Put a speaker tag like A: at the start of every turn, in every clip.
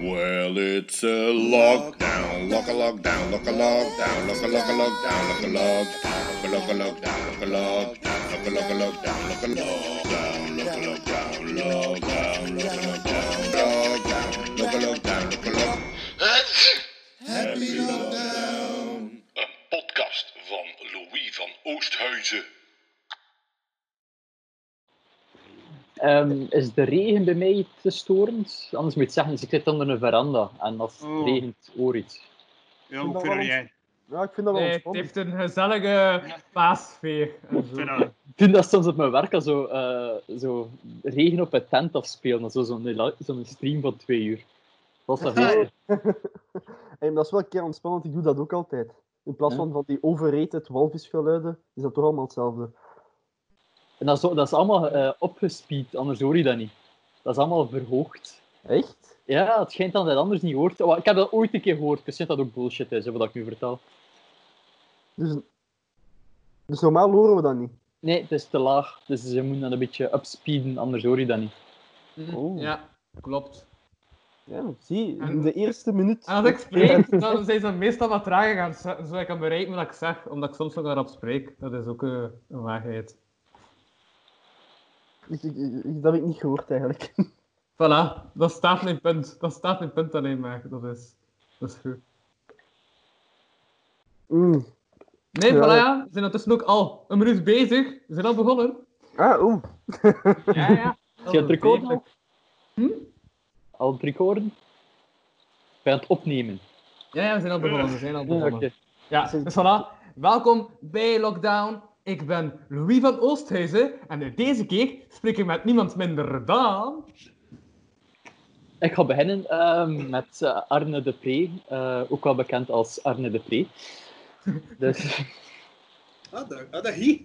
A: Well, it's a lockdown, lock a lockdown, lock a lockdown, lock a lock a lockdown, lock a lockdown, lock a lockdown, lock a lockdown, lock a lockdown, lock a lockdown, lock a lockdown, lockdown, lock a lockdown, lockdown, lock a lockdown, lock a lock. Happy lockdown.
B: Een podcast van Louis van Oosthuizen.
C: Ehm, is de regen bij mij te storend? Anders moet je het zeggen, dus ik zit onder een veranda en als het
D: Oh.
C: regent, hoor iets.
D: Ja, hoe verder jij?
E: Ja, ik vind dat wel
F: Nee, het
E: spannend.
F: heeft een gezellige paasfeer. en zo.
D: Verder. Oké,
C: Ik vind dat soms op mijn werk al zo, eh, zo regen op het tent afspelen. en zo, Zo'n li- zo'n stream van twee uur. Dat was dat heel-
E: Hey, maar dat is wel een keer ontspannend, ik doe dat ook altijd. In plaats van, van die overrated walvisgeluiden, is dat toch allemaal hetzelfde.
C: En dat is, zo- dat is allemaal eh opgespeed, anders hoor je dat niet. Dat is allemaal verhoogd.
E: Echt?
C: Ja, het schijnt dat je dat anders niet hoort. Maar Ik heb dat ooit een keer gehoord, dus ik vind dat ook bullshit is, hè, wat ik nu vertel.
E: Dus, dus normaal horen we dat niet.
C: Nee, het is te laag, dus je moet dat een beetje upspeeden, anders hoor je dat niet.
F: Mhm,
E: Oeh.
F: Ja, klopt.
E: Ja, zie,
F: En-
E: in de eerste minuut...
F: En als ik spreek, dan zijn ze meestal wat trager gaan zetten, zodat ik kan bereiken wat ik zeg, omdat ik soms nog daarop spreek. Dat is ook eh, een waarheid.
E: Ik- ik- ik- dat heb ik niet gehoord, eigenlijk.
F: Voilà, dat staat mijn punt. Dat staat mijn punt alleen maar. Dat is, dat is goed.
E: Mm.
F: Nee,
E: Ja,
F: voilà,
E: dat-
F: ja. We zijn ondertussen ook al een minuut bezig. We zijn al begonnen.
E: Ah, oeh.
F: Ja, ja.
C: Is je aan het recorden al?
F: Hm?
C: Al aan het recorden? Bij het opnemen.
F: Ja, ja, we zijn al begonnen. We zijn al begonnen.
C: Oké.
F: Ja, dus voilà. Welkom bij Lockdown. Ik ben Louis van Oosthuizen en deze keer spreek ik met niemand minder dan...
C: Ik ga beginnen ehm, met eh, Arne de Pre, eh, ook wel bekend als Arne de Pre. Dus,
G: Ah, dat, ah, dat hier.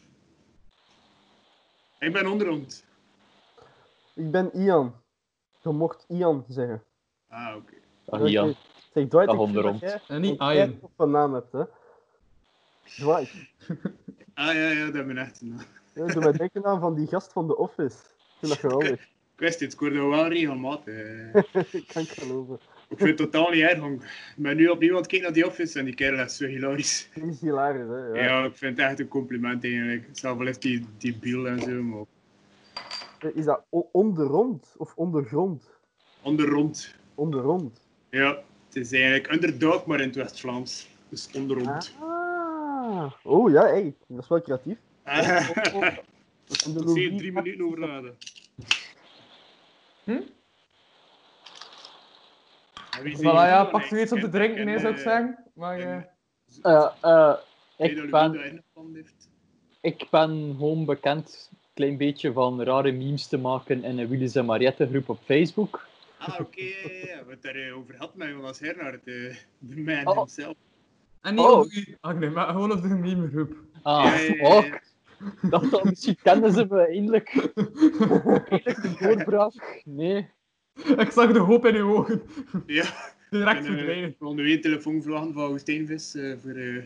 D: ik ben onderoond.
E: Ik ben Ian. Je mocht Ian zeggen.
D: Ah, oké.
C: ah, ja.
E: Oké. Zeg, Dwight,
C: Dag,
E: ik vind
C: onderoond.
E: dat jij
F: En Eh, niet
E: een
F: Ian.
E: kei toffe naam hebt, hè. Dwight.
D: Ah, ja, ja, dat is mijn echte naam.
E: Ja, doe mij denken aan van die gast van The Office. Ik vind dat geweldig.
D: Ik wist het, ik hoor dat wel regelmatig.
E: Ik kan het geloven.
D: Ik vind het totaal niet erg. want Ik ben nu opnieuw aan het kijken naar die office en die kerel is zo hilarisch.
E: Die is hilarisch, hè.
D: Ja, ik vind het echt een compliment eigenlijk. Zelf al is die debiel en zo, maar
E: Is dat o- onderrond of ondergrond?
D: onderrond.
E: Onderrond.
D: Ja, het is eigenlijk underdog, maar in het West-Vlaams. Dus onderrond.
E: Ah. Oh ja, hey, dat is wel creatief.
D: Ah.
E: Oh, oh. Dat is in de
D: Ik zie je
E: Louis-
D: drie minuten over laden.
F: Hm?
D: En wie
F: Voilà,
D: zie je
F: ja,
D: doen?
F: pak zoiets om te
D: Ik-
F: drinken,
D: ik-
F: nee, zou ik
D: eh,
F: zeggen. Maar eh,
D: en-
C: Eh, eh,
D: Hey, dat
C: ik,
D: Louis
C: ben,
D: daar een plan heeft.
C: ik ben gewoon bekend een klein beetje van rare memes te maken in een Willis en Mariette groep op Facebook.
D: Ah, oké, ja, ja, eh, ja. We hebben het daarover gehad met Jonas Hernaert, de, de man
C: Oh.
D: himself.
F: en niet
C: Oh.
F: over u. Ach nee, maar gewoon op de meme groep.
C: Ah,
D: Ja, ja, ja,
C: oh,
D: ja.
C: ik dacht dat misschien kennen ze me eindelijk. Eindelijk de voorbraak. Nee.
F: ik zag de hoop in uw ogen.
D: Ja,
F: Direct
D: en, eh,
F: verdwijnen.
D: we hadden weer een telefoonvlag van Woestijnvis eh voor, eh,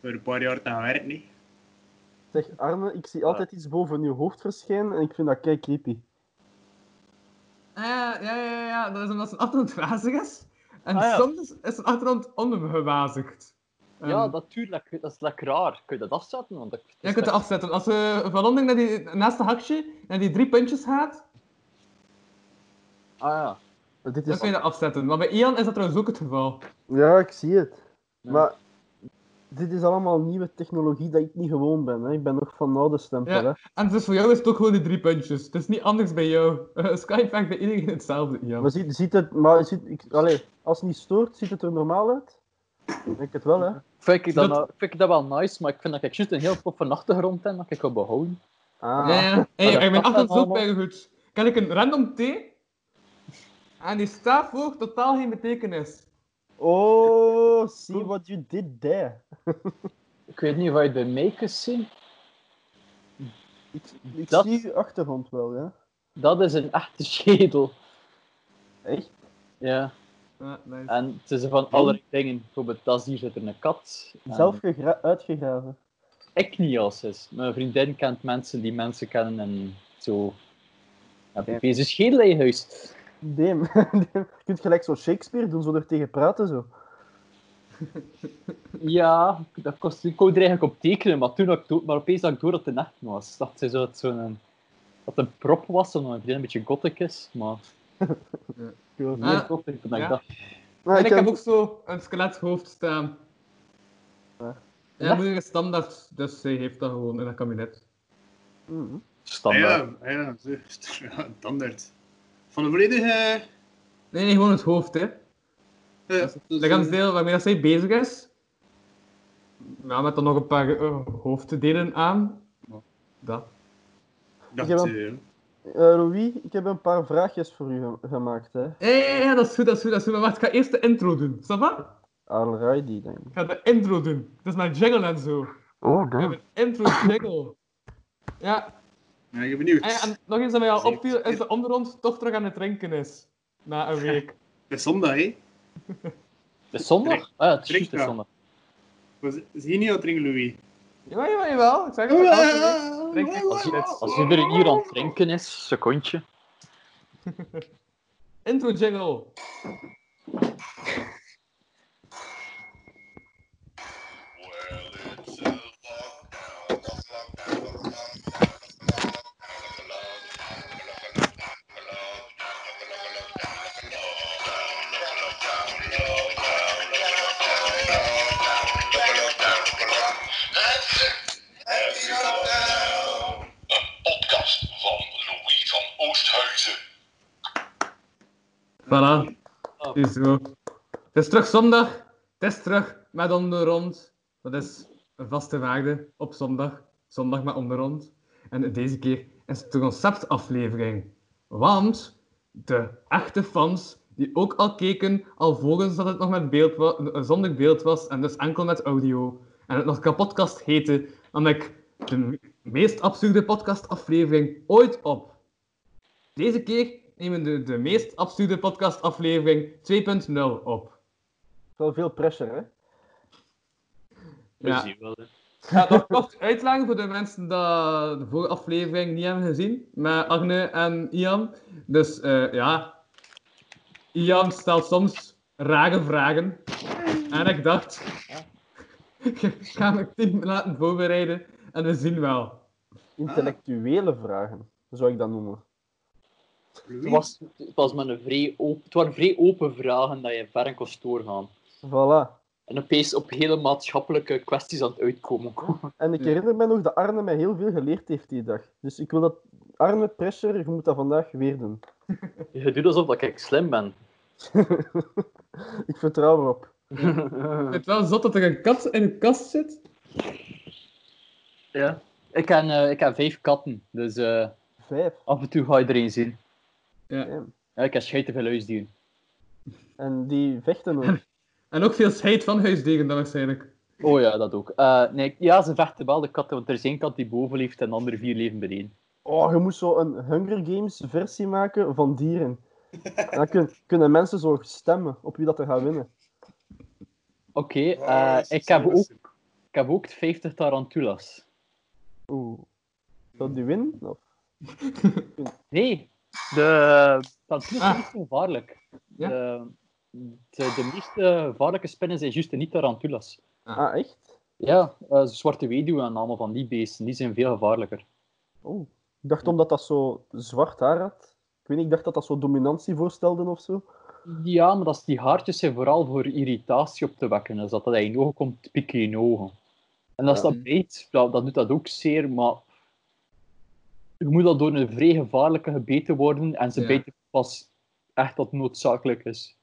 D: voor een paar jaar te gaan werken. hè.
E: Zeg Arne, ik zie altijd iets boven je hoofd verschijnen en ik vind dat kei creepy.
F: Ah, ja, ja, ja, ja, dat is omdat zijn achtergrond wazig is. En
C: Ah, ja.
F: soms is- is zijn achtergrond onbewazigd.
C: Ja,
F: Ehm,
C: natuurlijk. Dat is lekker raar. Kun je dat afzetten? Want Ah, dat,
F: Ja, je kunt het afzetten. Als eh Van Onding naar die, naast de hakje, naar die drie puntjes gaat,
C: Ah ja.
E: Dit
F: dan
E: is...
F: kun je dat afzetten. Maar bij Ian is dat trouwens ook het geval.
E: Ja, ik zie het.
C: Ja.
E: Maar dit is allemaal nieuwe technologie dat ik niet gewoon ben. Hè. Ik ben nog van oude stempel.
F: Ja.
E: Hè.
F: En dus voor jou is het ook gewoon die drie puntjes. Het is niet anders bij jou. Eh, Skype werkt bij iedereen hetzelfde, Ian.
E: Maar, ziet, ziet het, maar ziet, ik, allee, als het niet stoort, ziet het er normaal uit? Ik denk het wel, hè.
C: Vind ik dat,
F: Dat-
C: nou- vind ik dat wel nice, maar ik vind dat ik juist een heel toffe achtergrond heb dat ik wil behouden.
E: Ah.
F: Ja, ja. Hey,
C: dat
F: ik ben
C: past
F: achtergrond
C: dan
F: ook bij goed. Kan ik een random T? En die staat voor totaal geen betekenis.
E: Oh, see what you did there.
C: Ik weet niet of je het bij mij kunt zien.
E: Ik, ik
C: Dat-
E: zie uw achtergrond wel, ja.
C: Dat is een echte schedel.
E: Echt? Hm?
C: Ja,
F: Ja, nice.
C: en het is van allerlei dingen. Bijvoorbeeld, dat is hier zit er een kat. En
E: Zelf gegra- uitgegraven.
C: Ik niet als is. Mijn vriendin kent mensen die mensen kennen en zo. Heb ik deze schedel in je huis?
E: Deem. Je kunt gelijk zo Shakespeare doen, zo er tegen praten. Zo.
C: Ja, dat kost, ik wou er eigenlijk op tekenen, maar toen had ik door, maar opeens had ik door dat het een echt was. Ik dacht ze zou het zo'n... Dat het een prop was, omdat mijn vriendin een beetje gothic is, maar...
E: Ik weet het niet.
C: Meer gothic dan ik
F: ja.
C: dacht.
E: Maar
F: en ik
E: ik
F: heb
E: heb-
F: ook zo een skelethoofd staan. Eh.
E: Ja.
F: Ja, moeder is standaard, dus zij heeft dat gewoon in haar kabinet.
E: Mhm.
C: Standaard.
D: Ah, Ja, ja, zo. ja, standaard. Van de volledige...
F: Nee, nee, gewoon het hoofd, hè.
D: eh
F: Dat is deel waarmee dat zij bezig is. Ja, met dan nog een paar eh, hoofddelen aan. Dat.
D: dat,
E: Ik heb
D: eh,
E: Eh, Louis, ik heb een paar vraagjes voor u ge- gemaakt. Hè.
F: Ja, ja, ja, dat is goed, dat is goed, dat is goed. Maar wacht, ik ga eerst de intro doen. Snap je?
E: Alrighty, dan.
F: Ik ga de intro doen. Dat is mijn jingle en zo.
E: Oh,
F: We hebben een intro jingle. Ja,
D: ja, ik ben benieuwd.
F: en, Eh, en nog iets dat mij al opviel, is dat onder ons toch terug aan het drinken is. Na een week.
D: Het is zondag, hè.
C: De zondag? Ah, ja, het is juist de
D: Drink-
C: zondag.
D: Was, is hier niet aan het drinken, Louis?
F: Jawel, jawel, jawel. Ik zeg het elke week. Drink ik
C: Als,
F: altijd.
C: als iedereen hier aan het drinken is, secondje.
F: Intro jingle.
B: Podcast van Louis van Oosthuizen.
F: Voilà. Het is zo. Het is terug zondag. Het is terug met onder rond. Dat is een vaste waarde op zondag. Zondag met onder rond. En deze keer is het een conceptaflevering. Want de echte fans die ook al keken alvorens dat het nog met beeld wa- eh, zonder beeld was en dus enkel met audio en het nog kapotkast heette, nam ik de me- meest absurde podcastaflevering ooit op. Deze keer nemen we de, de meest absurde podcastaflevering 2.0 op.
E: Wel veel pressure, hè?
F: Ja.
C: We zien wel, hè.
F: Ik ga het nog kort uitleggen voor de mensen die de vorige aflevering niet hebben gezien. Met Arne en Ian. Dus eh, ja. Ian stelt soms rare vragen. En ik dacht. Ik ga mijn team laten voorbereiden. En we zien wel.
E: Intellectuele vragen, zou ik dat noemen.
C: Het, was, het, was maar een vrij open, het waren vrij open vragen dat je ver en kost doorgaan.
E: Voilà.
C: En opeens op hele maatschappelijke kwesties aan het uitkomen.
E: En ik
F: Ja.
E: herinner me nog dat Arne mij heel veel geleerd heeft die dag. Dus ik wil dat... Arne, pressure, je moet dat vandaag weer doen.
C: Je doet alsof dat ik slim ben.
E: ik vertrouw erop.
F: Ik vind het wel zot dat er een kat in een kast zit.
C: Ja. Ik heb, eh, ik heb vijf katten, dus eh,
E: Vijf.
C: af en toe ga je er een zien.
F: Ja.
C: Ja, ik heb schijt te veel huisdieren.
E: En die vechten ook.
F: En ook veel scheid van huisdieren dan waarschijnlijk.
C: Oh ja, dat ook. Eh, nee, ja, ze vechten wel de katten, want er is één kat die boven leeft en de andere vier leven beneden.
E: Oh, je moest zo een Hunger Games versie maken van dieren. En dan kun- kunnen mensen zo stemmen op wie dat er gaat winnen.
C: Oké,
D: Oh,
C: eh, ik, heb ook, ik heb ook 50 tarantulas.
E: Oeh. Zou die winnen? Of?
C: Nee, de tarantulas zijn
F: Ah.
C: niet zo gevaarlijk.
F: Ja?
C: De, de, de meeste gevaarlijke spinnen zijn juist de niet-tarantulas.
E: Ah, echt?
C: Ja, eh, zwarte weduwen en allemaal van die beesten, die zijn veel gevaarlijker.
E: Oeh. Ik dacht omdat dat zo zwart haar had. Ik weet niet, ik dacht dat dat zo dominantie voorstelde of zo.
C: Ja, maar dat is, die haartjes zijn vooral voor irritatie op te wekken. Dus dat dat in je ogen komt, pikken in je ogen. En als
E: Ja.
C: dat beet, dat, dat doet dat ook zeer, maar... Je moet dat door een vrij gevaarlijke gebeten worden en ze
F: Ja.
C: bijten pas echt dat noodzakelijk is.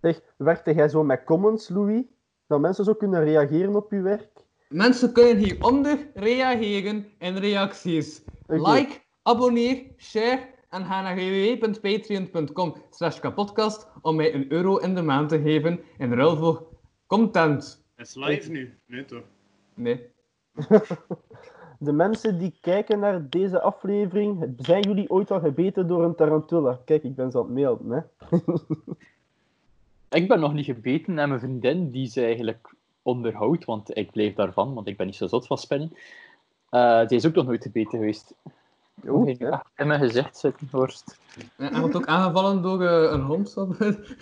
E: Zeg, werkte jij zo met comments, Louis? Dat mensen zo kunnen reageren op je werk?
F: Mensen kunnen hieronder reageren in reacties.
E: Oké.
F: Like, abonneer, share en ga naar www.patreon.com slash kapodcast om mij een euro in de maand te geven in ruil voor content.
D: Het is live nu. Nee, toch?
F: Nee.
E: De mensen die kijken naar deze aflevering, zijn jullie ooit al gebeten door een tarantula? Kijk, ik ben ze aan het melden, hè.
C: Ik ben nog niet gebeten en mijn vriendin, die ze eigenlijk onderhoudt, want ik blijf daarvan, want ik ben niet zo zot van spinnen. Eh die is ook nog nooit gebeten geweest.
E: Oeh,
C: Ik ga in mijn gezicht zitten, worst.
F: En hij wordt ook aangevallen door eh, een hond. snap je?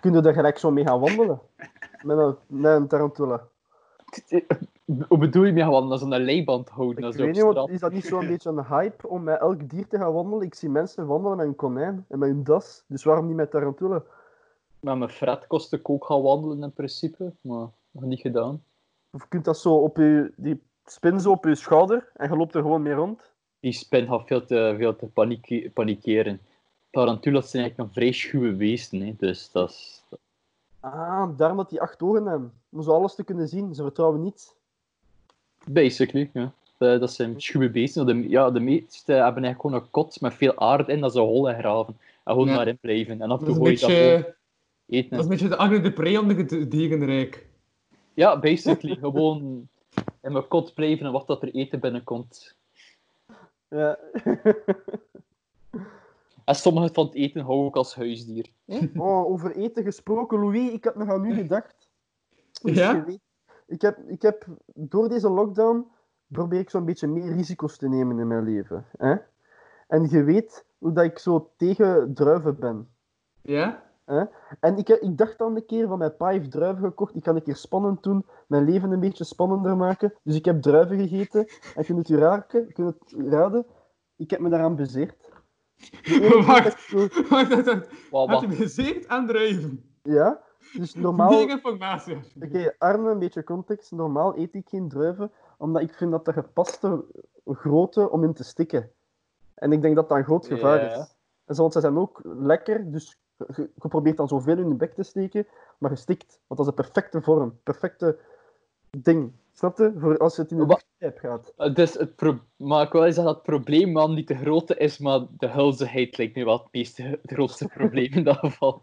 E: Kunnen we daar gelijk zo mee gaan wandelen? Met een, met een tarantula.
C: Hoe bedoel je me gewoon? Dat ze een leiband houden.
E: Ik
C: als ze
E: weet
C: op
E: niet, want
C: straat-
E: is dat niet zo'n beetje een hype om met elk dier te gaan wandelen? Ik zie mensen wandelen met een konijn en met een das. Dus waarom niet met tarantula?
C: Met mijn fret kost ik ook gaan wandelen in principe, maar nog niet gedaan.
E: Of je kunt dat zo op je... Die spin zo op je schouder en je loopt er gewoon mee rond.
C: Die spin gaat veel te, veel te panieke- panikeren. Tarantulas zijn eigenlijk een vrij schuwe beesten, hè, dus dat is... dat-
E: Ah, daarom dat die acht ogen hebben. Om zo alles te kunnen zien. Ze vertrouwen niets.
C: Basically, ja. Eh, Dat zijn schuwe beesten. De, ja, de meeste hebben eigenlijk gewoon een kot met veel aarde in dat ze hollen graven. En gewoon
F: Ja.
C: daarin blijven. En af en
F: Dat is
C: toe
F: een
C: gooi je dat gewoon
F: beetje,
C: eten.
F: dat is een beetje de Agne de Pre onder het dierenrijk.
C: Ja, basically. gewoon in mijn kot blijven en wachten dat er eten binnenkomt.
E: Ja.
C: En sommige van het eten hou ik als huisdier.
E: Oh, over eten gesproken, Louis, ik heb nog aan u gedacht. Dus
F: Ja?
E: je weet, Ik heb, ik heb door deze lockdown probeer ik zo'n beetje meer risico's te nemen in mijn leven. Hè? En je weet hoe dat ik zo tegen druiven ben.
F: Ja?
E: En ik, heb- ik dacht dan een keer van mijn pa heeft druiven gekocht. Ik kan een keer spannend doen, mijn leven een beetje spannender maken. Dus ik heb druiven gegeten. En kun je het u raken, kun je het raden? Ik heb me daaraan bezeerd. De ene keer
F: Wacht.
E: dat ik zo-
F: Wacht, wacht, wacht.
C: Wat,
F: Had
C: wat?
F: hem gezeerd aan druiven.
E: Ja, dus normaal.
F: Tegen informatie.
E: Oké, Arne, een beetje context. Normaal eet ik geen druiven, omdat ik vind dat de gepaste grootte om in te stikken. En ik denk dat dat een groot gevaar
C: Ja.
E: is. En zo, want ze zijn ook lekker, dus je- je je probeert dan zoveel in je bek te steken, maar je stikt. Want dat is de perfecte vorm, perfecte ding. Snap je? Voor als het in de
C: Wa-
E: luchtpijp gaat.
C: Het is Eh, dus het pro- maar ik wil zeggen dat het probleem wel niet de grote is, maar de hulzigheid lijkt nu wel het, meeste, het grootste probleem in dat geval.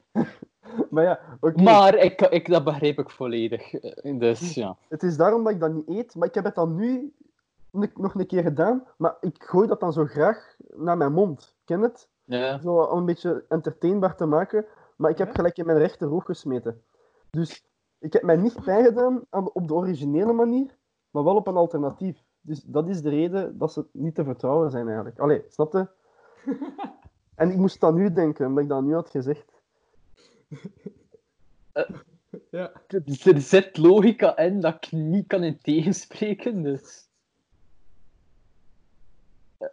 E: Maar ja, oké.
C: Maar ik, ik, dat begrijp ik volledig. Eh, Dus ja.
E: Het is daarom dat ik dat niet eet, maar ik heb het dan nu n- nog een keer gedaan, maar ik gooi dat dan zo graag naar mijn mond. Ken je het?
C: ja.
E: zo om een beetje entertainbaar te maken. Maar ik heb gelijk in mijn rechteroog gesmeten. Dus ik heb mij niet pijn gedaan aan, op de originele manier, maar wel op een alternatief. Dus dat is de reden dat ze niet te vertrouwen zijn eigenlijk. Allee, snap je? En ik moest dat nu denken, omdat ik dat nu had gezegd.
F: Ja.
C: Er zit logica in dat ik niet kan in tegenspreken, dus...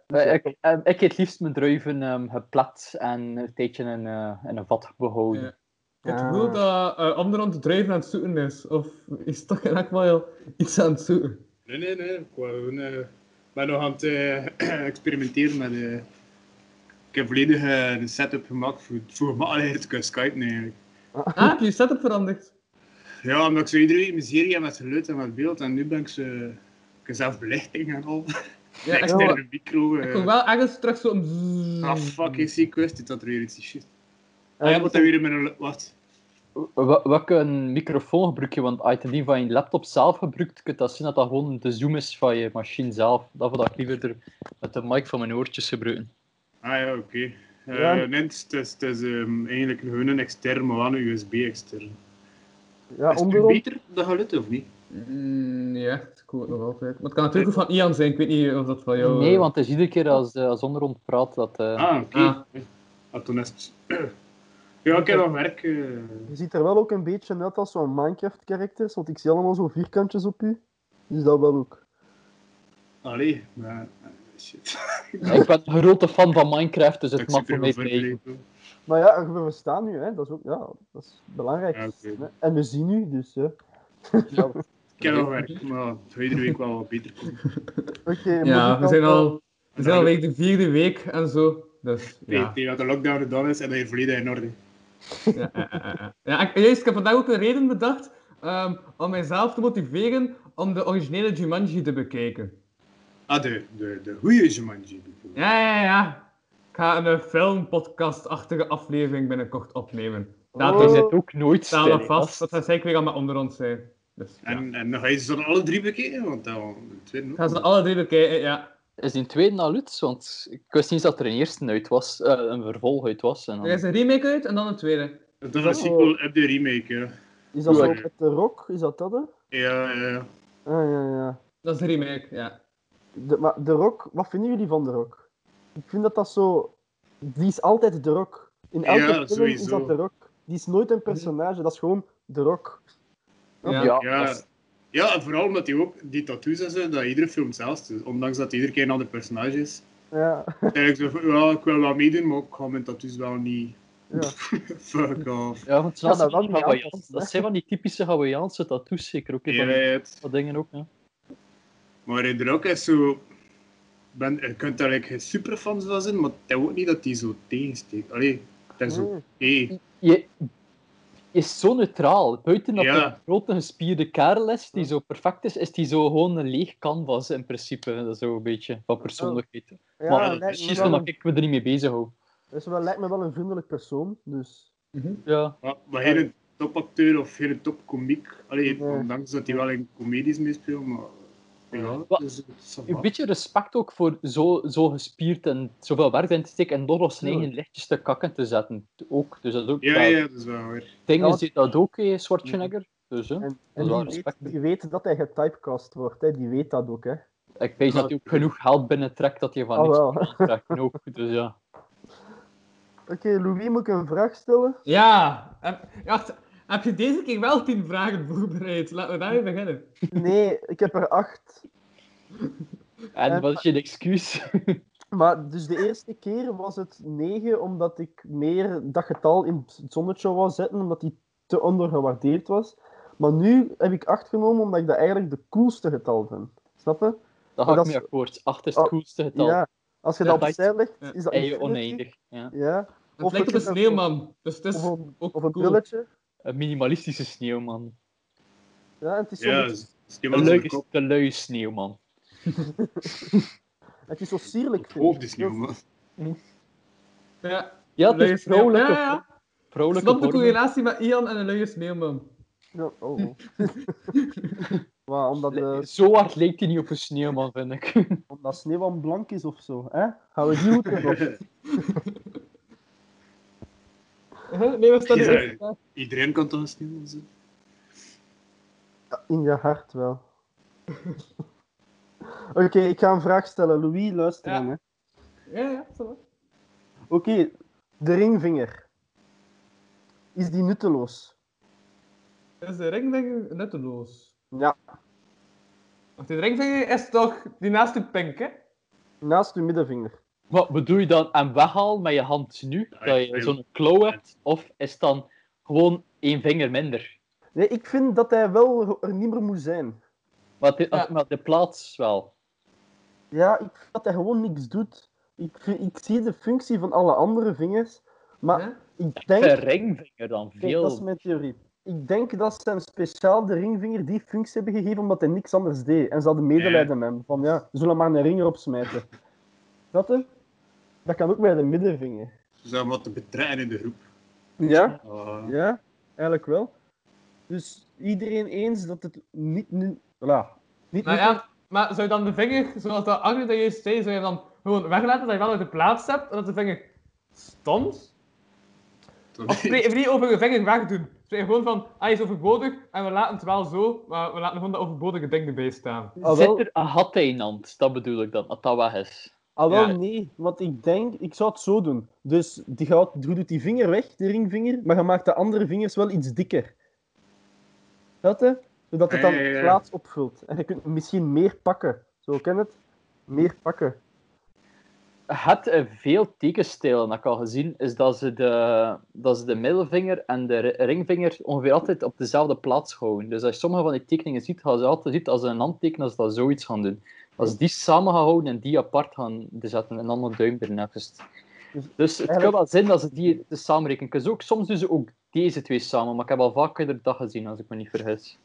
C: Eh, Ik, eh, ik eet liefst mijn druiven ehm, geplat en een tijdje in, eh, in een vat behouden.
F: Ja. Het
E: Ah.
F: wil dat eh Amderon de druiven aan het zoeken is. Of is toch in elk geval iets aan het zoeken?
D: Nee, nee, nee. Ik wou, eh, ik ben nog aan het eh, experimenteren met... eh, ik heb volledig eh, een setup gemaakt voor, voor makkelijker te kunnen skypen eigenlijk.
F: Ah, heb je je setup veranderd?
D: Ja, omdat ik zo iedere week mijn serie heb met geluid en met beeld. En nu ben ik zo... Ik heb zelf belichting en al.
F: Ja, ik
E: hoor-
F: hoor-
D: externe micro.
F: ik
D: eh.
F: hoor wel ergens straks zo'n... zzzz.
D: Ah, fuck, is die quest dit dat er weer iets is. shit.
E: En
D: Ah ja, moet dat weer in mijn... lu- Wat?
C: Wa- Welke microfoon gebruik je? Want ah, als je het niet van je laptop zelf gebruikt, kun je dat zien dat dat gewoon de zoom is van je machine zelf. Dat wil ik liever er met de mic van mijn oortjes gebruiken.
D: Ah ja, oké. Eh
E: Ja.
D: Nee, het is, het is, het is ehm, eigenlijk gewoon een extern, maar wel een USB-extern.
E: ja,
D: is het nu
E: onderom.
D: beter, dat geluid, of niet?
F: Mm, ja, ik hoor het nog altijd. Maar het kan natuurlijk ook van Ian zijn. Ik weet niet of dat van jou...
C: Nee, want het is iedere keer als, eh, als onderhand praat dat... eh,
D: Ah, oké.
F: Ah.
D: Ah, toen is het... Ja, ik heb nog werk. eh.
E: Je ziet er wel ook een beetje net als zo'n Minecraft-characters, want ik zie allemaal zo vierkantjes op u. Dus dat wel ook.
D: Allee, maar... eh, Shit.
C: Ik ben een grote fan van Minecraft, dus het
D: Ik
C: mag
D: zit er
C: voor mij
D: wel
C: blijven.
D: voor.
E: Maar ja, we verstaan nu, hè. Dat is ook, ja, dat is belangrijk.
D: Ja, oké.
E: En we zien u, dus, hè. Ja. Oké,
D: Ik heb nog werk, maar het zou iedere week wel wat beter komen.
F: Ja, we
E: muzikant-
F: zijn al... We zijn
D: Nou,
F: alweer de vierde week en zo. Dus, ja.
D: Tegen- Tegen dat de lockdown gedaan is en dat je volledig in orde.
F: Ja, ja, ja, ja. ja ik, juist, ik heb vandaag ook een reden bedacht ehm, om mijzelf te motiveren om de originele Jumanji te bekijken.
D: Ah, de, de, de goeie Jumanji. bijvoorbeeld.
F: Ja, ja, ja. Ik ga een eh, filmpodcast-achtige aflevering binnenkort opnemen. Laat
E: Oh.
C: Je
F: ons
C: zit ook nooit
F: staan
C: stil.
F: we vast. Dat gaat zeker weer allemaal onder ons zijn. Dus, ja.
D: En, en dan ga je ze dan alle drie bekijken, want dan de tweede ook.
F: Ik ga ze alle drie bekijken, ja.
C: Is die tweede al uit? Want ik wist niet dat er een eerste uit was, eh, een vervolg uit was. En dan...
F: Er is een remake uit en dan een tweede.
D: Dat is een sequel op de remake, ja.
E: Is dat zo
D: Oké.
E: met de rock? Is dat dat? hè?
D: Ja, ja.
E: Ah, ja, ja.
F: Dat is een remake, ja.
E: De, maar de rock, wat vinden jullie van de rock? Ik vind dat dat zo... Die is altijd de rock. In elke
D: Ja,
E: film is
D: sowieso.
E: dat de rock. Die is nooit een personage, dat is gewoon de rock. Oh,
F: Ja.
D: Ja.
C: dat is-
D: Ja, en vooral omdat hij ook die tattoos en zo, dat iedere film zelfs is. Ondanks dat hij iedere keer een ander personage is.
E: Ja,
D: Eigenlijk zo van, ja, ik wil wel meedoen, maar ik ga mijn tattoos wel niet...
E: Ja.
D: Fuck off.
C: ja, want ze
E: Ja,
C: hadden
E: dat
C: die
E: wel niet
C: Hawaiians.
E: aanpassen, hè.
C: Dat zijn van die typische Hawaiianse tattoos, zeker ook. hè,
D: Ja,
C: Van die-
D: het.
C: dat dingen ook, ja.
D: Maar in de rock is zo... Ben, je kunt daar eigenlijk geen superfans van zijn, maar het is ook niet dat die zo tegensteekt. Allee, dat is oké.
E: nee.
C: Je is zo neutraal. Buiten dat
D: Ja.
C: hij een grote gespierde kerel is, die zo perfect is, is die zo gewoon een leeg canvas in principe. Dat is zo een beetje van persoonlijkheid.
E: ja,
C: maar
E: lijkt me
C: precies
E: wel
C: omdat
E: een-
C: ik me er niet mee bezig hou.
E: dat is wel, lijkt me wel een vriendelijk persoon, dus...
C: Ja,
D: Maar, maar geen topacteur of geen topcomiek. Allee,
E: Nee.
D: ondanks dat hij wel in comedies meespeelt, maar... Ja,
C: Wat-
D: dus, het is
C: een beetje respect ook voor zo, zo gespierd en zoveel werk in te steken en door als zijn eigen lichtjes te kakken te zetten. Ook. Dus dat is ook...
D: Ja,
C: dat-
D: ja, dat is wel weer.
C: Dingen
E: Ja.
C: deed dat ook, hè, Schwarzenegger. Dus, hè.
E: En,
C: Dat
E: en
C: is wel
E: die,
C: respect.
E: weet, die weet dat hij getypecast wordt, hè. die weet dat ook. Hè.
C: Ik weet dat hij ook genoeg geld binnentrekt dat je van
E: Ah,
C: niks
E: wel.
C: kan aantrekken ook. Dus ja.
E: Oké, Louis, moet ik een vraag stellen?
F: Ja, heb, ja, wacht, heb je deze keer wel tien vragen voorbereid? Laten we daarmee beginnen.
E: Nee, ik heb er acht.
C: En
E: Eh,
C: wat is je excuus?
E: Maar dus de eerste keer was het 9, omdat ik meer dat getal in het zonnetje wou zetten, omdat die te ondergewaardeerd was. Maar nu heb ik 8 genomen, omdat ik dat eigenlijk de coolste getal vind. Snap je?
C: Daar
E: Maar
C: ga ik
E: dat
C: mee
E: is-
C: akkoord. 8 is het
E: Oh,
C: coolste getal.
E: Ja. Als je
C: Ja,
E: dat
C: dat-
E: opzij legt,
F: ja,
E: is dat
C: En je
E: infinity.
C: oneindig. Ja.
E: Ja.
F: Het
E: Of
F: lijkt op
E: het
F: een
E: is een-
F: sneeuwman, dus het is
E: Of een,
F: ook
E: of een
F: cool.
E: brilletje.
C: Een minimalistische sneeuwman.
E: Ja, en het is zo,
D: Ja,
E: met-
D: dus- dus die
C: Een
D: man zijn
C: leuke,
D: kop.
C: de luie sneeuwman.
E: het is zo sierlijk. vind ik.
D: Hoofd is nieuw, dus man.
F: Ja,
C: Ja, het
F: luie
C: is
F: sneeuw-
C: vrouwelijke,
F: Ja, ja.
C: vrouwelijke
F: Snap de
C: vormen.
F: correlatie met Ian en een luie sneeuwman.
E: Ja, oh, oh. maar omdat, eh,
C: Zo hard lijkt hij niet op een sneeuwman, vind ik.
E: omdat sneeuwwam blank is of zo. Hè? Gaan we die goed erop?
F: Huh? Nee, wat staat
D: Ja.
F: hier? Ja.
D: Iedereen kan toch een sneeuwman zijn?
E: In je hart wel. Oké, ik ga een vraag stellen. Louis, luister
F: Ja.
E: dan. hè.
F: Ja, ja, zo wel.
E: Oké, de ringvinger. Is die nutteloos?
F: Is de ringvinger nutteloos?
E: Ja.
F: Wacht, die ringvinger is toch die naast de pink, hè?
E: Naast uw middenvinger.
C: Wat bedoel je dan? En weghalen met je hand nu? Dat je zo'n klauw hebt? Of is het dan gewoon één vinger minder?
E: Nee, ik vind dat hij wel er niet meer moet zijn.
C: Maar de,
F: Ja.
C: maar de plaats wel.
E: Ja, ik vind dat hij gewoon niks doet. Ik, vind- ik zie de functie van alle andere vingers. Maar
F: Ja.
E: ik
C: De
E: denk...
C: ringvinger dan
E: Kijk, dat is
C: veel.
E: mijn theorie. Ik denk dat ze hem speciaal de ringvinger die functie hebben gegeven omdat hij niks anders deed. En ze hadden medelijden met hem. Van ja, we zullen maar een ring erop smijten. Dat hè? Dat kan ook bij de middenvinger.
D: Ze zijn wat te bedreigen in de groep.
E: Ja?
D: Ah.
E: Ja, eigenlijk wel. Dus iedereen eens dat het niet nu... Voilà. Niet
F: Maar
E: nu...
F: Nou ja, maar zou je dan de vinger, zoals dat Agri dat juist zei, zou je dan gewoon weglaten dat je wel uit de plaats hebt en dat de vinger stond?
D: Toch
F: Of spreken we niet over je vinger wegdoen? Spreken we gewoon van, ah, hij is overbodig en we laten het wel zo, maar we laten gewoon dat overbodige ding erbij staan.
E: Ah, wel-
C: Zit er een gat in hand? Dat bedoel ik dan, dat dat weg is.
E: Ah, wel
F: Ja.
E: nee, want ik denk, ik zou het zo doen. Dus die gaat, je doet die vinger weg, die ringvinger, maar je maakt de andere vingers wel iets dikker. Dat hè? Zodat het dan
D: Ja, ja, ja.
E: plaats opvult. En je kunt misschien meer pakken. Zo ken het? Meer pakken.
C: Het eh, veel tekenstijlen dat ik al gezien is dat ze, de, dat ze de middelvinger en de ri- ringvinger ongeveer altijd op dezelfde plaats houden. Dus als je sommige van die tekeningen ziet, gaan ze altijd ziet als ze een hand tekenen, als ze dat zoiets gaan doen. Als ze die samen gaan houden en die apart gaan zetten en dan een duim ernaast. Dus het kan wel zijn dat ze die te samen rekenen. Ik kan ze ook- Soms doen ze ook deze twee samen, maar ik heb al vaker dat gezien, als ik me niet vergis.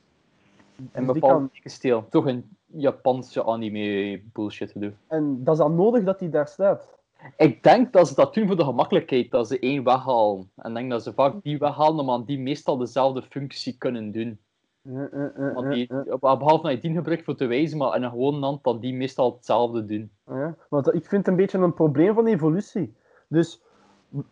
C: En
E: Dus die
C: bepaalde
E: kan-
C: tekenstijl. Toch een Japanse anime bullshit te doen.
E: En dat is dan nodig dat die daar staat.
C: Ik denk dat ze dat doen voor de gemakkelijkheid, dat ze één weghalen. En ik denk dat ze vaak die weghalen, maar die meestal dezelfde functie kunnen doen.
E: Eh, eh, eh,
C: Want die,
E: eh, eh,
C: op- behalve dat je die gebruikt voor te wijzen, maar in een gewone hand, dat die meestal hetzelfde doen.
E: ja. Want dat- ik vind het een beetje een probleem van evolutie. Dus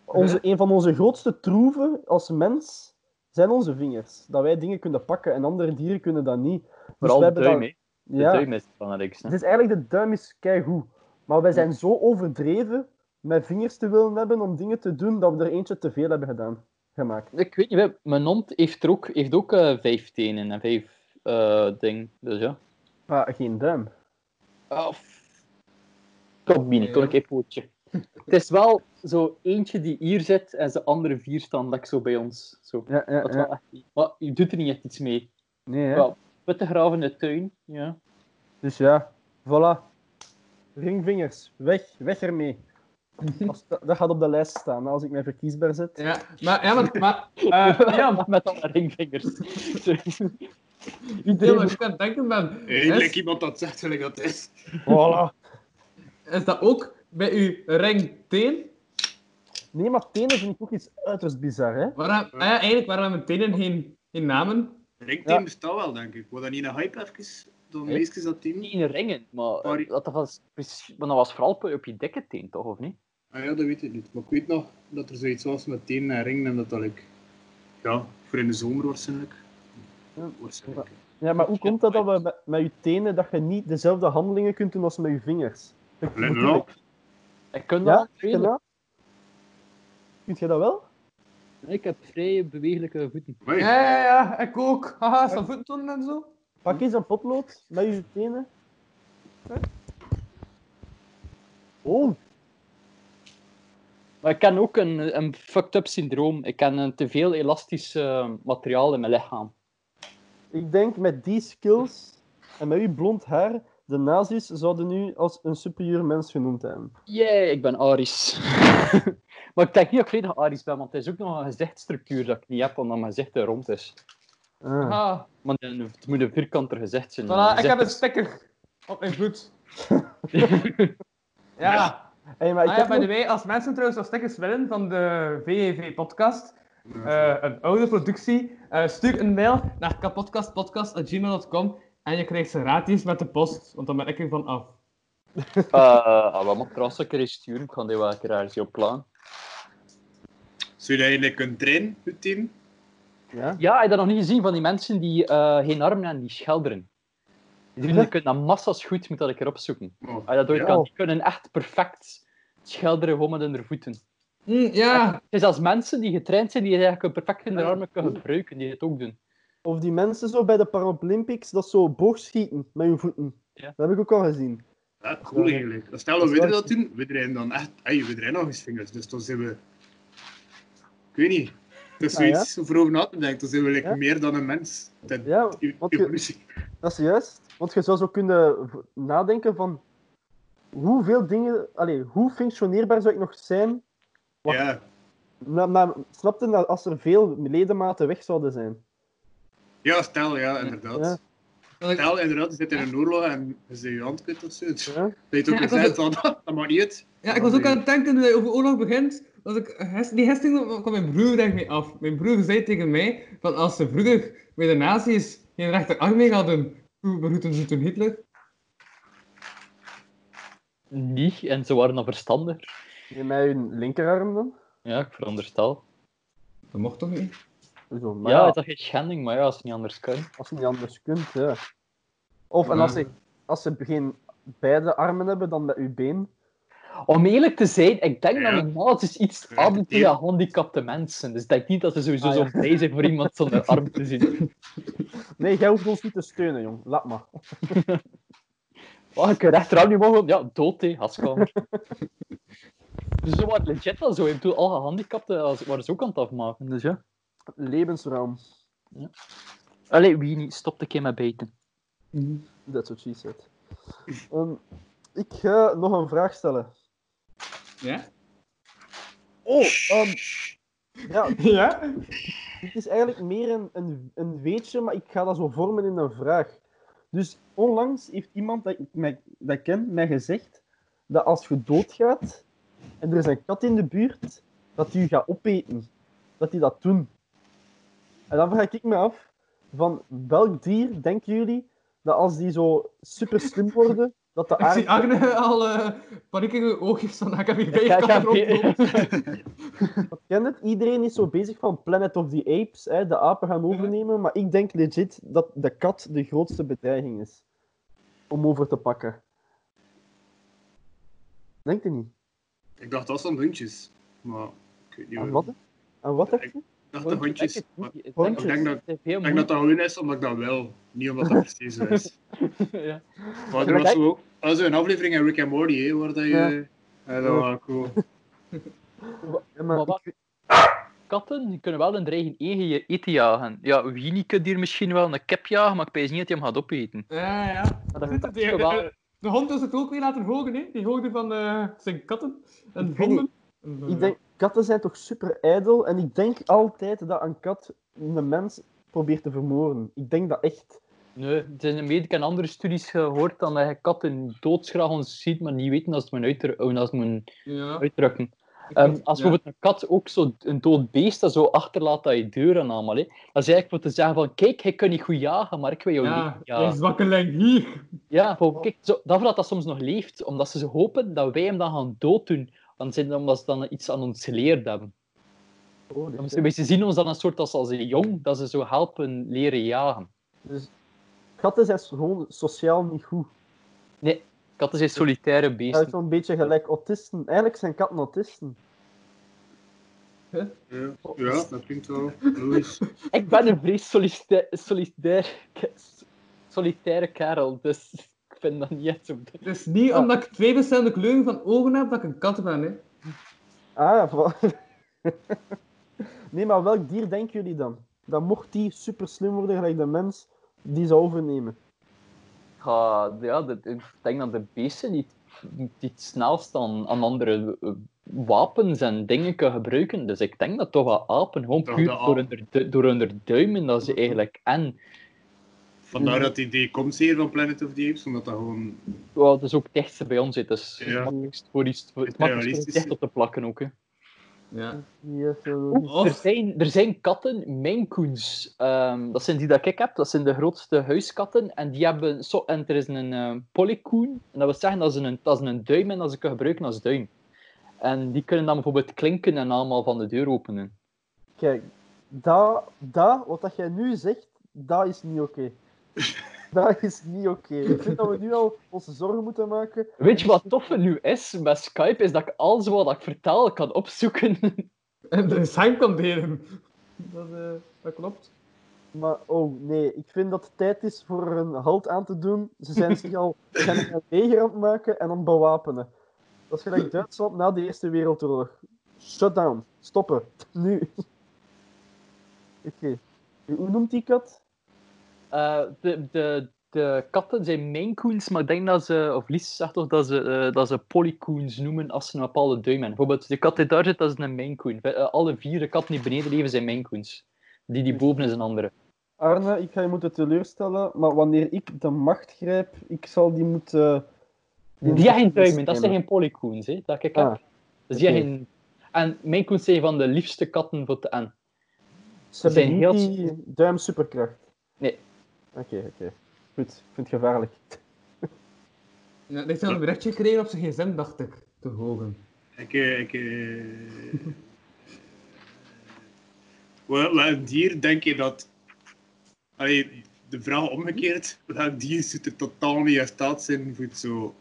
E: onze, een van onze grootste troeven als mens zijn onze vingers. Dat wij dingen kunnen pakken en andere dieren kunnen dat niet. Dus
C: Vooral
E: we
C: de
E: hebben
C: duim,
E: dan-
C: hè. De
E: Ja. Dus-
C: duim is belangrijk.
E: Het is eigenlijk, de duim is keigoed. Maar wij zijn zo overdreven met vingers te willen hebben om dingen te doen, dat we er eentje te veel hebben gedaan, gemaakt.
C: Ik weet niet, we- mijn hond heeft er ook, heeft ook eh, vijf tenen en vijf eh dingen. Dus ja. Ah,
E: Maar Ah, geen duim.
C: Kom binnen,
F: Ja.
C: kom ik even pootje. Het is wel zo eentje die hier zit en de andere vier staan lek zo bij ons. Zo.
E: Ja, ja,
C: Dat
E: ja.
C: wel echt- maar je doet er niet echt iets mee.
E: Nee, hè.
C: Wel, witte graaf in de tuin. Ja.
E: Dus ja, voilà. Ringvingers, weg, weg ermee. Als- dat, dat gaat op de lijst staan, als ik mij verkiesbaar zet.
F: Ja, maar, ja, maar, maar
C: Eh, ja, met alle ringvingers. Zo.
F: ik deel wat ik aan het denken ben.
D: Eindelijk
F: Is,
D: iemand dat zegt gelijk dat het is.
E: Voilà.
F: is dat ook bij uw ringteen?
E: Nee, maar tenen vind ik ook iets uiterst bizar, hè?
F: Waarom, ah ja, eigenlijk, waarom hebben tenen geen, geen namen?
D: Ringteam
E: Ja.
D: bestaat wel, denk ik. Wordt dat niet een hype even? Dan
C: Hè?
D: meestal dat team.
C: Tien ringen, maar eh,
D: Sorry.
C: dat was, precies- maar dat was vooral op je- op je dikke teen, toch, of niet?
D: Ah ja, dat weet ik niet. Maar ik weet nog dat er zoiets was met tenen en ringen en dat dat ik... Ja, voor in de zomer waarschijnlijk.
E: Ja.
D: Waarschijnlijk.
E: Ja, maar hoe komt dat dat we met, met je tenen dat je niet dezelfde handelingen kunt doen als met je vingers? Dat
D: Let
E: moet-
D: me op.
C: Ik kan
E: Ja,
C: dat
E: ken je
C: ja,
E: dat? Kunt jij dat wel?
C: Ik heb vrije bewegelijke voeten.
D: Amai.
F: Ja, ja, ja, ik ook. Haha, stavoetton en zo.
E: Pak eens een potlood met je tenen. Oh,
C: Maar ik ken ook een, een fucked-up syndroom. Ik ken een te veel elastisch eh, materiaal in mijn lichaam.
E: ik denk met die skills en met uw blond haar, de nazi's zouden u als een superieur mens genoemd hebben.
C: Jee, ik ben Aries. maar ik denk niet dat ik volledig Aries ben, want het is ook nog een gezichtsstructuur dat ik niet heb, omdat mijn gezicht te rond is.
E: Ah.
F: Ah,
C: Maar het moet een vierkanter gezicht zijn.
F: voilà, ik
C: Mijn
F: heb een
C: gezicht
F: sticker op mijn voet. Ja.
E: Hey, maar ik
F: Ah ja,
E: heb
F: by
E: nog-
F: the way, als mensen trouwens nog stickers willen van de E VEV-podcast, eh, een oude productie, eh, stuur een mail naar kapodcastpodcast.gmail.com en je krijgt ze gratis met de post, want dan ben ik ervan af.
C: is- Eh, ah, wat mag ik trouwens een keer eens sturen? Ik ga die wel een keer ergens op plan.
D: Zou je dat eigenlijk kunnen trainen, je team?
E: Ja?
C: Ja, heb je dat nog niet gezien van die mensen die eh, geen armen en die schelderen? Die
E: Huh?
C: kunnen dat massa's goed, moet dat ik erop zoeken.
D: Oh,
C: Als je Ah, dat ooit
D: Ja.
C: kan, die kunnen echt perfect schelderen gewoon met hun voeten.
F: Hm, ja,
C: Het is als mensen die getraind zijn, die eigenlijk perfect hun armen kunnen gebruiken, die het ook doen.
E: Of die mensen zo bij de Paralympics, dat zo boogschieten met hun voeten.
C: Ja.
E: Dat heb ik ook al gezien.
D: ja, cool eigenlijk. Stel
E: Dat
D: dat
E: is
D: we
E: waar.
D: dat doen, we draaien dan echt... Hey, we draaien nog eens vingers, dus dan zijn we... Ik weet niet. Dat is
E: Ah, ja.
D: zoiets voor over na te denken. Dan zijn we like,
E: Ja.
D: meer dan een mens. Dat,
E: Ja,
D: die
E: want je,
D: evolutie.
E: dat is juist. Want je zou zo kunnen v- nadenken van hoeveel dingen, allee, hoe functioneerbaar zou ik nog zijn? Wacht.
D: Ja,
E: Na, na, snap je, dat als er veel ledematen weg zouden zijn?
D: ja, stel, ja, inderdaad.
E: Ja.
D: Stel, inderdaad, je zit in een oorlog en je zit je hand kut of zo. Dat
E: Ja?
D: je het ook
F: Ja, ik
D: gezegd
F: was
D: gezegd, van, dat mag niet uit.
F: ja, ik was ook aan het denken dat je over oorlog begint. Dat ik, ges- die hesting kwam mijn broer denk ik mee af. Mijn broer zei tegen mij, van als ze vroeger bij de nazi's geen rechterarm mee hadden, hoe begroeten ze toen Hitler?
C: Niet, en ze waren dan verstandig.
E: Nee, Met hun linkerarm dan?
C: Ja, ik veronderstel.
F: Dat mocht toch niet?
E: Zo, maar
C: Ja,
E: ja,
C: is dat geen schending, maar ja, als het niet anders kan.
E: als je niet anders kunt, ja. Of en
F: Ja.
E: als
C: Mm.
E: ze, als ze geen beide armen hebben, dan met uw been.
C: Om eerlijk te zijn, ik denk
D: Ja.
C: dat normaal het is iets
D: Ja,
C: aan
D: ja.
C: tegen handicapte mensen. Dus ik denk niet dat ze sowieso
E: Ah, ja.
C: zo blij zijn voor iemand zonder arm te zien.
E: Nee, jij hoeft ons niet te steunen, jong. Laat maar.
C: Oh, ik kan rechterarm niet mogen. Ja, dood, hé, gaskamer. dus ze waren legit al zo. Ik bedoel, al gehandicapten als- waren ze ook aan het afmaken. Dus ja.
E: Levensraam.
C: Allee, wie niet? Stop een keer met bijten.
E: That's what she said. Ehm, ik ga nog een vraag stellen.
F: Ja?
E: Oh, ehm, ja,
F: Ja?
E: dit is eigenlijk meer een, een, een weetje, maar ik ga dat zo vormen in een vraag. Dus onlangs heeft iemand dat ik, mij, dat ik ken mij gezegd dat als je doodgaat en er is een kat in de buurt, dat die je gaat opeten. Dat die dat doen. En dan vraag ik me af, van welk dier denken jullie dat als die zo super slim worden, dat de
F: Ik
E: aarde...
F: zie Agne al eh paniek in haar oogjes van ik heb hier
C: Ja, ik
F: vijf katten
C: heb hier-
F: rondlopen.
E: Ken het? Iedereen is zo bezig van Planet of the Apes, hè, de apen gaan overnemen, maar ik denk legit dat de kat de grootste bedreiging is. om over te pakken. Denkt u niet?
D: Ik dacht dat zijn hondjes. Maar ik weet niet
E: Aan
D: waarom.
E: wat? Aan wat dacht je?
D: Ik dacht dat hondjes. Maar
C: Ik
E: Hondjes.
D: Ik denk dat- ik denk dat dat gewoon is omdat ik dat wil. Niet omdat dat precies is.
C: Ja.
D: Maar er was zo, was een aflevering in Rick and Morty, hè, waar dat je...
E: Ja.
D: Ja, dat was cool.
E: Ja, maar
C: Maar wat-
E: ik-
C: Katten die kunnen wel hun eigen eigen eten jagen. Ja, Winnie kan hier misschien wel een kip jagen, maar ik weet niet dat hij hem gaat opeten.
F: Ja, ja.
C: Maar dat
F: Dit- dit-
C: dat is wel-
F: eh, De hond is het ook weer laten hogen, hè? Die hoogte van eh, zijn katten en
E: Ik weet
F: honden. En, eh,
E: ik denk, katten zijn toch super ijdel en ik denk altijd dat een kat een mens probeert te vermoorden. Ik denk dat echt.
C: Nee, het is een- ik heb andere studies gehoord dan dat je katten doodsgraag ons ziet, maar niet weten als het moet, uitdru- eh, als het moet
F: Ja.
C: uitdrukken.
F: ik
C: Ehm,
F: vind-
C: als
F: ja.
C: bijvoorbeeld een kat ook zo een dood beest dat zo achterlaat dat je deuren allemaal, hè. dat is eigenlijk wat te zeggen van, kijk, hij kan niet goed jagen, maar ik wil jou
F: Ja,
C: leven
F: ja.
C: jagen.
F: zwakkeling, hier.
C: Ja, van, kijk, zo, dat dat dat soms nog leeft, omdat ze hopen dat wij hem dan gaan dooddoen, want ze- omdat ze dan iets aan ons geleerd hebben.
E: Oh, dit-
C: Dan moeten we- Ze zien ons dan een soort als, als jong, dat ze zo helpen leren jagen.
E: dus, katten zijn gewoon sociaal niet goed.
C: Katten zijn solitaire
E: Dat is
C: beesten.
E: zo'n beetje gelijk autisten. Eigenlijk zijn katten autisten.
D: Ja, ja, dat klinkt wel logisch.
C: Ik ben een vrees solitair, solitair, solitaire kerel, dus ik vind dat niet echt zo...
F: Het is Dus niet
E: Ja.
F: omdat ik twee verschillende kleuren van ogen heb dat ik een kat ben, hè?
E: Ah, voilà. nee, maar welk dier denken jullie dan? Dan mocht die super slim worden, gelijk de mens, die zou overnemen.
C: Ja, ja, dat- ik denk dat de beesten niet, niet het snelst aan, aan andere eh, wapens en dingen kunnen gebruiken. Dus ik denk dat toch wel apen, gewoon
D: Toch
C: puur
D: de
C: door
D: apen.
C: hun, du- door hun duimen, dat ze eigenlijk... En
D: Vandaar dat idee komt hier van Planet of the Apes, omdat dat gewoon...
C: ja, dat is ook het dichtste bij ons, hè. dat is
D: Ja.
C: het makkelijkst voor iets voor- het
D: Het
C: makkelijkst om het
D: realistische.
C: dicht op te plakken ook. Hè.
F: Ja.
E: Yes,
C: Er,
F: Of,
C: zijn, er zijn katten, mijnkoens. Ehm, dat zijn die dat ik heb. Dat zijn de grootste huiskatten. En, die hebben zo, en er is een ehm, polykoen. En dat wil zeggen dat ze een, dat ze een duim en dat ze kunnen gebruiken als duim. En die kunnen dan bijvoorbeeld klinken en allemaal van de deur openen.
E: Kijk, dat, dat, wat dat jij nu zegt, dat is niet oké. Dat is niet oké. Ik vind dat we nu al onze zorgen moeten maken.
C: Weet je wat toffe nu is met Skype? Is dat ik alles wat ik vertel kan opzoeken.
F: en de zijn kan delen. Dat, eh, dat klopt.
E: Maar oh nee, ik vind dat het tijd is voor er een halt aan te doen. Ze zijn zich al ze zijn een leger aan het maken en aan het bewapenen. Dat is gelijk Duitsland na de Eerste Wereldoorlog. Shutdown. Stoppen. Nu. Oké. Hoe noemt die kat?
C: Eh, de, de, de katten zijn mijnkoens, maar ik denk dat ze, of Lies zegt toch dat ze, eh, dat ze polykoens noemen als ze een bepaalde duim hebben. Bijvoorbeeld, de kat die daar zit, dat is een mijnkoen. Ve- eh, alle vier de katten die beneden leven zijn mijnkoens. Die die boven is een andere.
E: Arne, ik ga je moeten teleurstellen, maar wanneer ik de macht grijp, ik zal die moeten...
C: Die hebben geen duimen, dat zijn geen polykoens, hè, dat ik heb.
E: Ah,
C: dus die
E: oké.
C: hebben geen... En mijnkoens zijn van de liefste katten voor te en.
E: Ze
C: zijn
E: hebben niet
C: heel-
E: die duim superkracht.
C: Nee.
E: Oké, oké. Goed, ik vind het gevaarlijk.
F: Ja, ik zou een berichtje gekregen op zijn gsm, dacht ik, te hogen.
D: Ik... eh, ik eh, wel, welk dier denk je dat... Allee, de vraag omgekeerd. Welk dier zit er totaal niet in staat zijn voor het zo...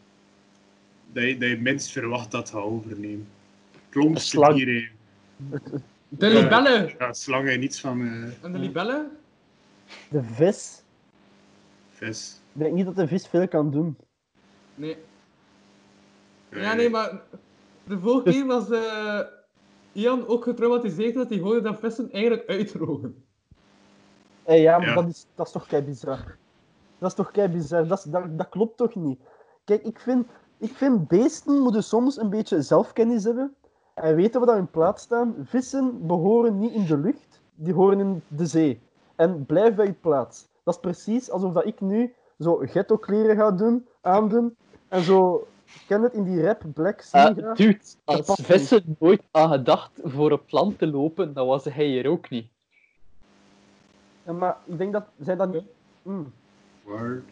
D: Dat je, dat je minst verwacht dat het gaat overnemen.
C: Een
D: Klompste
C: slang.
D: dier, hè.
F: De
D: Ja.
F: libellen!
D: Ja, slangen, niets van eh,
F: En de libellen?
E: De vis.
D: vis.
E: Ik denk niet dat de vis veel kan doen.
F: Nee. Ja, nee, maar de vorige keer was eh, Ian ook getraumatiseerd dat hij hoorde dat vissen eigenlijk uitdrogen.
E: Hé, Eh, ja, maar
D: Ja.
E: Dat, is, dat is toch kei bizar. Dat is toch kei bizar. Dat, is- dat, dat klopt toch niet? Kijk, ik vind, ik vind beesten moeten soms een beetje zelfkennis hebben en weten wat daar in plaats staan. Vissen behoren niet in de lucht, die horen in de zee. En blijf bij je plaats. Dat is precies alsof dat ik nu zo ghetto kleren ga doen, aandoen en zo. Ik ken het in die rap Black Sea.
C: Eh,
E: ga.
C: dude,
E: dat
C: als
E: past
C: vissen nooit aan gedacht voor een plant te lopen, dan was hij hier ook niet.
E: Ja, maar ik denk dat zij dat niet. Mm.
D: Word.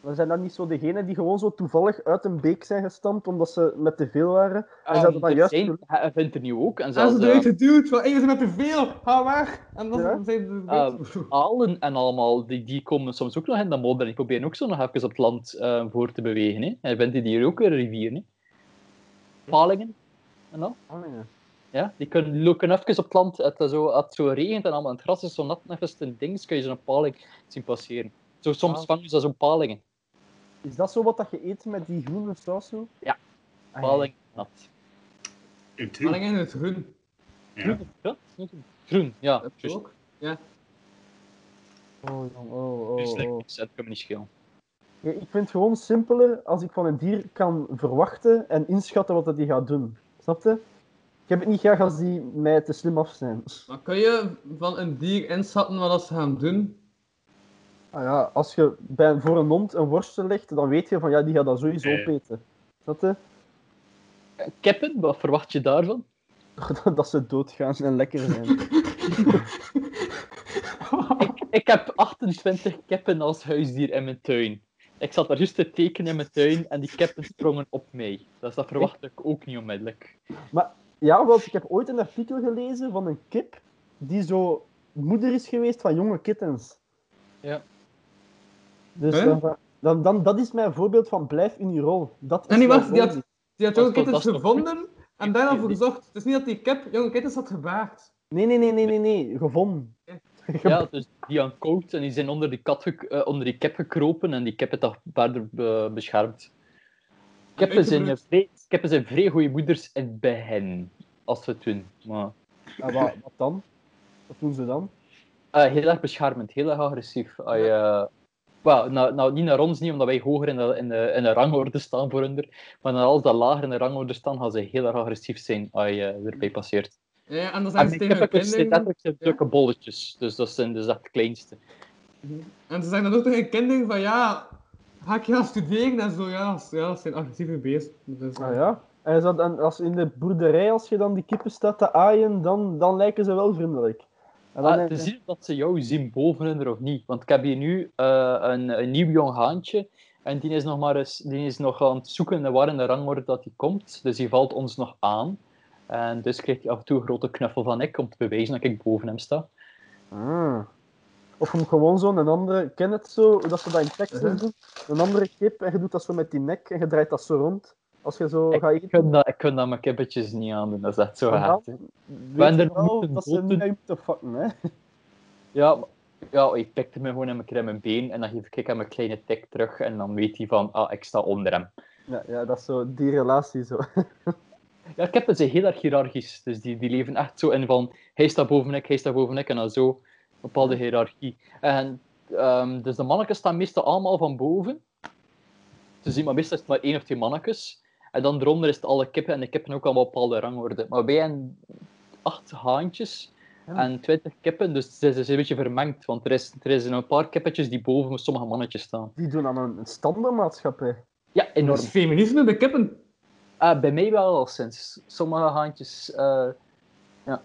E: Maar zijn dat niet zo degenen die gewoon zo toevallig uit een beek zijn gestampt omdat ze met te veel waren? En ze
C: En
E: hadden dan
C: er
E: juist...
C: Ah, zijn, hij vindt er nu ook. En
F: Dat
C: zelfs
F: is
C: eh,
F: eruit geduwd, van hey, we zijn met te veel, ga weg. En dan
E: Ja.
F: zijn ze
C: Ah, alen en allemaal, die, die komen soms ook nog in de modder. Die proberen ook zo nog even op het land eh, voor te bewegen. Hè. En vindt die hier ook een rivier. Hè. Palingen en al.
E: Ah, ja.
C: Ja, die kunnen lopen even op het land. Het, is zo, het zo regent en allemaal. en Het gras is zo nat. En even een ding, kun je zo'n paling zien passeren. Zo, soms
E: Ah.
C: vangen ze zo'n palingen.
E: Is dat zo wat dat je eet met die groene saus zo?
C: Ja.
E: Ah,
C: Palingen nat.
D: Een truc.
F: Alleen in het groen.
D: Ja.
C: Groen, ja. Groen, ja.
F: Dat
C: juist.
F: ook. Ja.
E: Oh, jong, oh, oh,
C: Juist,
E: oh.
C: Dus, like, Dat kan me niet schelen.
E: Ja, ik vind het gewoon simpeler als ik van een dier kan verwachten en inschatten wat dat die gaat doen. Snap je? Ik heb het niet graag als die mij te slim af zijn.
F: Maar kun je van een dier inschatten wat dat ze gaan doen?
E: Ah ja, als je bij, voor een hond een worstje legt, dan weet je van ja, die gaat dat sowieso
D: Eh.
E: opeten. Snap je?
C: Kippen, wat verwacht je daarvan?
E: Dat ze doodgaan en lekker zijn.
C: Ik heb 28 kippen als huisdier in mijn tuin. Ik zat daar juist te tekenen in mijn tuin en die kippen sprongen op mij. Dus dat verwacht ik ook niet onmiddellijk.
E: Ja, want ik heb ooit een artikel gelezen van een kip die zo moeder is geweest van jonge kittens.
C: Ja.
E: Dus
F: Hè?
E: dan, dan, dan, dat is mijn voorbeeld van blijf in je rol. Dat is
F: En die
E: mijn
F: was- die had-
E: rol.
F: Die had
C: Dat
F: jonge
C: is toch-
F: kittens
C: dat is toch
F: gevonden en daarna voor
C: Die-
F: gezocht. Het is niet dat die kip jonge kittens had gebaagd.
E: Nee, nee, nee, nee, nee, nee. Gevonden.
F: Ja.
C: Ja, dus die aan koud en die zijn onder die, kat gek- eh, onder die kip gekropen en die kip heeft dat verder eh, beschermd. Kippen zijn, eh,
F: uitgebroed.
C: vrij, kippen zijn vrij goede moeders in het begin, als ze het doen. Maar,
E: En Ah, wat, wat dan? Wat doen ze dan?
C: eh, heel erg beschermend, heel erg agressief. Als je, eh, wel, nou, nou, niet naar ons niet, omdat wij hoger in de, in de, in de rangorde staan voor hun. Maar naar als dat lager in de rangorde staan, gaan ze heel erg agressief zijn als je eh, erbij passeert.
F: Ja, ja, en dan zijn
C: En
F: ze
C: Ah, die
F: tegen hun
C: kippen zijn
F: kinderen.
C: letterlijk zijn drukke bolletjes, dus dat zijn dus echt de kleinste.
F: En ze zijn dan ook tegen hun kinderen van ja, ga ik gaan studeren en zo. Ja, ze- ja ze zijn agressieve beesten. Dus,
E: Nou ja. En is dat dan- als in de boerderij, als je dan die kippen staat te aaien, dan, dan lijken ze wel vriendelijk. En dan
C: Ah,
E: denk
C: te
F: dus
E: je-
C: zien of dat ze jou zien bovenin er of niet. Want ik heb hier nu eh, een, een nieuw jong haantje. En die is nog maar eens, die is nog aan het zoeken naar waar in de rangorde dat hij komt. Dus die valt ons nog aan. En dus krijgt hij af en toe een grote knuffel van ik om te bewijzen dat ik boven hem sta.
E: Ah. Of hem gewoon zo'n een andere, ik ken het zo, hoe dat ze dat in Texas
F: Uh-huh.
E: doen. Een andere kip en je doet dat zo met die nek en je draait dat zo rond. Als je zo
C: Ik
E: gaat
C: ik
E: eten,
C: kan dat, ik kan dat mijn kippetjes niet aandoen, dat is echt zo
E: dan
C: hard. hè.
E: weet
C: Wanneer
E: je
C: moeten
E: wel dat ze
C: botten-
E: niet naar je moeten fucken, hè.
C: Ja, maar- ja, ik pikte me gewoon in mijn, keer in mijn been en dan geef ik hem een kleine tik terug. En dan weet hij van, ah, ik sta onder hem.
E: Ja, ja, dat is zo die relatie zo.
C: Ja, kippen zijn heel erg hiërarchisch. Dus die, die leven echt zo in van hij staat boven ik, hij staat boven ik en dan zo. Een bepaalde hiërarchie. En ehm, dus de mannetjes staan meestal allemaal van boven. Dus zie maar meestal is het maar één of twee mannetjes. En dan eronder is het alle kippen en de kippen ook allemaal bepaalde rangorde. Maar wij hebben acht haantjes en twintig kippen, dus het is, het is een beetje vermengd. Want er, is, er zijn een paar kippetjes die boven sommige mannetjes staan.
E: Die doen aan een standaardmaatschappij.
C: Ja,
F: Dat
C: enorm.
F: is feminisme bij kippen.
C: Ah, bij mij wel al sinds. Sommige haantjes eh, ja,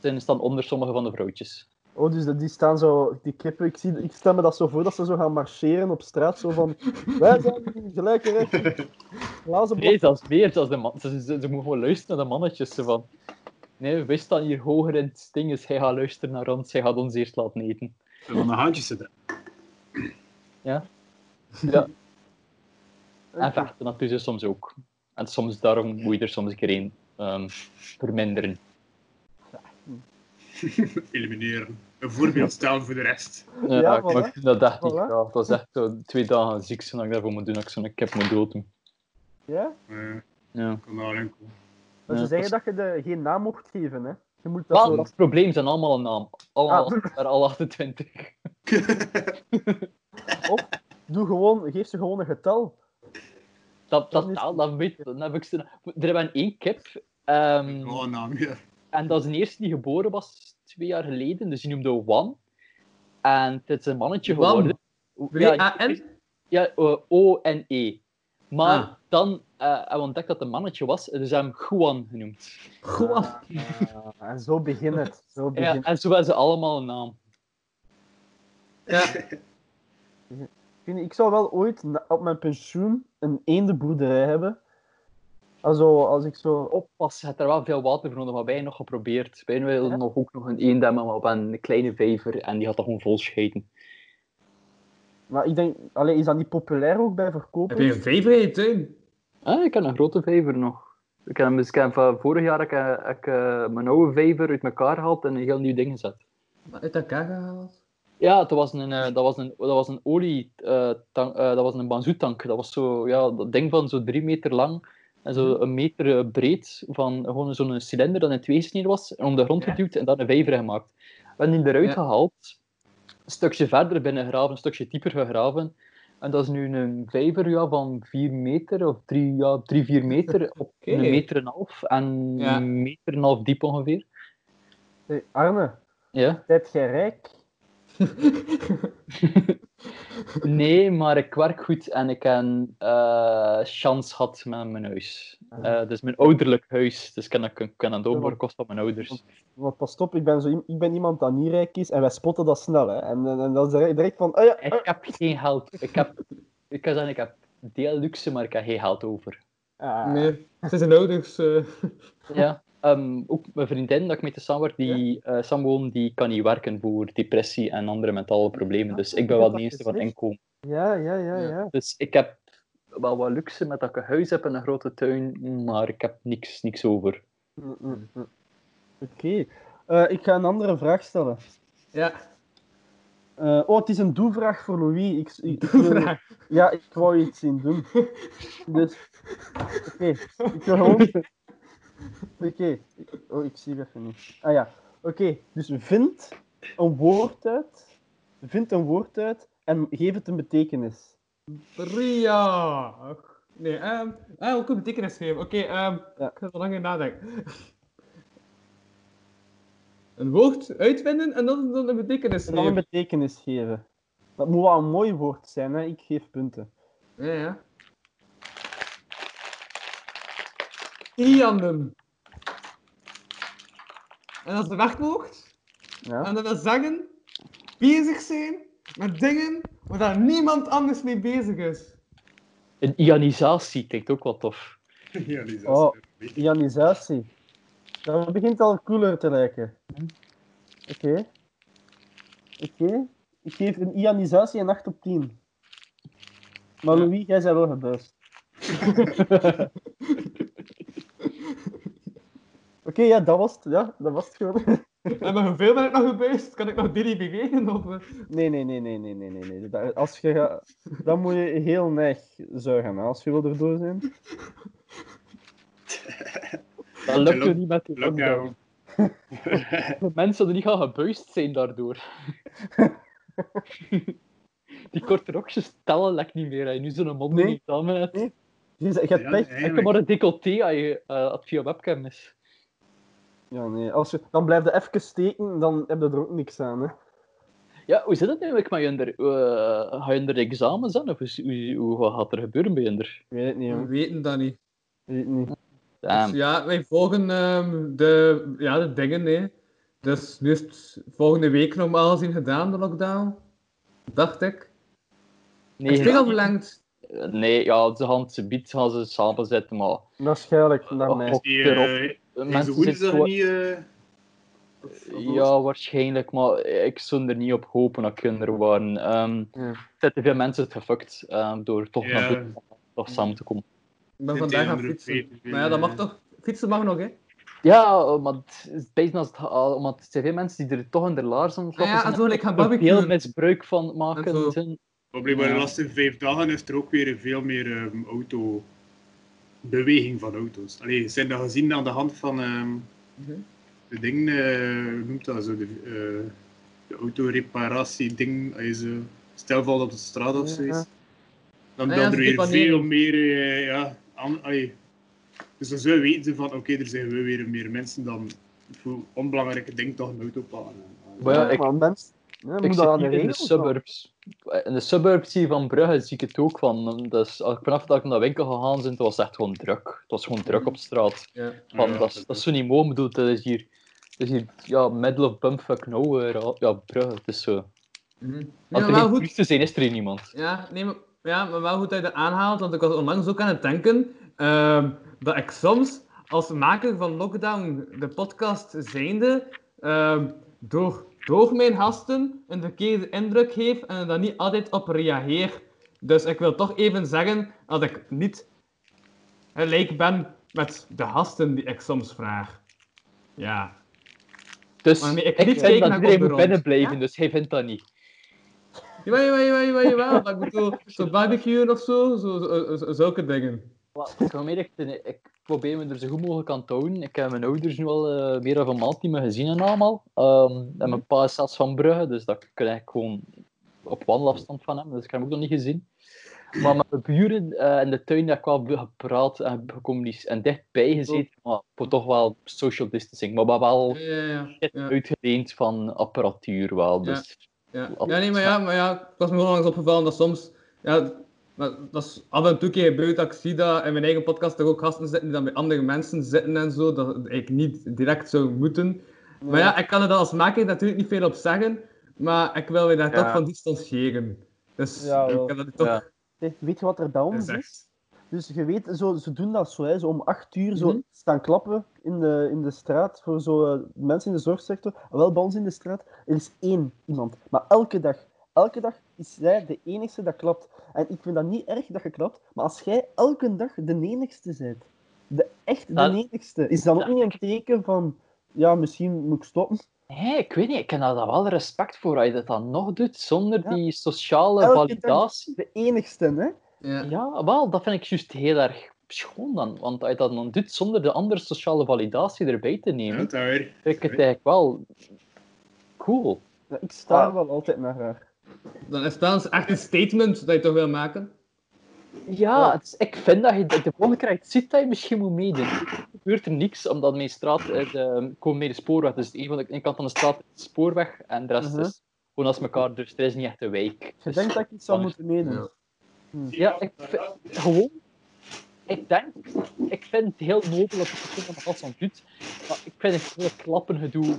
C: zijn staan onder sommige van de vrouwtjes.
E: Oh, dus dat- die staan zo, die kippen, ik, zie, ik stel me dat zo voor dat ze zo gaan marcheren op straat, zo van, wij zijn gelijke rechten. Glazen blok.
C: Nee, zelfs meer. Zelfs de man, ze, ze, ze moeten gewoon luisteren naar de mannetjes. Ze van, nee, wij staan hier hoger in het ding, dus hij gaat luisteren naar ons, hij gaat ons eerst laten eten.
D: En dan de haantjes zitten.
E: Eh,
C: En vechten dat doen ze soms ook. En soms daarom moet je er soms een keer een ehm, verminderen.
D: Elimineren. Een voorbeeld stellen voor de rest.
C: Ja,
E: Ja,
C: ik
E: voilà.
C: maar ik vind dat echt niet
E: Voilà.
C: graag. Dat is echt zo twee dagen ziek zijn dat ik daarvoor moet doen, dat ik zo'n kip moet doden.
E: Ja?
D: Eh,
C: Ja.
D: kan daar enkel.
E: Maar ze
C: Ja,
E: zeggen
C: dat
E: dat je de, geen naam mocht geven, hè. Je moet dat
C: Wel, Ah.
E: zo...
C: dat is het probleem, ze zijn allemaal een naam. Allemaal, er al 28.
E: Of doe gewoon, geef ze gewoon een getal.
C: Dat,
E: Dat
C: dat,
E: is-
C: dat, dat weet dan heb ik. ze- Er hebben één kip. ehm,
D: Oh, een naam, ja.
C: en dat is de eerste die geboren was twee jaar geleden. Dus die noemde Wan. En het is een mannetje
F: Wan?
C: geworden. dus- Ja,
F: W-A-N?
C: ja, eh, O-N-E. Maar
F: Ah.
C: dan eh, hebben we ontdekt dat het een mannetje was. Dus ze hebben hem Guan genoemd.
F: Gewoon.
E: Ah, en zo begint het. Zo
C: Ja,
E: begint
C: en zo hebben ze allemaal een naam.
F: Ja.
E: weet niet, ik zou wel ooit na- op mijn pensioen een eendenboerderij hebben. Also, als ik zo...
C: Oppassen, je hebt er wel veel water voor nodig, maar wij hebben nog geprobeerd. Wij wilden nog ook nog een eendemmen, maar op een kleine vijver en die had dat gewoon vol scheten.
E: Maar ik denk... Allee, is dat niet populair ook bij
F: Heb je
E: verkopers?
F: een vijver in je tuin?
C: Ah, ik heb een grote vijver nog. Ik heb, hem- dus ik heb van vorig jaar ik, eh, ik, eh, mijn oude vijver uit elkaar gehaald en een heel nieuw ding gezet.
F: Maar Uit elkaar gehaald?
C: Ja, dat was een, eh, dat was een, dat was een olie, eh, tank, eh, dat was een benzoetank. Dat was zo, ja, dat ding van zo drie meter lang en
F: Mhm.
C: zo een meter eh, breed van gewoon zo'n cilinder dat in twee gesneden was en om de grond
F: Ja.
C: geduwd en dan een vijver gemaakt. We hebben die eruit
F: Ja.
C: gehaald, een stukje verder binnen gegraven, een stukje dieper gegraven. En dat is nu een vijver ja, van vier meter of drie, ja, drie vier meter op
F: Oké.
C: een meter en een half en
F: Ja.
C: een meter en een half diep ongeveer.
E: Hey, Arne,
C: Ja.
E: zijt jij rijk?
C: Nee, maar ik werk goed en ik heb eh chance gehad met mijn huis. Eh dus mijn ouderlijk huis. Dus ik kan, ik kan aan het overkost van mijn ouders.
E: Want pas op, ik ben, zo, i- ik ben iemand dat niet rijk is en wij spotten dat snel. Hè. En, en, en dan zeg je direct van, oh ja,
C: Ik heb geen geld. Ik, heb, ik kan zeggen, ik heb deel luxe, maar ik heb geen geld over.
E: ah,
F: Nee, het is een ouders. eh,
C: Ja. Ehm, ook mijn vriendin, dat ik mee te samenwerk, die eh samenwoont, die kan niet werken voor depressie en andere mentale problemen. Dus ik ben wel de eerste van inkomen.
E: Ja, ja, ja,
F: Ja.
E: ja.
C: Dus ik heb wel wat luxe met dat ik een huis heb en een grote tuin, maar ik heb niks, niks over.
E: Mm, mm, mm. Oké. Eh, ik ga een andere vraag stellen.
F: Ja,
E: Eh, oh, het is een doe-vraag voor Louis. Ik, ik, ik wil-
F: vraag.
E: ja, ik wou iets zien doen. Dus, oké, ik wil gewoon... Oké, oh, ik zie het even niet. Ah ja, oké, dus vind een woord uit, vind een woord uit en geef het een betekenis.
F: Ria. Nee, ehm ah, ook een betekenis geven. Oké, ehm ik ga er langer nadenken. Een woord uitvinden en dan, dan een betekenis
E: En dan een
F: geven.
E: betekenis geven. Dat moet wel een mooi woord zijn, hè? ik geef punten.
F: Ja, ja. Ianden. En als de werkwoord,
E: Ja?
F: en dat wil zeggen, bezig zijn met dingen waar daar niemand anders mee bezig is.
C: Een ionisatie klinkt ook wel tof.
D: Ja, die is
E: Oh.
D: oh.
E: Ionisatie. Dat begint al cooler te lijken. Oké. Oké. Ik geef een ionisatie een 8 op 10. Maar Louis, jij bent wel gebuist. Oké, ja, dat was het. Ja, dat was het gewoon.
F: En met hoeveel ben ik nog gebeurd? Kan ik nog drie bewegen? Of... eh?
E: Nee, nee, nee, nee, nee, nee, nee. nee. Dat, als je ga- dan moet je heel neig zuigen, hè, als je wil erdoor zijn.
C: Dat lukt
D: lukt-
C: je niet met die
D: Lukt
C: lockdown.
D: jou.
C: De mensen zullen niet gaan gebuist zijn daardoor. die korte rokjes tellen lek niet meer. Hè. Nu zo'n mond
E: Nee.
C: niet samen. hebt.
E: Nee, Je, je hebt
D: Ja,
E: pech.
D: nee.
C: Ik heb maar een decolleté als je eh, als het via webcam is.
E: Ja, nee. Als je, dan blijf je even steken, dan heb je er ook niks aan. Hè.
C: Ja, hoe zit het eigenlijk met je eh, Ga je onder examens aan? Of is- hoe, hoe, gaat er gebeuren bij je?
E: Ik weet het niet,
F: We
E: jong.
F: weten dat niet.
E: Ik weet het niet.
F: Dus ja, wij volgen ehm, de, ja, de dingen, hè. Dus nu is het volgende week normaal gezien gedaan, de lockdown. Dacht ik. Het is
C: Nee,
F: veel verlengd.
C: nee, ja, ze gaan het bied gaan ze samen zetten, maar
E: Waarschijnlijk, naar
C: Oh,
E: mij.
C: oh.
D: Die,
C: erop.
D: eh, deze
C: mensen zitten
D: woensdag
C: gewoon-
D: niet... eh,
C: Ja, waarschijnlijk, maar ik zou er niet op hopen dat kinderen waren. Ehm
E: Ja.
C: Er zijn te veel mensen het gefokt ehm, door toch
D: Ja.
C: naar buiten toch samen te komen.
F: Ik ben
D: Dit
F: vandaag gaan
D: andere
F: fietsen.
D: Peter,
F: Maar ja, dat mag
D: eh.
F: toch? Fietsen mag nog, hè?
C: Ja, eh, maar het is bijna als het al, omdat er zijn veel mensen die er toch in de laars aan het
F: Ah
C: lopen
F: ja, en zo, ik ga
C: er veel
F: barbecuen.
C: misbruik van
F: En zo.
C: maken. Zijn.
D: Probleem bij de laatste vijf dagen is er ook weer veel meer ehm, auto. beweging van auto's. Allee, zijn dat gezien aan de hand van. ehm,
F: Mhm.
D: de dingen, eh, hoe noemt dat zo? De, eh, de autoreparatie-ding. Als je zo stel valt op de straat of
E: Ja.
D: zoiets. Dan,
F: Ah ja,
D: dan
F: ze
D: er weer
F: depaneren.
D: veel meer. eh, ja, aan, allee. Dus dan zou je weten van oké, er zijn wel weer meer mensen dan. voor onbelangrijke ding toch een auto pakken.
C: Maar ja, ik-
E: maar mens, ja,
C: Ik
E: moet dat
C: zit
E: aan de
C: hier in de
E: regels houden.
C: suburbs. Eh, In de suburbs hier van Brugge zie ik het ook van. Dus als ik vanaf dat ik naar de winkel gegaan ben, het was echt gewoon druk. Het was gewoon druk op straat.
F: Ja.
C: Van,
D: Ja,
C: dat, is- dat is zo niet mooi, bedoel, dat is hier, dat is hier ja, middle of bumfuck nowhere. Ja, Brugge, het is zo.
F: Mhm.
C: Als
F: Nee,
C: er
F: maar wel
C: geen
F: goed.
C: toeristen zijn, is er hier niemand.
F: Ja, nee, maar, ja, maar wel goed dat je dat aanhaalt, want ik was onlangs ook aan het denken ehm, dat ik soms als maker van Lockdown, de podcast zijnde, ehm, door, door mijn gasten een verkeerde indruk geef en er dan niet altijd op reageer. Dus ik wil toch even zeggen dat ik niet gelijk ben met de gasten die ik soms vraag. Ja.
C: Dus
F: Maar nee, ik
C: ik,
F: niet kijken
C: vind dat
F: naar
C: iedereen moet
F: Gobberons.
C: binnen blijven,
F: Ja?
C: dus hij vindt dat niet.
F: Jawel, jawel, jawel, jawel, jawel. Maar ik bedoel, zo barbecuen of zo, zo, zo- zo- zulke dingen.
C: Maar ik, wil meer, ik, ik probeer me er zo goed mogelijk aan te houden. Ik heb mijn ouders nu al eh, meer dan een maand niet meer gezien en allemaal. Ehm, en mijn pa is zelfs van Brugge, dus dat kan ik gewoon op wandelafstand van hem. Dus ik heb hem ook nog niet gezien. Maar met mijn buren eh, in de tuin, daar heb ik wel gepraat en gecommuniceerd en dichtbij gezeten. Maar voor toch wel social distancing. Maar we hebben wel
F: Ja, ja, ja.
C: shit
F: ja.
C: uitgeleend van apparatuur wel.
F: Ja.
C: Dus
F: Ja,
C: Op-
F: ja nee, maar ja, maar ja, het was me gewoon langs opgevallen dat soms, ja, dat, dat is af en toe keer gebeurt dat ik zie dat in mijn eigen podcast er ook gasten zitten die dan bij andere mensen zitten en zo, dat ik niet direct zou moeten. Maar ja, ik kan er dan als maker natuurlijk niet veel op zeggen, maar ik wil me daar
C: Ja.
F: toch van distancieren. Dus
E: Ja, wel.
F: ik heb dat toch
C: Ja.
E: Zeg, Weet je wat er bij ons is?
F: gezegd.
E: Dus je weet, zo, ze doen dat zo, hè, zo om acht uur zo
F: Mhm.
E: staan klappen in de, in de straat voor zo, eh, mensen in de zorgsector. Wel bij ons in de straat, er is één iemand. Maar elke dag, elke dag is zij de enigste dat klapt. En ik vind dat niet erg dat je klapt, maar als jij elke dag de enigste bent, de echt de
C: Dat-
E: enigste, is dat ook
C: Ja.
E: niet een teken van, ja, misschien moet ik stoppen?
C: Nee, ik weet niet. Ik heb daar dan wel respect voor als je dat dan nog doet zonder
E: Ja.
C: die sociale
E: Elke
C: validatie.
E: De enigste, hè?
F: Ja.
C: Ja, wel, dat vind ik juist heel erg schoon dan. Want als je dat dan doet zonder de andere sociale validatie erbij te
D: Ja,
C: nemen,
D: dat weer.
C: vind ik het eigenlijk wel cool.
E: Ja, Ik sta er
C: Ah.
E: wel altijd naar haar.
F: Dan is het wel eens echt een statement dat je toch wil maken.
C: Ja, het is- ik vind dat je de de volgende keer dat je het ziet dat je misschien moet meedoen. Er gebeurt er niks, omdat mijn straat, eh, de, ik woon meer de spoorweg, dus een van de, één kant van de straat is de spoorweg en de rest
E: Mhm.
C: is gewoon als elkaar, dus er is niet echt een wijk.
E: Je
C: Dus-
E: denkt dat ik iets zou
C: Dan is-
E: moeten meedoen.
F: Ja.
C: Ja, ik vind- gewoon. Ik denk, ik vind het heel nobel dat het verschillende gasten doet, maar ik vind het hele klappengedoe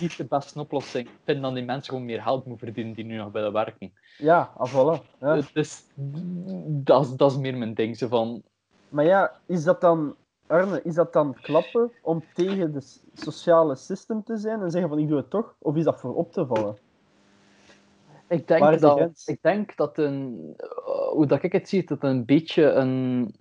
C: niet de beste oplossing. Ik vind dat die mensen gewoon meer geld moeten verdienen die nu nog willen werken.
E: Ja, ah, voilà. Ja.
C: Dus dat is, dat is meer mijn ding. Zo van,
E: Maar ja, is dat dan, Arne, is dat dan klappen om tegen de s- sociale system te zijn en zeggen van ik doe het toch? Of is dat voor op te vallen?
C: ik
E: Waar
C: denk
E: is de
C: dat,
E: grens?
C: ik denk dat een, eh, hoe dat ik het zie, dat het een beetje een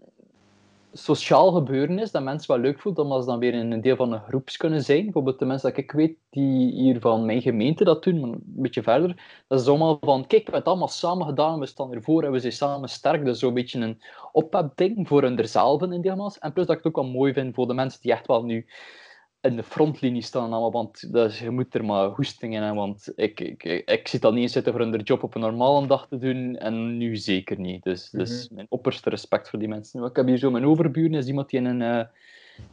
C: sociaal gebeuren is dat mensen wel leuk voelen, omdat ze dan weer in een deel van een groeps kunnen zijn. Bijvoorbeeld de mensen dat ik weet, die hier van mijn gemeente dat doen, maar een beetje verder, dat is allemaal van, kijk, we hebben het allemaal samen gedaan, we staan ervoor en we zijn samen sterk. Dus zo'n beetje een ophepding voor hun derzelven in deelmaals. En plus dat ik het ook wel mooi vind voor de mensen die echt wel nu in de frontlinie staan en allemaal, want dat is- je moet er maar goesting in hebben, want ik, ik, ik, ik zit al niet in zitten voor hun de job op een normale dag te doen, en nu zeker niet. Dus, dus mijn opperste respect voor die mensen. Ik heb hier zo mijn overbuur, is iemand die in een, eh,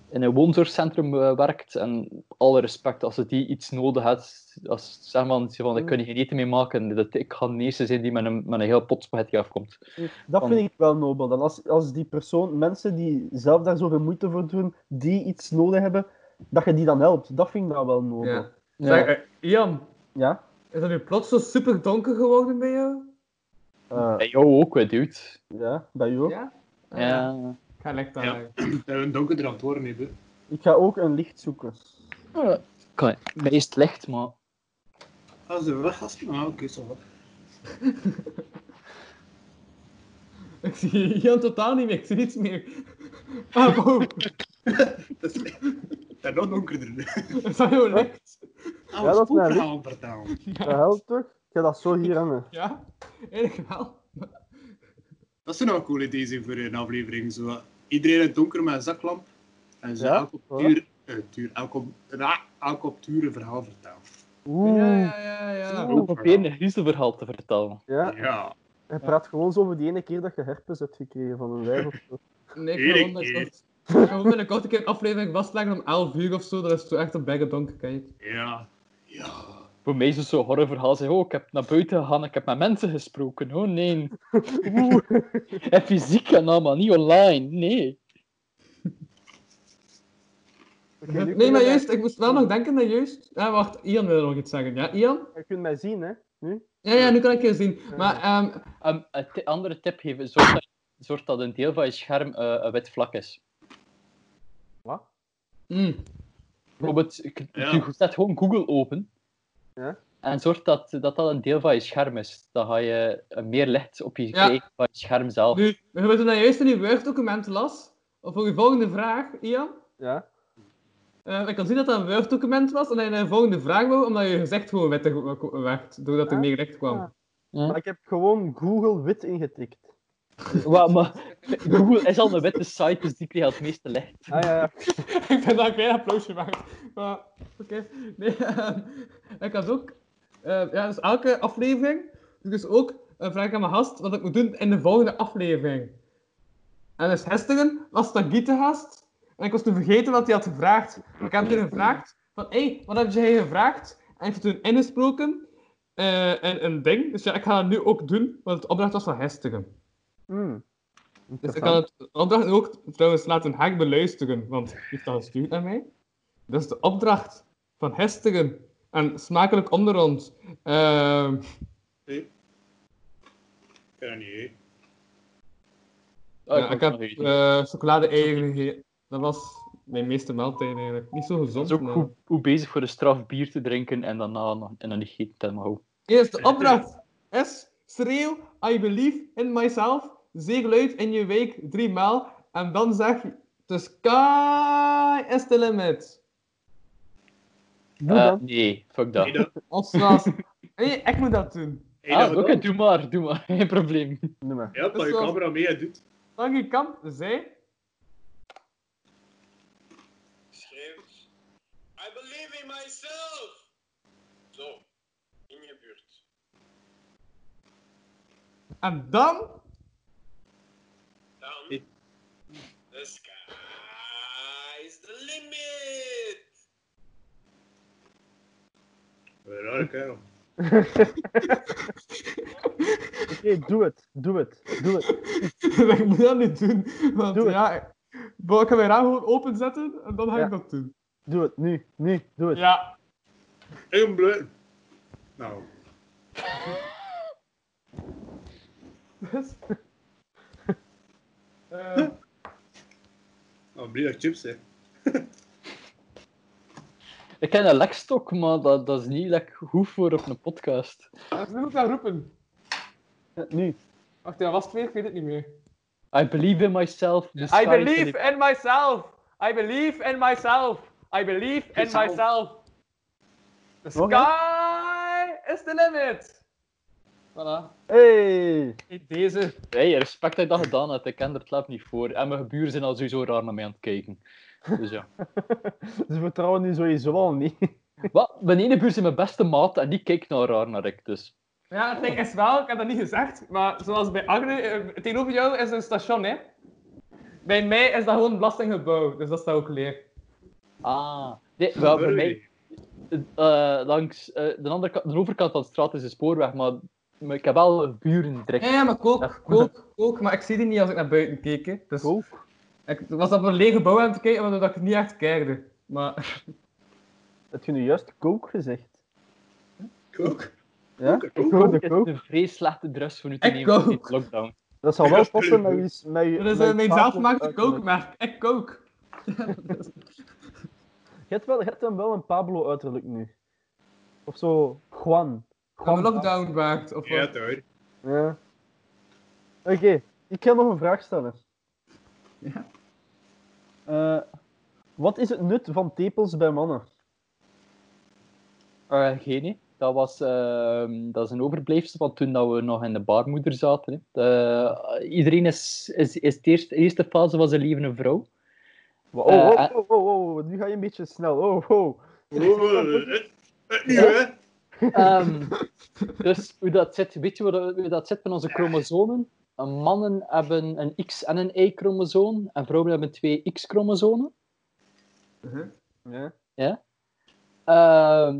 C: in een woonzorgcentrum eh, werkt, en alle respect, als ze die iets nodig had, als zeg maar, ze van,
F: Mm.
C: ik kan hier geen eten mee maken, dat, ik ga de eerste zijn die met een, met een heel pot spaghetti afkomt.
E: Dat
C: Van-
E: vind ik wel nobel. Dan als, als die persoon, mensen die zelf daar zoveel moeite voor doen, die iets nodig hebben, dat je die dan helpt. Dat vind ik dan wel nobel.
F: Ja.
E: Ja?
F: Zeg, eh, Ian,
E: ja?
F: is dat nu plots zo super donker geworden bij jou?
E: Eh,
C: Bij jou ook, hè, dude.
E: ja, bij jou ook.
F: Ja? Ah, ja.
C: Ja.
F: Ik ga lekker
D: Ja.
F: daar.
D: Dat we een donkerder aan het worden hebben.
E: Ik ga ook een licht zoeken.
C: Ja, kan- Mij is het licht, maar...
D: Ah, ze weg, gasten? Ah, oké, zo wat.
F: Ik zie Jan totaal niet meer, ik zie niets meer. Ah, wow.
D: Dat is dat is nog donkerder nu.
F: Er staat heel niks.
D: Ah,
E: dat
D: we
E: is
D: spoken
E: mijn-
D: gaan vertalen.
E: Dat helpt toch? Ik ga dat zo hier hangen.
F: Ja, eigenlijk wel.
D: Dat zijn nou coole ideeën zijn voor een aflevering. Zo. Iedereen in het donker met een zaklamp. En zo
E: Ja,
D: elke op
E: voilà.
D: duur, eh, duur, elke, op- ah, elke op duur een verhaal vertellen.
E: Oeh.
F: Ja,
E: Ja,
F: ja, ja, ja.
C: Ik probeer een griezelverhaal te vertellen.
D: Ja.
E: Hij praat gewoon zo over die ene keer dat je herpes hebt gekregen van een wijf of zo.
F: Nee, ik
D: Erik,
F: ga gewoon dat ik
D: Erik.
F: dat- ik ga gewoon binnenkort een keer een aflevering vastleggen om 11 uur of zo. Dat is toen echt een bijge donker, kijk.
D: Ja. Ja.
C: Voor mij is het zo'n horrorverhaal. Zeg, oh, ik heb naar buiten gegaan, ik heb met mensen gesproken. Oh nee. Oeh. En fysiek en allemaal, niet online. Nee.
E: Oké, nu
F: Nee,
E: kunnen
F: maar
E: wij-
F: juist, ik moest wel nog denken dat juist... Ja, wacht, Ian wil nog iets zeggen. Ja, Ian?
E: Je kunt mij zien, hè? Nu?
F: Ja, ja, nu kan ik je zien. Maar ehm,
C: Ehm, een ti- andere tip geven, zorg dat, zorg dat een deel van je scherm eh, een wit vlak is.
E: Wat?
F: mm,
C: Bijvoorbeeld, ik-
D: Ja.
C: je zet gewoon Google open.
E: Ja.
C: En zorg dat, dat dat een deel van je scherm is. Dan ga je eh, meer licht op je
F: Ja.
C: krijgen van je scherm zelf.
F: nu, we hebben toen juist in je Word-document las. Of voor je volgende vraag, Ian.
E: Ja?
F: Eh, ik kan zien dat dat een Word-document was en dat je naar de volgende vraag wou, omdat je gezicht gewoon wit werd, doordat er
E: Ah.
F: meer licht kwam.
E: Ah.
F: Hm?
E: Maar ik heb gewoon Google wit ingetikt.
C: Wa- maar Google is al een witte site, dus die krijgt het meeste licht.
E: Ah ja, ja.
F: ik vind dat ik weer een applausje maak. Maar, oké. Nee, ehm, ik had ook... eh, ja, dus elke aflevering doe ik dus ook een vraag aan mijn gast wat ik moet doen in de volgende aflevering. En dus gisteren was dat Guy te gast. En ik was toen vergeten wat hij had gevraagd. Maar ik heb toen gevraagd van, hé, hey, wat heb jij gevraagd? En ik heb toen ingesproken eh, een, een ding. Dus ja, ik ga dat nu ook doen, want het opdracht was van gisteren.
E: Hmm.
F: Dus ik kan het de opdracht nu ook trouwens laten Henk beluisteren, want hij heeft dat gestuurd naar mij. Dat is de opdracht van Hestigen en smakelijk onder ons. Ehm,
D: Ik kan dat niet, hè.
C: Ah,
F: ja, ik
C: ik
F: heb
C: had nog iets.
F: eh chocolade-eieren gegeten. Dat was mijn meeste maaltijd eigenlijk. Niet zo
C: Dat
F: gezond.
C: is ook
F: maar-
C: goed, goed bezig voor een straf bier te drinken en daarna nog, en dan niet eten. dat mag ook.
F: Eerst de opdracht is schreeuw I believe in myself, zegel uit in je week drie maal en dan zeg je the sky is the limit.
E: Doe
C: Eh,
E: dan.
C: nee, fuck dat.
D: Nee, dat-
F: Of zoals... Nee, ik moet dat doen.
D: hey,
C: ah,
D: dat
C: oké,
D: gedaan.
C: doe maar, doe maar. Geen probleem.
E: Doe maar.
D: Ja, dat je
F: Dat is wel-
D: camera mee en doet.
F: Dan je kan zijn.
G: Schreeuw. I believe in myself. Zo. In je buurt.
F: En dan
G: Dan.
D: Ik-
G: The sky is the limit.
D: Raar, kerel.
E: Oké, doe het. Doe het. Doe het.
F: ik moet dat niet doen. Want
E: Doe het.
F: ja, ik- Bon, ik ga mijn raam gewoon openzetten en dan ga
E: Ja. Dus-
F: ik dat doen.
E: Doe het. Nu. Nu. Doe het.
F: Ja.
D: Heel bleu. Nou,
F: Dus. Eh,
D: nou blij dat ik chips hè.
C: Ik ken een lekstok, maar dat, dat is niet lekker goed voor op een podcast.
F: dat is nu moet ik dat roepen.
E: Nu.
F: Wacht, ja, was het weer? Ik weet het niet meer.
C: I believe in myself. the sky
F: I
C: is the
F: believe
C: limit.
F: in myself. I believe in myself. I believe in
D: Jezelf.
F: myself. The
E: Nog,
F: sky is the limit. Voilà.
E: Hey.
F: Niet deze.
C: Hey, respect dat je dat gedaan hebt. Ik ken er het lab niet voor. En mijn buren zijn al sowieso raar naar mij aan het kijken. Dus ja.
E: Ze vertrouwen nu sowieso al niet.
C: Wat? Mijn ene buur is mijn beste maat en die kijkt nou raar naar ik. Dus
F: Ja, het ding is wel, ik heb dat niet gezegd, maar zoals bij Agne, eh, tegenover jou is een station, hè. Bij mij is dat gewoon een belastinggebouw, dus dat staat ook leeg.
C: Ah, nee, wel, voor mij, eh, langs eh, de, andere kant, de overkant van de straat is de spoorweg, maar, maar ik heb wel buren direct.
F: Ja, maar
C: Ja.
F: kook, kook, kook, maar ik zie die niet als ik naar buiten keek, hè. Dus
E: Ook.
F: ik was op een lege bouw aan het kijken, waardoor dat ik niet echt keerde. Maar
E: Heb je nu juist kook gezegd?
D: Kook.
E: Ja?
D: Kook.
E: Ik
C: Ook
E: hoorde
C: is
E: kook.
C: een vrij slechte drugs voor nu te
F: Ik
C: nemen in
F: ook.
C: de lockdown.
E: Dat zal wel
D: Ja,
E: passen met je... Met je
F: dat is
E: met
F: eh,
E: je
F: mijn
E: tafel
F: zelfgemaakte
E: uitgelegd.
F: kookmerk. Ik kook.
E: Je hebt, wel, je hebt hem wel een Pablo-uiterlijk nu. Of zo, Juan.
F: Van
E: Juan
F: de lockdown waakt, of
D: Ja,
F: wat?
D: daar.
E: Ja. Oké, ik ga nog een vraag stellen.
F: Ja.
E: Eh, wat is het nut van tepels bij mannen?
C: Eh, geen, hè. dat was ehm, dat is een overblijfsel van toen dat we nog in de baarmoeder zaten. Hè. Eh, iedereen is, is, is de eerste, eerste fase van zijn leven een vrouw.
E: Oh,
C: Eh,
E: oh,
C: eh.
E: oh, oh, oh, nu ga je een beetje snel. Oh, oh.
D: Oh, eh, eh, nu hè.
C: Ehm, dus hoe dat zit, weet je hoe dat, hoe dat zit met onze chromosomen? Eh, Mannen hebben een X- en een Y-chromosoom en vrouwen hebben twee X-chromosomen.
E: Ja.
C: Ehm,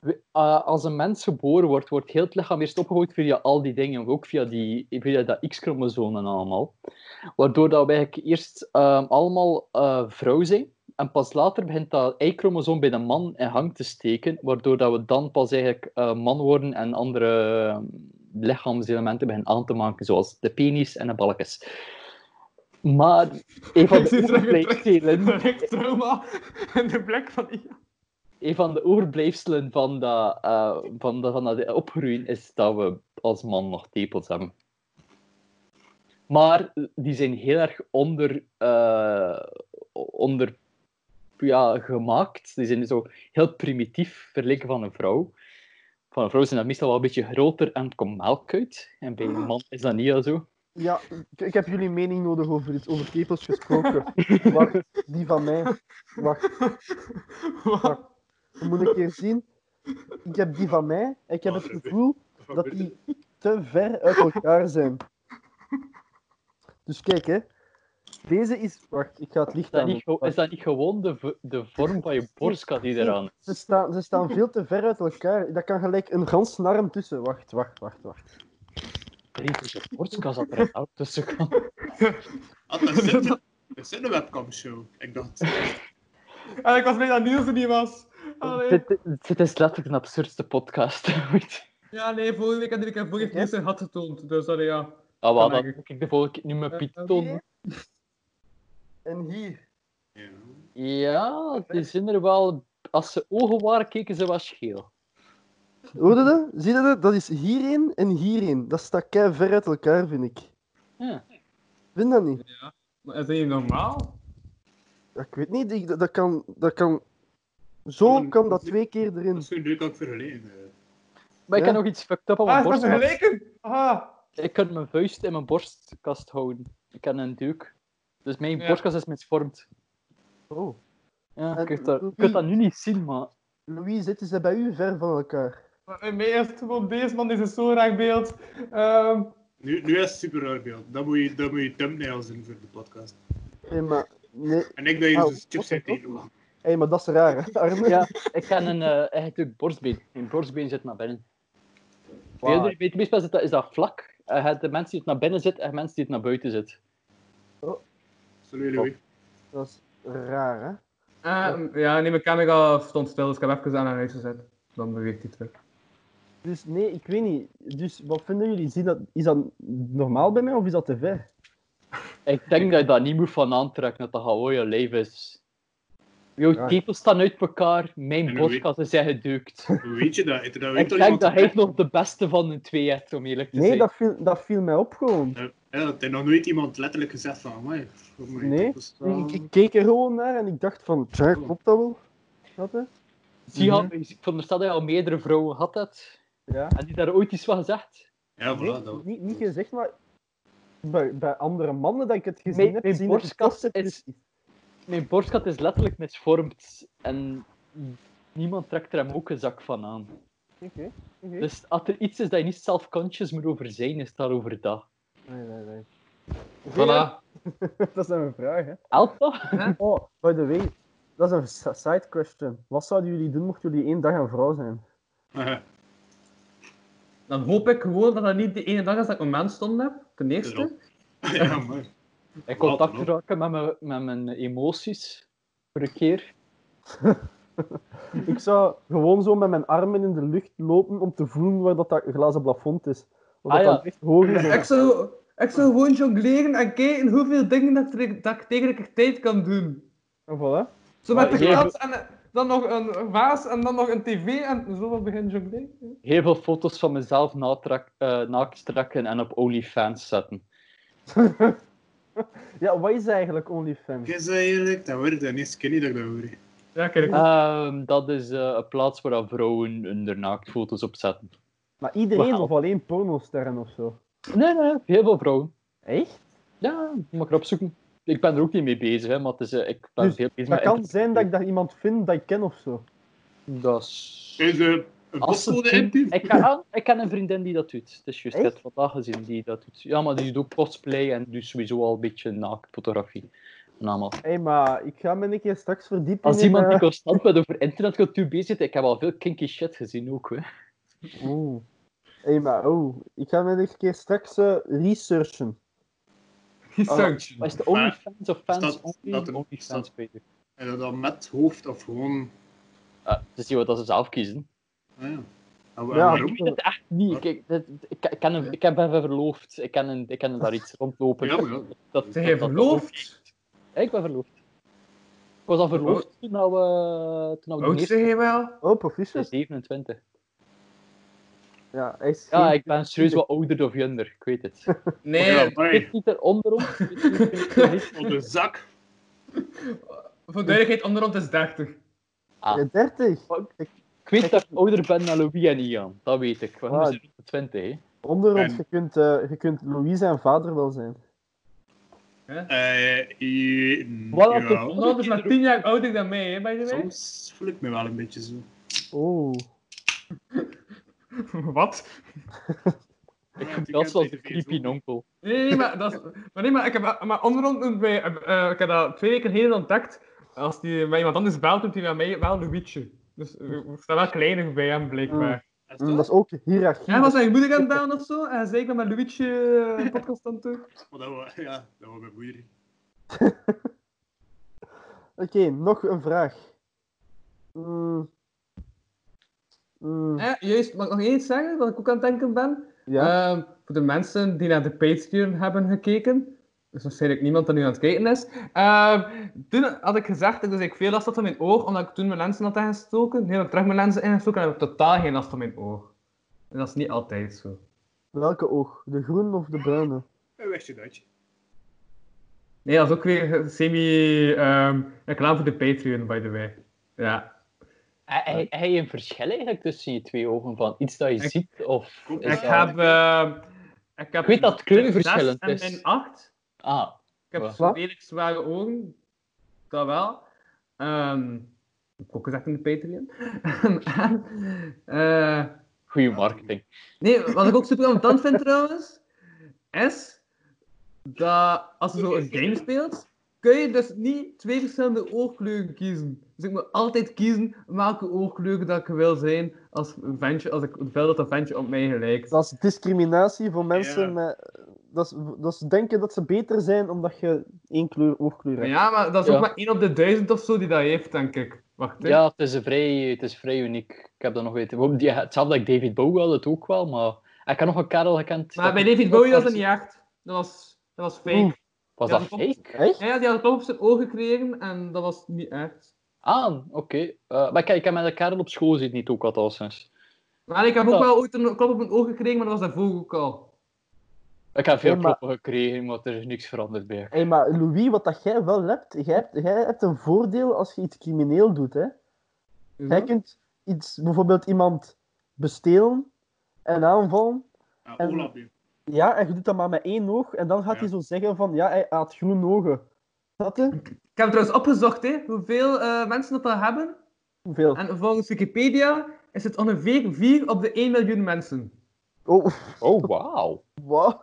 C: we- eh, als een mens geboren wordt, wordt heel het lichaam eerst opgebouwd via al die dingen, ook via, die, via dat X-chromosoom en allemaal. Waardoor dat we eigenlijk eerst ehm, allemaal eh, vrouw zijn en pas later begint dat Y-chromosoom bij de man in hang te steken, waardoor dat we dan pas eigenlijk eh, man worden en andere eh, lichaamselementen beginnen aan te maken, zoals de penis en de balkjes. Maar een van
F: Ik zie
C: de
F: het terug in
C: overblijfselen,
F: Direct trauma in de blik van Ian.
C: een van de overblijfselen van dat, eh, van, dat, van dat opgroeien is dat we als man nog tepels hebben. Maar die zijn heel erg onder, eh, onder ja, gemaakt. Die zijn zo heel primitief vergeleken van een vrouw. Van een vrouw zijn dat meestal wel een beetje groter en komt melk uit. En bij een man is dat niet al zo.
E: Ja, ik, ik heb jullie mening nodig over dit, over tepels gesproken. Wacht, die van mij. Wacht,
F: Wat?
E: moet ik keer zien. Ik heb die van mij en ik heb het gevoel dat die te ver uit elkaar zijn. Dus kijk, hè. Deze is... Wacht, ik ga het
C: Is
E: licht
C: dat
E: aan
C: niet,
E: doen.
C: ge- is dat niet gewoon de, v- de vorm van je borstka die eraan
E: Ze staan, ze staan veel te ver uit elkaar. Dat kan gelijk een gans narm tussen. Wacht, wacht, wacht, wacht.
C: is? De borstka zat er een tussen.
D: Ah, dat is een- dat is een webcamshow. Ik dacht,
F: Ah, ik was blij dat Niels er niet was. Allee.
C: Dit, dit is letterlijk een absurdste podcast ooit.
F: Ja, nee, vorige week had ik vorige keer Niels zijn had getoond. Dus allee, ja.
C: Ah, wel, dan
F: Kan eigenlijk.
C: moet ik de volgende keer nu mijn
F: Eh,
C: Python.
E: En hier.
D: ja.
C: Ja, die zijn er wel. Als ze ogen waren, keken ze wel scheel.
E: Hoorde dat? Zie je dat? Dat is hierin en hierin. Dat staat kei ver uit elkaar, vind ik.
C: Ja.
E: Vind dat niet?
F: Maar is dat niet normaal?
E: Ja, ik weet niet. ik- dat, dat kan, dat kan... Zo
D: Kan-
E: kan dat twee keer
D: dat
E: erin.
D: is zo leuk ook vergeleken.
C: Maar ik
E: Ja.
C: heb nog iets fucked up aan
F: Ah,
C: mijn
F: is dat
C: borst.
F: vergeleken? Ah.
C: Ik kan mijn vuist in mijn borstkast houden. Ik heb een duik. Dus mijn
F: Ja.
C: borstkast is misvormd.
E: Oh.
C: Ja,
E: En-
F: Eh,
C: je kunt dat, je kunt dat nu niet zien, maar...
E: Louis, zitten ze bij u ver van elkaar?
F: Maar bij mij is het gewoon deze man, dit is zo'n raar beeld. Ehm,
D: Nu, nu is het super raar beeld. Dan moet je, dan moet je thumbnails doen voor de podcast.
E: Nee, maar... Nee.
D: En ik ben hier
E: Ah,
D: dus chips
E: wat-
D: uit Nederland.
E: Hé, maar dat is raar, hè, Arne?
C: Ja, ik heb een eh eigenlijk borstbeen. Mijn borstbeen zit naar binnen.
E: Wow.
C: Wow. Weet je, meestal is dat, is dat vlak. En je hebt de mensen die het naar binnen zit en mensen die het naar buiten zit.
D: Salut Louis.
E: Dat is raar, hè?
F: ehm, ja, nee, mijn camera stond stil, dus ik heb even aan haar huis gezet. Dan beweegt hij terug.
E: Dus nee, ik weet niet. Dus wat vinden jullie? Zien dat, is dat normaal bij mij of is dat te ver?
C: Ik denk dat je daar niet moet van aantrekken, dat dat gewoon je lijf is. Jouw
E: Ja.
C: tepels staan uit elkaar, mijn
D: En
C: borstkast is geduikt.
D: Hoe weet je dat? Eet- Dat weet
C: Ik
D: toch
C: denk
D: iemand?
C: dat hij nog de beste van de twee heeft, om eerlijk te
E: Nee,
C: zijn.
E: dat viel, dat viel mij op gewoon.
D: Ja, dat heeft nog nooit iemand letterlijk gezegd van, amai. oh my,
E: Nee.
D: dat is wel-
E: Ik, ik keek er gewoon naar en ik dacht van, tja, klopt dat wel? Snap je?
C: Zie je, ik veronderstel dat je al meerdere vrouwen had dat.
E: Ja.
C: En die daar ooit iets van gezegd.
D: Ja, voilà.
E: Nee,
D: dat...
E: niet, niet gezegd, maar bij, bij andere mannen dat ik het gezien
C: Mijn-
E: heb,
C: mijn
E: zien het
C: borstkast
E: toch-
C: is- Mijn borstkat is letterlijk misvormd. En niemand trekt er hem ook een zak van aan.
E: Oké, oké.
C: Dus als er iets is dat je niet self-conscious moet over zijn, is het daarover dat.
E: Nee, nee, nee.
F: Voilà.
E: dat is dan mijn vraag, hè.
C: Helpt dat?
E: Oh, by the way, dat is een sa- side question. Wat zouden jullie doen mochten jullie één dag een vrouw zijn?
D: Eh,
F: Dan hoop ik gewoon dat dat niet de ene dag is dat ik mijn maand stond heb. Ten
D: Ja.
F: eerste.
D: ja, amai.
C: In contact
D: Later,
C: raken met mijn, met mijn emoties. Voor een keer.
E: Ik zou gewoon zo met mijn armen in de lucht lopen om te voelen waar dat, dat glazen plafond is. Of
C: Ah,
E: dat
C: ja.
E: dat echt hoog is.
F: Ik zou, ik zou gewoon jongleren en kijken hoeveel dingen dat, ik- dat ik tegelijkertijd kan doen.
E: En voilà.
F: Zo met de
C: Maar jij-
F: glas en eh, dan nog een vaas en dan nog een tv en zo begin jongleren.
C: Heel veel foto's van mezelf natrak- eh, naakt trekken en op OnlyFans zetten.
E: Ja, wat is eigenlijk OnlyFans?
D: Is dat eerlijk? Dat wordt dan niet skinny dat ik dat hoor. hè.
F: Ja, kijk.
C: Ehm, dat is eh, een plaats waar dat vrouwen hun naaktfoto's op zetten.
E: Maar iedereen
C: Wauw.
E: of alleen pornosterren of zo?
C: Nee, nee, heel veel vrouwen.
E: Echt?
C: Ja, mag ik erop zoeken. Ik ben er ook niet mee bezig, hè, maar het is, eh, ik ben
E: Dus
C: veel bezig
E: Dat
C: met...
E: kan zijn dat ik daar iemand vind dat ik ken of zo.
C: Dat is-
D: Is eh, een
C: Als ze
D: postcode
C: het doen-
D: in?
C: ik, ken, ah, ik ken een vriendin die dat doet. Het is juist, ik heb
E: Echt?
C: het vandaag gezien die dat doet. Ja, maar die doet ook cosplay en doet sowieso al een beetje naaktfotografie. En allemaal.
E: Hé, maar ik ga me een keer straks verdiepen
C: Als
E: in...
C: iemand die
E: eh,
C: constant met over internetcultuur bezig zit, ik heb al veel kinky shit gezien ook. Hè.
E: Oeh. Hé, maar oeh. oh, Ik ga me een keer straks eh, researchen.
F: Research.
C: Maar is het OnlyFans of fans
D: Is dat-
C: only?
D: dat een-
C: OnlyFans,
D: is dat-
C: Peter.
D: En dat dan met hoofd of gewoon...
C: Ah, het is niet wat dat ze zelf kiezen.
D: Ah, ja. En wa-
E: Ja.
D: waarom?
C: Ik weet het echt niet. Ik, dit- ik, ik, ken hem, ik heb hem verloofd. Ik ken, een- ik ken daar iets rondlopen.
D: Ja, maar ja.
C: Dat,
F: Zijn jij
C: dat- dat-
F: verloofd?
C: Ja, ik ben verloofd. Ik was al
D: Oh.
C: verloofd toen dat we... Toen dat we
F: Oud
C: de
F: zeg
C: eerste
F: je wel?
E: Oh,
C: dat is
E: proficiat.
C: 27.
E: Ja, hij is
C: Ja,
E: geen-
C: ik ben serieus wat ouder dan Junder. Ik weet het.
D: Ja,
F: Nee,
C: Ik
D: amai.
C: zit eronder om.
D: Op de zak.
F: voor duidelijkheid, onderhand is 30.
C: Ah.
E: Eh, 30.
C: Ik weet dat ik ouder ben dan Louis en Ian. Dat weet ik. We
E: Ah.
C: zijn rond de 20, hè.
E: Onder ons,
D: En-
E: je kunt, eh, je kunt Louis zijn vader wel zijn.
D: Eh, je-
C: Wat had
D: ja.
C: het-
F: Onderhand is maar 10 jaar ouder dan mij, hè, by the way.
D: Soms voel ik me wel een beetje zo.
E: Oh.
F: Wat?
D: Ik
C: Dat is wel de creepy onkel.
F: Nee, nee, maar, dat is, maar, nee, maar ik heb maar onderhand doen bij, eh, ik heb dat twee weken geleden ontdekt. Als die bij iemand anders belt, doet hij bij mij wel Louietje. Dus eh, we staan wel kleiner bij hem, blijkbaar.
E: Mm, dat is ook hiërarchie.
F: Ja, was zijn moeder aan het bellen of zo? En zei ik ben met Louietje eh, een podcast aan het doen.
D: Maar dat was, ja, dat was mijn moeder.
E: Oké, nog een vraag. Mm. Mm,
F: Eh, juist, mag ik nog iets zeggen, dat ik ook aan het denken ben?
E: Ja,
F: Ehm, voor de mensen die naar de Patreon hebben gekeken, dus waarschijnlijk niemand dat nu aan het kijken is. Ehm, toen had ik gezegd dat ik, dus ik veel last had van mijn oor, omdat ik toen mijn lenzen had ingestoken. Nu heb ik terug mijn lenzen ingestoken en heb ik totaal geen last van mijn oor. En dat is niet altijd zo.
E: welke oog? De groene of de bruine?
D: En wist je dat?
F: Nee, dat is ook weer semi-reclame voor de Patreon, by the way. Ja.
C: Hij- Hij hij een verschil eigenlijk tussen je twee ogen van iets dat je
F: Ik-
C: ziet of...
D: Ik
C: is
F: Ik
C: dat-
F: heb, ehm, ik heb...
C: Ik weet dat het kleurenverschillend
F: zes
C: is.
F: En mijn acht.
C: Ah,
F: Ik heb
C: Wat?
F: redelijk zware ogen. Dat wel. Ehm, ik heb ook gezegd in de Patreon. Eh,
C: goede marketing.
F: nee, wat ik ook super ambetant vind trouwens, is dat als je zo een game speelt, kun je dus niet twee verschillende oorkleuren kiezen. Dus ik moet altijd kiezen welke oorkleuren dat ik wil zijn als, een ventje, als ik wil dat dat ventje op mij gelijkt.
E: Dat is discriminatie voor mensen
D: Ja.
E: met... Dat is, dat is denken dat ze beter zijn omdat je één kleur oogkleur hebt.
F: Ja, maar dat is
C: Ja.
F: ook maar één op de duizend of zo die dat heeft, denk ik. Wacht, hè.
C: Ja, het is, een vrij, het is vrij uniek. Ik heb dat nog weten. Waarom die- Hetzelfde dat ik David Bowie had, het ook wel, maar... Ik heb nog een kerel gekend...
F: Maar
C: dat-
F: bij David Bowie was dat niet echt. Dat was, dat was fake.
E: Oeh.
C: Was
F: Ja,
C: dat
F: dat-
C: fake?
E: Echt?
F: Ja, ja, die had het toch op zijn ogen gekregen en dat was niet echt.
C: Ah, oké. Eh, maar kijk, ik heb met een kerel op school zit niet ook wat al sinds.
F: Maar ik heb ook
C: Ja.
F: wel ooit een klap op mijn ogen gekregen, maar dat was daarvoor ook al.
C: Ik heb veel
E: Ja, maar-
C: kloppen gekregen, maar er is niks veranderd bij.
E: Hé, maar Louis, wat dat jij wel hebt, jij hebt, jij hebt een voordeel als je iets crimineel doet, hè.
F: Is
E: Jij
F: dat?
E: kunt iets, bijvoorbeeld iemand bestelen en aanvallen.
D: Ja,
E: En-
D: Olaf, ja.
E: Ja, en je doet dat maar met één oog. En dan gaat
D: Ja.
E: hij zo zeggen van, ja, hij had groene ogen. Snap je?
F: Ik heb trouwens opgezocht hè, hoeveel eh, mensen dat, dat hebben.
E: Hoeveel?
F: En volgens Wikipedia is het ongeveer 4 op de 1 miljoen mensen.
E: Oh,
C: Oh, wauw.
E: wauw.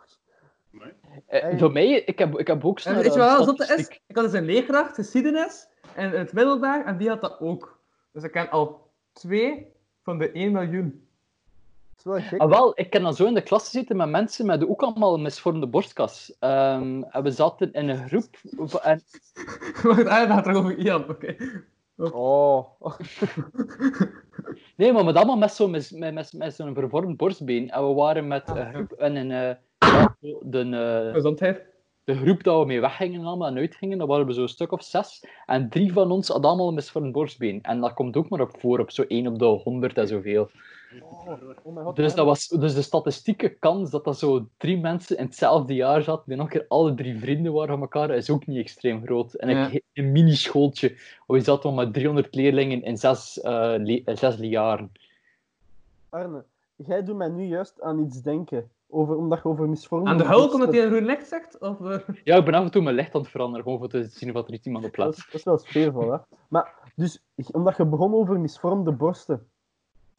C: Eh,
E: Hey.
C: Door mij, ik heb, ik heb ook
F: En
C: snel...
F: weet je
C: een
F: wat wel zotte is?
C: statistiek.
F: Ik had dus een leerkracht, geschiedenis, en in het middelbaar, en die had dat ook. Dus ik ken al 2 van de 1 miljoen.
E: Dat is wel gek.
C: Ah, wel, ik kan dan zo in de klas zitten met mensen met ook allemaal een misvormde borstkas. Ehm, en we zaten in een groep. En,
F: Maar het ah, gaat toch over Ian, oké.
E: Oh.
C: nee, maar met allemaal met zo'n mis- met, met, met zo'n vervormd borstbeen. En we waren met
F: Ah,
C: een
F: ja.
C: groep en een. eh, ja, zo, de, eh,
F: Gezondheid.
C: de groep dat we mee weggingen allemaal en uitgingen, dat waren we zo'n stuk of zes. En drie van ons hadden allemaal een misvormd borstbeen. En dat komt ook maar op voor, op zo'n 1 op de 100 en zoveel.
E: Oh, oh mijn god.
C: Dus, dat was, dus de statistieke kans dat dat zo drie mensen in hetzelfde jaar zaten, die nog een keer alle drie vrienden waren van elkaar, is ook niet extreem groot. En
F: Ja.
C: ik in een minischooltje, we zaten maar 300 leerlingen in zes, eh le- eh, zes jaren.
E: Arne, jij doet mij nu juist aan iets denken. Over, omdat je over misvorming...
F: Aan de hulk omdat hij een groen licht zegt? Of, eh,
C: Ja, ik ben af en toe mijn licht aan het veranderen, gewoon voor te zien wat er iets iemand op
E: Dat
C: plaats.
E: is, dat is wel sfeervol, hè. Maar, dus, omdat je begon over misvormde borsten.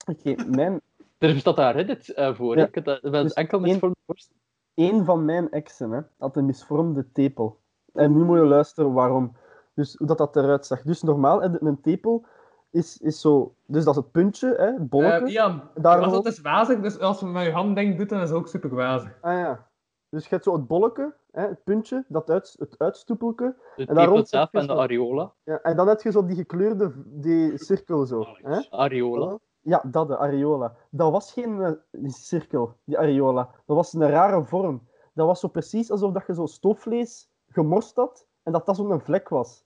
E: Oké, mijn...
C: Er bestaat daar Reddit eh, voor, hè.
E: Ja.
C: ik heb dat, dat is
E: Dus
C: enkel
E: één-
C: met voor borst.
E: Eén van mijn exen hè, had een misvormde tepel. En nu moet je luisteren waarom. Dus hoe dat, dat eruit zag. Dus normaal, hè, de- een tepel is, is zo... Dus dat is het puntje, hè, het bolletje.
F: eh, Ian,
E: Daarom-
F: Dus was dat is wazig, dus als je met je hand denkt, doet, dan is het ook super wazig.
E: Ah ja. Dus je hebt zo het bolletje, hè, het puntje, dat uit, het uitstoepelke.
C: De
E: En daar
C: tepel
E: rond
C: zelf
E: heb je
C: en de
E: zo-
C: areola.
E: Ja, en dan heb je zo die gekleurde v- die cirkel zo. Hè?
C: Areola.
E: Ja, dat, de areola. Dat was geen eh, cirkel, die areola. Dat was een rare vorm. Dat was zo precies alsof dat je zo stoofvlees gemorst had en dat dat zo'n vlek was.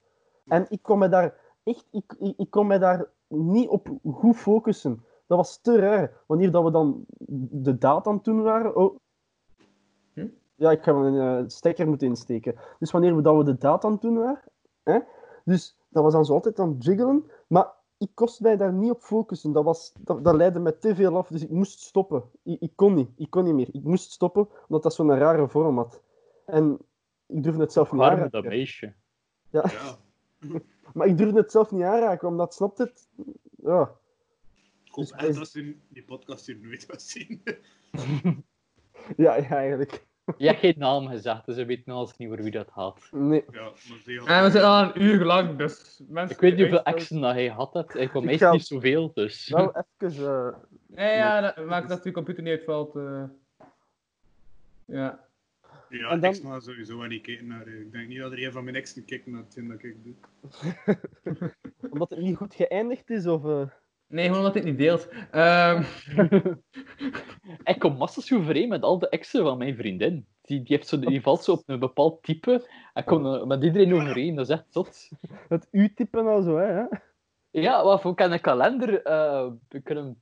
E: En ik kon me daar echt, ik, ik, ik kon me daar niet op goed focussen. Dat was te raar. Wanneer dat we dan de daad aan het doen waren. Oh.
F: Hm?
E: Ja, ik ga wel een eh, stekker moeten insteken. Dus wanneer we, dat we de daad aan het doen waren. Hè? Dus dat was dan zo altijd aan het jiggelen. Maar ik kost mij daar niet op focussen. Dat, was, dat, dat leidde me te veel af, dus ik moest stoppen. Ik, ik kon niet, ik kon niet meer. Ik moest stoppen, omdat dat zo'n rare vorm had. En ik durfde het zelf niet
C: Arme dat
E: aanraken.
C: meisje.
E: Ja.
D: Ja,
E: Maar ik durfde het zelf niet aanraken, omdat, snapt het? Ja.
D: ik hoop
E: Dus
D: echt
E: is-
D: dat ze die podcast hier nooit wat zien.
E: Ja, ja, eigenlijk.
C: Je hebt geen naam gezegd, dus we weten alles niet voor wie dat gaat.
E: Nee.
D: Ja, maar ze
F: En we
D: had...
F: zijn al een uur lang, dus mensen...
C: Ik weet niet hoeveel
F: extra.
C: exen dat hij had. Dat. Ik kwam
E: Ik
C: echt
E: ga-
C: niet zoveel, dus...
E: Wel even... eh,
F: Nee, ja, dat maakt dat de computer niet uitvalt. eh. Ja.
D: Ja,
E: En dan-
D: ik ga sowieso wel niet kijken naar... eh, Ik denk niet dat er een van mijn exen kijkt naar hetgeen dat ik doe.
E: eh, omdat het niet goed geëindigd is, of... eh,
F: Nee, gewoon omdat dit niet deelt. Ehm,
C: Ik kom massas overeen met al de exen van mijn vriendin. Die, die, heeft zo, die valt zo op een bepaald type. En komt eh, met iedereen overeen, dat is echt zot.
E: het U-type nou zo, hè.
C: Ja, wat voor kan een kalender? eh we kunnen hem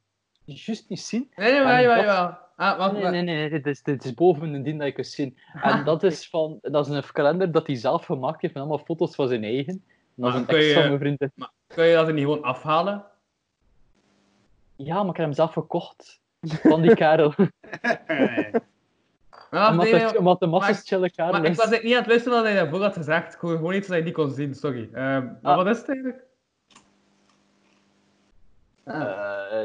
C: juist niet zien.
F: Nee, nee, maar
C: En
F: jawel,
C: dat-
F: jawel. Ah, wacht,
C: Nee, nee, nee, dit is, dit is boven een dien dat je kunt zien. En dat is, van, dat is een kalender dat hij zelf gemaakt heeft met allemaal foto's van zijn eigen. En dat is
F: Maar
C: een
F: Ah, kun
C: ex
F: je-
C: van mijn vriendin.
F: Kun je dat er niet gewoon afhalen?
C: Ja, maar ik heb hem zelf verkocht. Van die kerel.
D: Eh,
F: Ah,
C: omdat,
F: nee,
C: het-
F: nee,
C: omdat de
F: maar
C: massas
F: ik-
C: chille kerel
F: maar ik
C: is.
F: was eigenlijk niet aan het luisteren wat hij daarvoor had gezegd. Ik hoorde gewoon iets dat hij niet kon zien, sorry. Ehm, maar
C: Ah.
F: wat is het eigenlijk? Ah.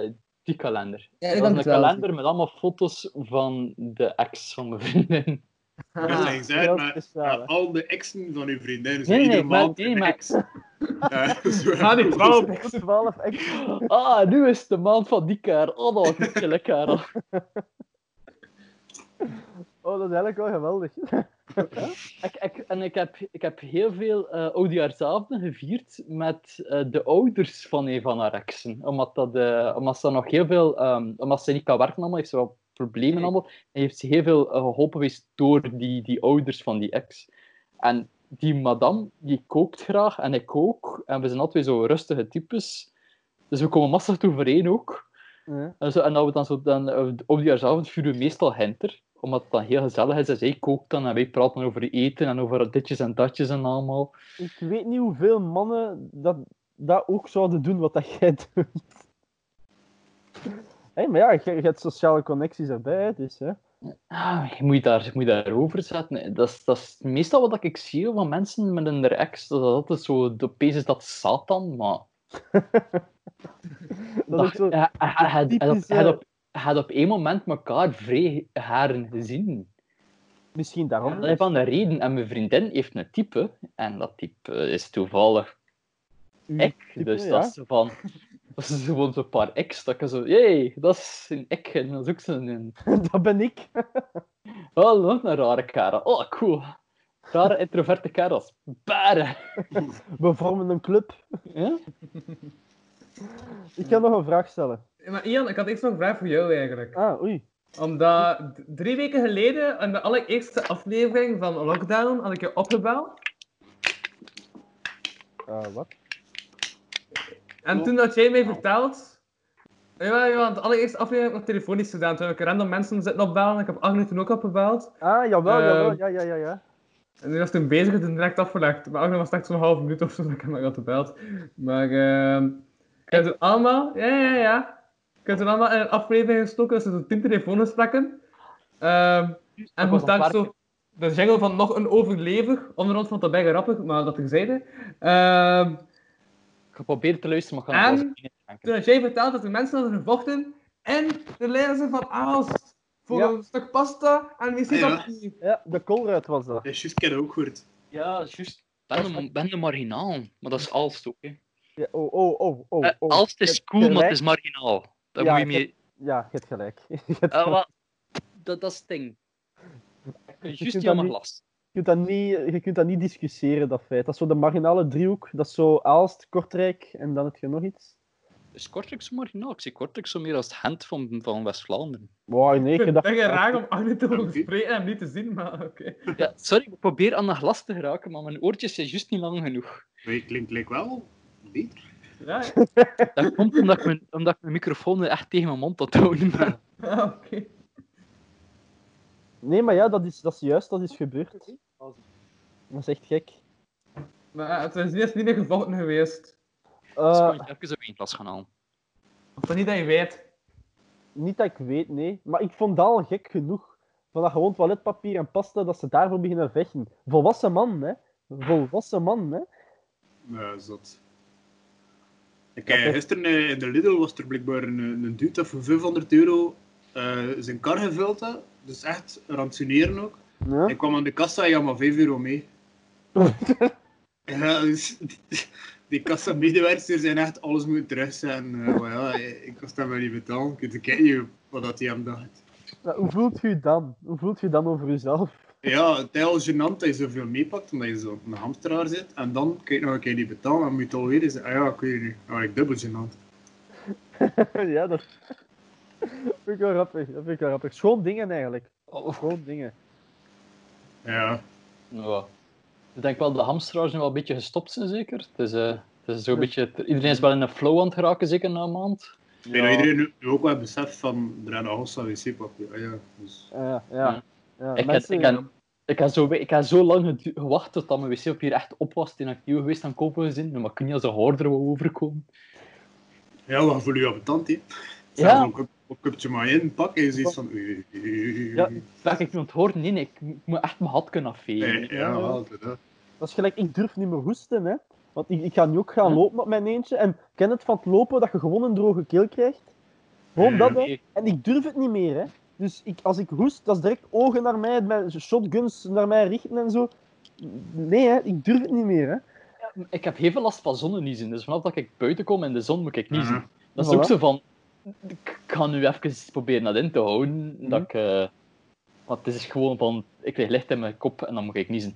C: Eh, die kalender.
F: Ja, ik
C: dat
F: denk
C: is een
F: het wel.
C: kalender met allemaal foto's van de ex van mijn vriendin.
D: Dat
F: Ah.
D: lijkt uit,
E: heel
D: maar
E: speciaal, hè.
D: maar al de exen van uw vriendin. Dus
C: Nee, nee,
D: iedere
C: maar
D: maand
C: die
D: een
C: Max.
D: ex. Ja, dat is wel-
F: Ah, die twaalf.
E: 12 echt.
C: Ah, nu is het de maand van die kerel. Oh, dat was een chille kerel.
E: Oh, dat is eigenlijk wel geweldig.
C: Ik, ik, en ik heb, ik heb heel veel eh oudejaarsavonden gevierd met eh, de ouders van een van haar exen. Omdat, dat, eh, omdat ze nog heel veel... ehm, omdat ze niet kan werken allemaal, heeft ze wel problemen allemaal. En heeft ze heel veel eh, geholpen geweest door die, die ouders van die ex. En die madame, die kookt graag en ik ook. En we zijn altijd zo rustige types. Dus we komen massig overeen ook.
E: Ja.
C: En, zo, en dat we dan zo dan, eh, op die avond vuren we meestal henter, omdat het dan heel gezellig is. En zij kookt dan en wij praten over eten en over ditjes en datjes en allemaal.
E: Ik weet niet hoeveel mannen dat, dat ook zouden doen wat dat jij doet. Hé, maar ja, je, je hebt sociale connecties erbij, hè, dus hè.
C: Ah, je moet je daar, je moet je daarover zetten. Dat is, dat is meestal wat ik zie van mensen met een ex. Dat is altijd zo, de pees is dat Satan, maar...
E: Dat is zo
C: Ja, hij- hij- hij- hij had-
E: typische-
C: hij had op- hij had op één moment elkaar vrij haren gezien.
E: misschien daarom.
C: En dat is van de reden. En mijn vriendin heeft een type. En dat type is toevallig
E: Uw
C: ik.
E: type,
C: dus
E: ja.
C: dat is zo van... Dat is gewoon zo'n paar x dat ik zo... Jee, dat is een ik. En dat is ook zo'n...
E: dat ben ik.
C: Oh, wat een rare kerel. Oh, cool. Rare introverte kerels. Baren.
E: We vormen een club.
C: Ja?
E: Ik ga nog een vraag stellen.
F: Maar Ian, ik had eerst nog een vraag voor jou eigenlijk.
E: Ah, oei.
F: Omdat d- drie weken geleden, in de allereerste aflevering van Lockdown, had ik je opgebeld.
E: Ah, wat?
F: En toen had jij mij verteld... Ja, ja, want de allereerste aflevering heb ik nog telefonisch gedaan. Toen heb ik random mensen zitten opbellen. Ik heb Agnew toen ook opgebeld.
E: Ah, jawel, jawel.
F: Ehm.
E: Ja, ja, ja, ja.
F: En die was toen bezig en toen direct afgelegd. Maar Agnew was echt zo'n half minuut of zo dat ik hem nog had gebeld. Maar ehm ik heb toen allemaal... Ja, ja, ja. Ik heb toen allemaal in een aflevering gestoken. Dus zo'n tien telefoongesprekken. Ehm
C: was
F: en moest daar
C: een
F: zo... De jingle van nog een overlever. Onderhand vond dat bijna grappig, maar dat terzijde. Ehm
C: Ik probeer te luisteren, maar ik
F: En?
C: kan het
F: toen had jij verteld dat de mensen hadden gevochten en de leiders van Aalst voor
E: Ja.
F: een stuk pasta en wc-papier.
E: Ja, de koolruit was dat.
D: Dat is juist, ik heb dat ook gehoord.
C: Ja, juist. Ben de, ben de marginaal. Maar dat is Alst ook, hè.
E: Ja, oh, oh, oh, oh.
C: Eh,
E: oh.
C: Alst
E: Je
C: is
E: hebt
C: cool, maar
E: gelijk.
C: het is marginaal. Daar
E: Ja,
C: moet je
E: ik
C: mee...
E: Ja, je hebt gelijk. Je hebt
C: Eh,
E: gelijk.
C: wel, dat, dat is het ding.
E: kunt
C: Juist
E: dat
C: die aan mijn
E: niet-
C: glas.
E: Je kunt, dat niet, je kunt dat niet discussiëren, dat feit. Dat is zo de marginale driehoek. Dat is zo Aalst, Kortrijk en dan heb je nog iets.
C: Is Kortrijk zo marginaal? Ik zie Kortrijk zo meer als het Gent van, van West-Vlaanderen.
E: Wow, in één
F: Ik
E: keer
F: vind het
E: dat...
F: echt raar om Arne te horen spreken en hem niet te zien, maar oké.
C: Ja, sorry, ik probeer aan dat glas te geraken, maar mijn oortjes zijn juist niet lang genoeg.
D: Maar je klinkt lijkt wel beter.
F: Ja,
C: Dat komt omdat ik mijn, omdat ik mijn microfoon echt tegen mijn mond aan het houden ben.
F: ja, Ah, oké.
E: Nee, maar ja, dat is, dat is juist, dat is gebeurd. Dat is echt gek.
F: Maar ja, het is niet, niet een gevochten geweest.
C: Dus
E: Eh,
C: ik kan even zo één glas gaan halen.
F: Of dat niet dat je weet.
E: niet dat ik weet, nee. Maar ik vond dat al gek genoeg. Van dat gewoon toiletpapier en pasta, dat ze daarvoor beginnen vechten. Volwassen man, hè. Volwassen man, hè.
D: Ja, zot. Ik,
E: Dat
D: eh,
E: is-
D: gisteren eh, in de Lidl was er blijkbaar een, een dude dat voor 500 euro eh, zijn kar gevuld had. Dus echt rantsoeneren ook.
E: Ja.
D: Ik kwam aan de kassa en je had maar 5 euro mee. Ja, dus die kassamedewerkers zijn echt alles moeten terugzetten. Eh, maar ja, ik was dat wel niet betalen. Ik weet niet wat dat hij hem dacht.
E: Maar hoe voelt u dan? Hoe voelt u dan over uzelf?
D: Ja, het is al gênant dat je zoveel meepakt, omdat je zo op een hamsteraar zit. En dan kijk je nog een keer niet betalen, dan moet je het alweer eens... Ah ja, ik weet het niet. Ah, ik dubbel gênant.
E: ja, dat... dat vind ik wel grappig. Dat vind ik wel grappig. Schoon dingen, eigenlijk.
C: oh,
E: Schoon dingen.
D: Ja.
C: Ja. Ik denk wel dat de hamsteraars nu wel een beetje gestopt zijn, zeker. Het is, eh, het is zo'n beetje, iedereen is wel in een flow aan het geraken, zeker na een maand.
D: Ik denk dat iedereen nu- nu ook wel beseft van... Er zijn nog hossa wc-papier. Ah ja, dus...
E: Ja, ja. ja.
C: Ik heb,
E: mensen-
C: ik, heb, ik, heb zo, ik heb zo lang gedu- gewacht tot dat mijn wc-papier echt op was. Het is actief geweest aan kopen gezin, maar ik kun je als een hoorder wel overkomen.
D: Ja, wat voel je op het tand, hè?
C: Ja.
D: Zelfs Een cup- cupje maar in, pak en je zoiets van... oei, oei, oei, oei.
E: Ja.
C: Ben ik nu aan het horen? Nee, nee, ik mo- ik moet echt mijn hat kunnen afvegen.
D: Nee, ja, wel, dat.
E: Dat is gelijk, ik durf niet meer hoesten, hè. Want ik, ik ga nu ook gaan lopen op mijn eentje. En ken het van het lopen dat je gewoon een droge keel krijgt? Gewoon dat, hè.
C: Nee.
E: En ik durf het niet meer, hè. Dus ik, als ik hoest, dat is direct ogen naar mij, mijn shotguns naar mij richten en zo. Nee, hè. Ik durf het niet meer, hè.
C: Ik heb heel veel last van zonneniezen, dus vanaf dat ik buiten kom in de zon moet ik
D: Mhm.
C: niezen. Dat is
E: Voilà.
C: ook zo van, ik ga nu even proberen dat in te houden, dat
E: Mhm.
C: ik... eh, want het is gewoon van, ik krijg licht in mijn kop en dan moet ik niezen.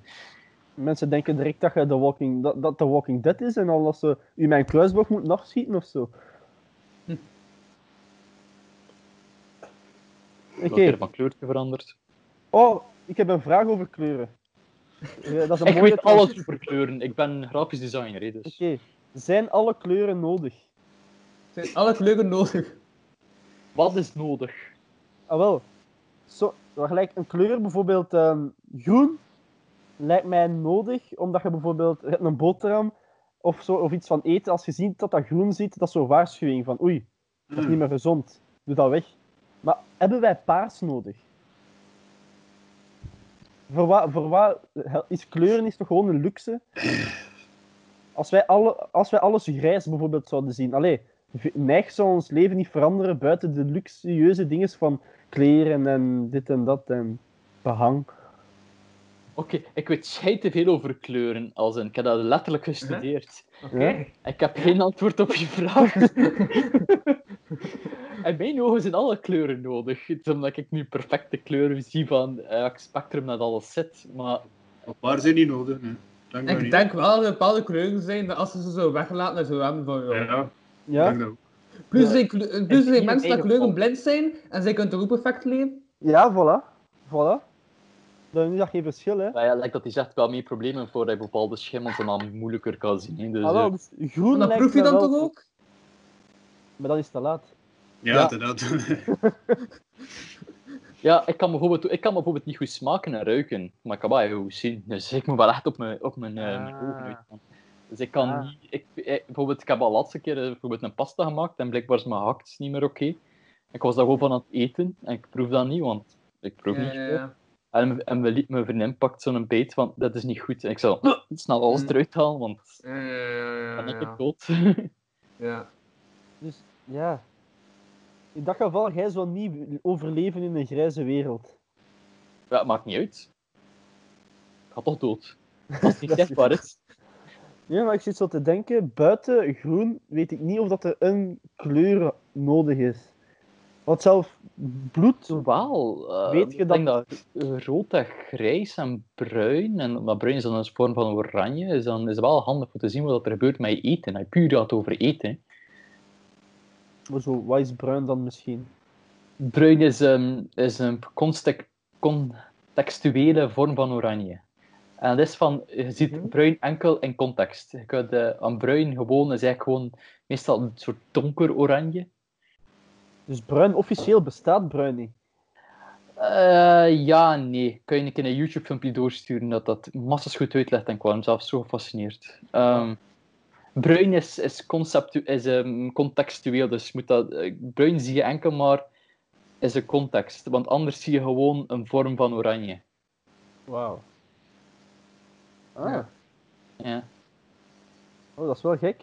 E: Mensen denken direct dat je de Walking, dat, dat de walking Dead is en al dat ze u mijn kruisboog moeten afschieten of zo. Oké,
C: Ik heb mijn kleurtje veranderd.
E: oh, ik heb een vraag over kleuren. Eh, dat is een
C: Ik
E: mooie
C: weet alles
E: transitie.
C: over kleuren. Ik ben grafisch designer, hè, dus.
E: Oké, zijn alle kleuren nodig?
F: Zijn alle kleuren nodig?
C: Wat is nodig?
E: Ah wel, zo, maar gelijk een kleur, bijvoorbeeld ehm, groen, lijkt mij nodig, omdat je bijvoorbeeld je hebt een boterham of, zo, of iets van eten, als je ziet dat dat groen ziet, dat is zo'n waarschuwing van oei, dat is niet meer gezond, doe dat weg. Maar hebben wij paars nodig? Voor wat, voor wat is kleuren is toch gewoon een luxe? Als wij, alle, als wij alles grijs bijvoorbeeld zouden zien, allee, v- neig zou ons leven niet veranderen buiten de luxueuze dingen van kleren en dit en dat en behang.
C: Oké, ik weet schijt te veel over kleuren, als in, ik heb dat letterlijk
E: Mhm.
C: gestudeerd.
F: Oké.
C: Ik heb geen antwoord op je vraag. In mijn ogen zijn alle kleuren nodig. Het is Omdat ik nu perfecte kleuren zie van eh, het spectrum dat alles zit. Maar
D: Een paar zijn niet nodig, hè. Dank
F: Ik denk wel dat er bepaalde kleuren zijn dat als ze ze zo weglaten, dan zo hebben
D: Ja,
F: van joh.
D: ja.
E: Ja?
D: Dank dat.
F: Plus
E: Ja.
F: zijn, kle- plus
C: hier
F: zijn mensen dat
C: eigen
F: kleuren
C: volk.
F: blind zijn en zij kunnen toch ook perfect leven?
E: Ja, voilà. Voilà. Dan is dat geen verschil, hè.
C: maar nou ja, lijkt dat die zegt wel meer problemen voor dat je bepaalde schimmels en dan moeilijker kan zien. hè. Dus,
E: Ah, wel,
C: eh,
E: dus groen
F: En dat
E: lijkt
F: proef je
E: mij
F: dan
E: wel-
F: toch ook?
E: Maar dat is te laat.
D: Ja,
E: Ja.
D: inderdaad.
C: ja, ik kan, bijvoorbeeld, ik kan bijvoorbeeld niet goed smaken en ruiken, maar ik kan wel heel goed zien. Dus ik moet wel echt op mijn, op mijn, eh, mijn
E: Ah.
C: ogen uitgaan. Dus ik kan
E: Ah.
C: niet... Ik, eh, bijvoorbeeld, ik heb al laatste keer eh, bijvoorbeeld een pasta gemaakt en blijkbaar is mijn hakt niet meer oké. Ik was daar gewoon van aan het eten en ik proef dat niet, want ik proef
F: Ja,
C: niet
F: ja,
C: veel.
F: ja.
C: En, en mijn, lief- mijn vriendin pakt zo'n beet van, dat is niet goed. En ik zou snel alles
F: Mm.
C: eruit halen, want
F: Ja, ja,
C: dan
F: ja,
C: ben ik
F: ja,
C: dood.
F: ja.
E: Dus, ja. In dat geval, jij zou niet overleven in een grijze wereld.
C: ja, maakt niet uit. Ik ga toch dood. Als het niet zichtbaar is.
E: Ja, maar ik zit zo te denken, buiten groen weet ik niet of dat er een kleur nodig is. Want zelf bloed,
C: Wel, eh,
E: Weet je
C: ik
E: dat-
C: denk dat rood en grijs en bruin, en maar bruin is dan een vorm van oranje, is dan is het wel handig om te zien wat er gebeurt met je eten. Hij puur gaat over eten. hè.
E: maar zo, wat is bruin dan misschien?
C: Bruin is, ehm, is een constec- contextuele vorm van oranje. En dat is van, je ziet
E: Mhm.
C: bruin enkel in context. Je kunt, eh, aan bruin gewoon, is eigenlijk gewoon meestal een soort donker oranje.
E: Dus bruin, officieel bestaat bruin niet.
C: Eh, ja, nee. Kun je een keer een YouTube-filmpje doorsturen dat dat massas goed uitlegt en ik was hem zelf zo gefascineerd. Ehm, bruin is, is, conceptu- is ehm, contextueel, dus moet dat, eh, bruin zie je enkel maar is een context, want anders zie je gewoon een vorm van oranje.
E: Wauw. Ah,
F: Ja.
C: Ja,
E: oh, dat is wel gek.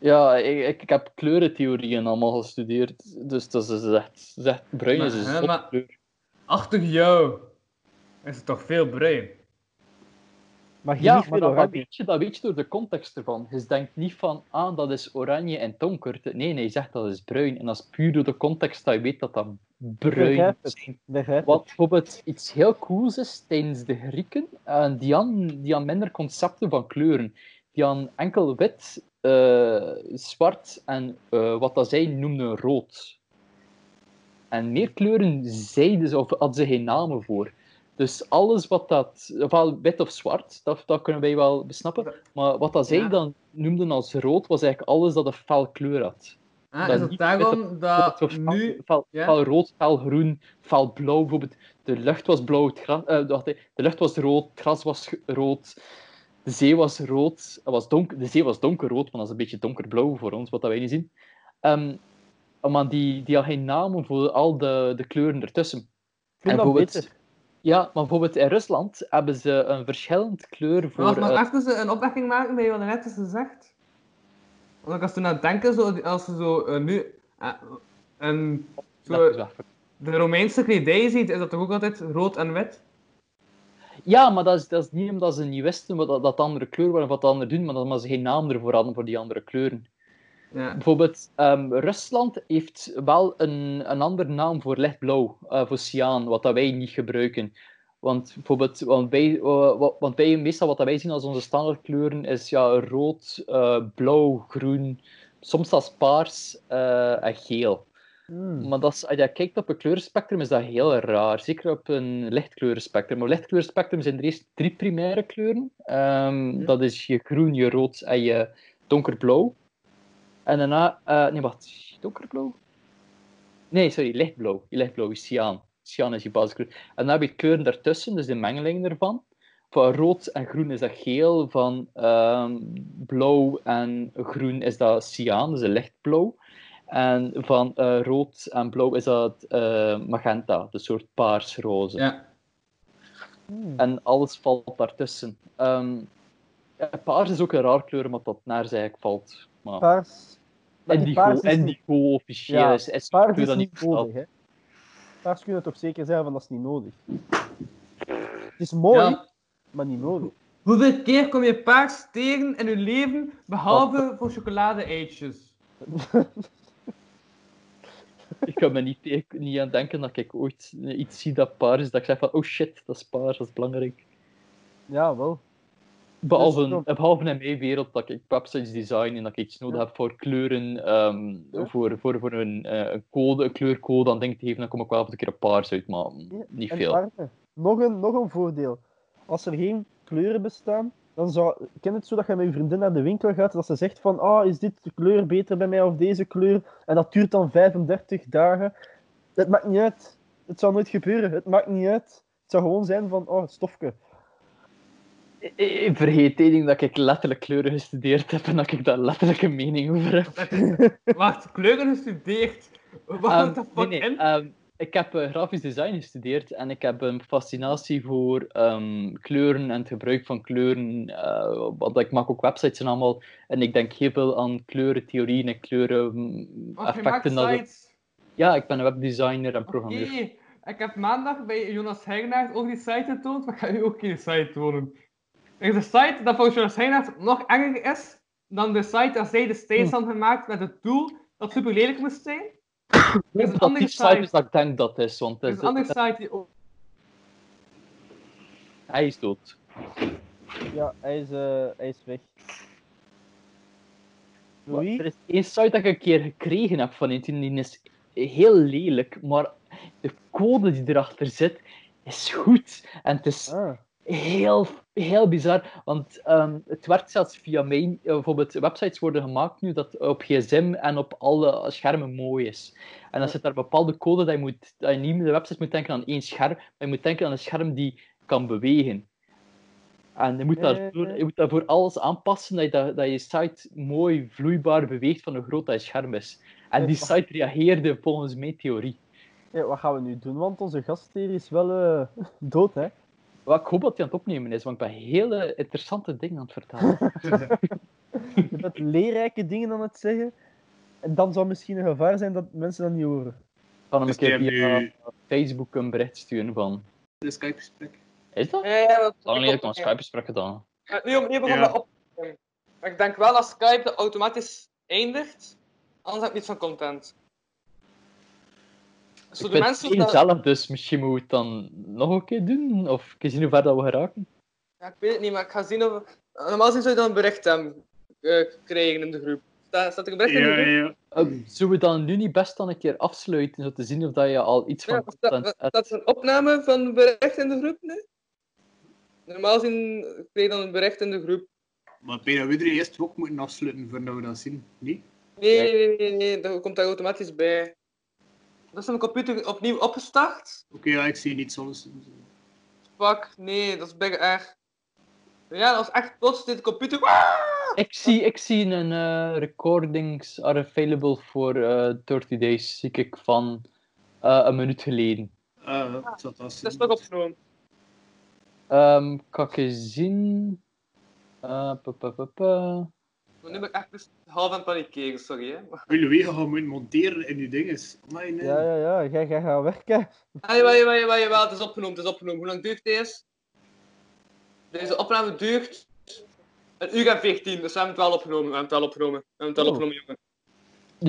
C: ja ik, ik, ik heb kleurentheorieën allemaal gestudeerd, dus dat is echt, dat is echt- bruin is een
F: Maar, hè,
C: zotte
F: maar-
C: kleur.
F: Achter jou is het toch veel bruin?
E: Maar
C: Ja,
E: niet
C: maar dat,
E: veel
C: dat
E: oranje.
C: weet je, dat weet je door de context ervan. Je denkt niet van, ah, dat is oranje en donker. Nee, nee, je zegt dat is bruin. En dat is puur door de context dat je weet dat dat bruin
E: Begrijp het.
C: is.
E: Begrijp
C: Wat
E: het.
C: bijvoorbeeld iets heel cools is tijdens de Grieken, en die hadden, die hadden minder concepten van kleuren. Die hadden enkel wit, eh, zwart en eh, wat dat zij noemden rood. En meer kleuren zeiden ze, of hadden ze geen namen voor. Dus alles wat dat, ofwel wit of zwart, dat, dat kunnen wij wel besnappen. Maar wat dat zij
F: Ja.
C: dan noemden als rood, was eigenlijk alles dat een fel kleur had.
F: Ah,
C: Dat
F: is het
C: niet
F: daarom dat
C: Zo fel-
F: Ah, nu...
C: fel,
F: ja.
C: fel rood, fel groen, fel blauw bijvoorbeeld. De lucht was blauw, het gras, eh, wacht, eh, de lucht was rood, het gras was ge- rood, de zee was rood, het was donker, de zee was donkerrood, want dat is een beetje donkerblauw voor ons, wat dat wij niet zien. Ehm, maar die, die had geen namen voor al de, de kleuren ertussen.
E: Ik vind
C: en
E: dat
C: bijvoorbeeld-
E: beter.
C: Ja, maar bijvoorbeeld in Rusland hebben ze een verschillend kleur voor...
F: Wacht,
C: eh,
F: mag ik even een opmerking maken bij wat er net is gezegd? Want ik was toen aan het denken, zo, als ze zo eh, nu... eh, een,
C: dat
F: zo,
C: is waar.
F: de Romeinse kledij ziet, is dat toch ook altijd rood en wit?
C: Ja, maar dat is, dat is niet omdat ze niet wisten wat dat, dat andere kleur waren of wat de anderen doen, maar dat omdat ze geen naam ervoor hadden voor die andere kleuren.
F: Ja.
C: Bijvoorbeeld, ehm, Rusland heeft wel een, een andere naam voor lichtblauw, eh, voor cyaan, wat dat wij niet gebruiken. Want, bijvoorbeeld, want, wij, eh, wa- want wij, meestal wat dat wij zien als onze standaardkleuren is ja, rood, eh, blauw, groen, soms zelfs paars eh, en geel.
E: Hmm.
C: Maar dat is, als je kijkt op een kleurenspectrum, is dat heel raar. Zeker op een lichtkleurenspectrum. Op lichtkleurenspectrum zijn er eerst drie primaire kleuren. Ehm, Dat is je groen, je rood en je donkerblauw. En daarna... eh, nee, wacht. Donkerblauw? Nee, sorry. Lichtblauw. Je lichtblauw is cyaan. Cyaan is je basiskleur. En dan heb je kleuren daartussen, dus de mengeling ervan. Van rood en groen is dat geel. Van ehm, blauw en groen is dat cyaan, dus een lichtblauw. En van eh, rood en blauw is dat eh, magenta, dus soort paars-roze.
F: ja.
E: Hmm.
C: En alles valt daartussen. Ehm, ja, paars is ook een raar kleur, omdat dat naar zij eigenlijk valt. Maar
E: Paars. Maar die
C: indigo,
E: paars is niet-
C: indigo officieel
E: Ja,
C: is, is
E: Paars
C: kleur
E: is
C: dat
E: niet
C: bestaat.
E: nodig, hè. Paars kunnen toch zeker zeggen van dat is niet nodig. Het is mooi,
F: ja.
E: maar niet nodig.
F: Hoeveel keer kom je paars tegen in je leven, behalve voor chocolade-eitjes?
C: Ik kan me niet, ik, niet aan denken dat ik ooit iets zie dat paars is, dat ik zeg van, oh shit, dat is paars, dat is belangrijk.
E: Ja, wel.
C: Behalve,
E: Dus-
C: behalve in mijn wereld dat ik websites design en dat ik iets nodig heb voor kleuren, ehm,
E: Ja.
C: voor, voor, voor een, eh, een code, een kleurcode aan denk te geven, dan kom ik wel een keer een paars uit, maar
E: Ja,
C: niet
E: En
C: veel.
E: armen. Nog een, nog een voordeel. Als er geen kleuren bestaan, dan zou... Ken het zo dat je met je vriendin naar de winkel gaat, dat ze zegt van, ah, is dit de kleur beter bij mij of deze kleur? En dat duurt dan 35 dagen. Het maakt niet uit. Het zou nooit gebeuren. Het maakt niet uit. Het zou gewoon zijn van, oh, stofke.
C: Ik, ik vergeet één ding dat ik letterlijk kleuren gestudeerd heb en dat ik daar letterlijk een mening over heb.
F: Wacht, kleuren gestudeerd.
C: Ehm,
F: Wat de fuck
C: nee, nee,
F: in?
C: ehm, ik heb eh, grafisch design gestudeerd en ik heb een fascinatie voor ehm, kleuren en het gebruik van kleuren. eh, want ik maak ook websites en allemaal. En ik denk heel veel aan kleurentheorieën en kleuren mm,
F: Wacht, je maakt
C: effecten. dat het-
F: sites.
C: Ja, ik ben een webdesigner en
F: Oké,
C: programmeur.
F: ik heb maandag bij Jonas Heijnaert ook die site getoond, maar ik ga u ook geen site tonen. Er is een site dat volgens Jonas Heijnaert nog enger is dan de site dat zij destijds
C: Hm.
F: had gemaakt met het doel dat super lelijk moest zijn.
H: Er is een
C: Dat
H: andere
C: die site is
H: site.
C: dat ik denk dat is, want
H: Er
C: het
H: is
C: is-
H: een andere site die ook...
C: hij is dood.
E: Ja, hij is, eh, hij is weg.
C: Maar
E: Louis?
C: Er is één site dat ik een keer gekregen heb van Intune, die is heel lelijk, maar de code die erachter zit, is goed. En het is
E: Ah,
C: heel, heel bizar, want ehm, het werkt zelfs via mijn... eh, bijvoorbeeld, websites worden gemaakt nu dat op gsm en op alle schermen mooi is. En dan zit daar bepaalde code dat je, moet, dat je niet meer de website moet denken aan één scherm, maar je moet denken aan een scherm die kan bewegen. En je moet, daarvoor, je moet daarvoor alles aanpassen dat je, dat, dat je site mooi vloeibaar beweegt van hoe groot dat je scherm is. En die site reageerde volgens mijn theorie.
E: ja, wat gaan we nu doen? Want onze gast hier is wel eh, dood, hè?
C: Wel, ik hoop dat hij aan het opnemen is, want ik ben hele interessante dingen aan het vertellen.
E: Je bent leerrijke dingen aan het zeggen. En dan zou misschien een gevaar zijn dat mensen dat niet horen.
C: Ik kan hem
D: Dus
C: een
D: die
C: keer via
D: hebben nu
C: Facebook een bericht sturen van...
D: een Skype-gesprek.
C: Is dat?
F: Nee, dat
C: Lang geleden heb ik nog een
F: Ja.
C: Skype-gesprek gedaan.
F: Maar nu, opnieuw begon
D: Ja.
F: dat op. te nemen. Maar ik denk wel dat Skype dat automatisch eindigt, anders heb ik niet van content. Zo
C: Ik
F: de
C: ben
F: mensen
C: het
F: dat-
C: zelf, dus misschien moeten we het dan nog een keer doen, of ik zie hoe ver dat we geraken.
F: Ja, ik weet het niet, maar ik ga zien of... Normaal gezien zou je dan een bericht hebben, eh, krijgen in de groep. Staat, staat er een bericht in de
D: Ja,
F: groep?
D: ja.
C: Eh, Zullen we dan nu niet best dan een keer afsluiten, zodat te zien of dat je al iets
F: Ja,
C: van
F: of dat-
C: content
F: dat-
C: hebt?
F: dat is een opname van een bericht in de groep nu? Normaal gezien krijg je dan een bericht in de groep.
D: Maar bijna we er eerst ook moeten afsluiten voordat we dat zien. Nee?
F: Nee, nee, nee, nee, nee, dat komt daar automatisch bij. Dat is mijn computer opnieuw opgestart.
D: Oké, ja, ik zie niet soms.
F: Fuck, nee, dat is big erg. Ja, dat was echt plots dit computer. Ah,
C: Ik zie, ik zie een eh, recordings are available for eh, 30 days, zie ik van eh, een minuut geleden.
D: Ah, dat zat als.
F: Dat is toch opgenomen.
C: Ehm kan ik eens zien? Eh, pa, pa, pa, pa.
F: Maar nu ben ik echt dus half aan het panikeren, sorry. Hè. Maar-
D: Wil je gaan moeten monteren in je dinges? Amai, nee.
E: Ja, ja, ja. Jij gaat gaan werken.
F: Ah, jawel, jawel, jawel, jawel, het is opgenomen, het is opgenomen. Hoe lang duurt deze? Deze opname duurt een uur en 14, dus we hebben het wel opgenomen. We hebben het wel opgenomen, we hebben het wel
E: Oh.
F: opgenomen, jongen.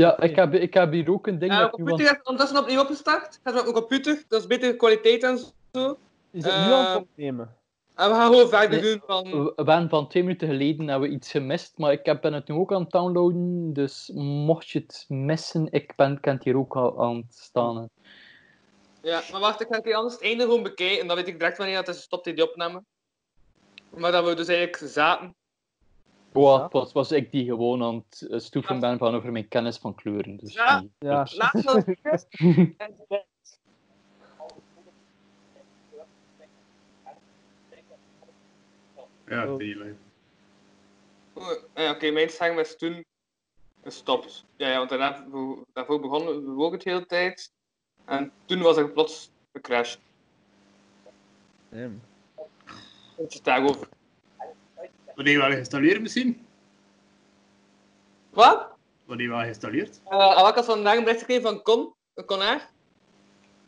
C: Ja, ik heb, ik heb hier ook een ding
F: En mijn
C: dat iemand...
F: computer heeft ondertussen opnieuw opgestart. Gaat met mijn computer, dat is betere kwaliteit en zo.
E: Is het nu aan
F: Ehm.
E: het opnemen?
F: En we gaan gewoon verder
C: Nee. Oh.
F: doen van...
C: We waren van twee minuten geleden hebben we iets gemist, maar ik heb- ben het nu ook aan het downloaden, dus mocht je het missen, ik ben, kan het hier ook al aan het staan.
F: Ja, maar wacht, ik ga een keer anders het einde gewoon bekijken. En dan weet ik direct wanneer dat is gestopt in die opname. Maar dat we dus eigenlijk zaten.
C: Wow, het was, was ik die gewoon aan het eh, stoeven ben van over mijn kennis van kleuren. Dus
F: Ja.
C: nee.
E: Ja.
F: Laatst was het eerst.
D: Ja, daylight.
F: Oh, ja, Oké, mijn scherm was toen gestopt. Ja, ja want daarna, daarvoor begonnen we ook het hele tijd. En toen was ik plots gecrashed.
E: Damn.
F: Het is daarover.
D: Wanneer wel geïnstalleerd misschien?
F: Wat?
D: Wanneer wel geïnstalleerd?
F: Uh, had ik vandaag een bericht gekregen van Con, Conair,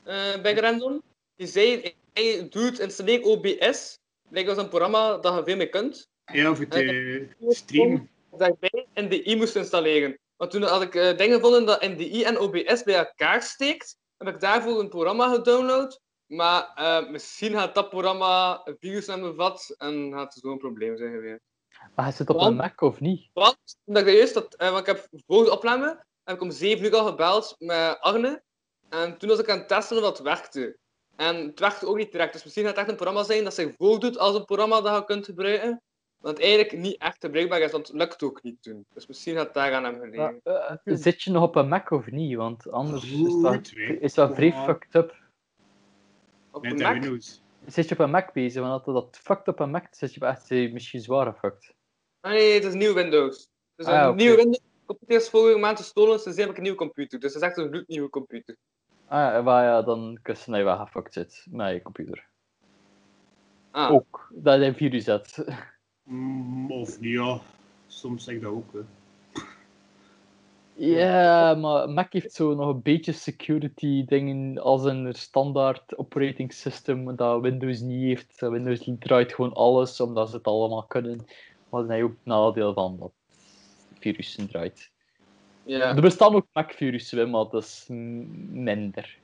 F: eh bij Random. Die zei, hey, dude, installeer OBS. Blijkbaar is een programma dat je veel mee kunt.
D: Ja, eh, voor de stream.
F: daarbij NDI moest installeren. Want toen had ik eh, dingen gevonden dat NDI en OBS bij elkaar steekt, heb ik daarvoor een programma gedownload. Maar eh, misschien gaat dat programma een virus hebben bevat en gaat het zo'n probleem zijn geweest.
C: Maar Ah, hij zit op
F: Want-
C: een Mac of niet?
F: Want, omdat ik juist dat, eh, want ik heb voor de opname, heb ik om 7 uur al gebeld met Arne. En toen was ik aan het testen of dat werkte. En het werkte ook niet direct. Dus misschien gaat het echt een programma zijn dat zich voordoet als een programma dat je kunt gebruiken. Want eigenlijk niet echt gebruikbaar is, want het lukt ook niet toen. Dus misschien gaat het daar aan hem gelegen.
E: Ja.
C: Eh, zit je nog op een Mac of niet? Want anders is dat,
D: Goed, weet.
C: is dat vrij
D: Ja.
C: fucked up.
F: Op
D: Met
F: de
D: de
F: Mac?
D: Windows.
C: Zit je op een Mac bezig? Want als dat fucked op een Mac zit je echt eh, misschien zwaar fucked.
F: Ah, nee, het is nieuw Windows. Dus
C: Ah,
F: een
C: oké.
F: nieuwe Windows. De computer is vorige maand gestolen, dus nu heb ik een nieuwe computer. Dus dat is echt een gloednieuwe computer.
C: Ah, ja, maar ja, dan kussen dat je wel gefucked zit met je computer.
F: Ah,
C: Ook, dat je een virus hebt.
D: Mm, of niet, ja. Soms zeg ik dat ook. Hè.
C: Ja, maar Mac heeft zo nog een beetje security dingen als een standaard operating system dat Windows niet heeft. Windows draait gewoon alles omdat ze het allemaal kunnen. Maar dan heb je ook het nadeel van dat virussen draait.
I: Ja.
C: Er bestaan ook Macfury-zwemmen, maar dat is m- minder.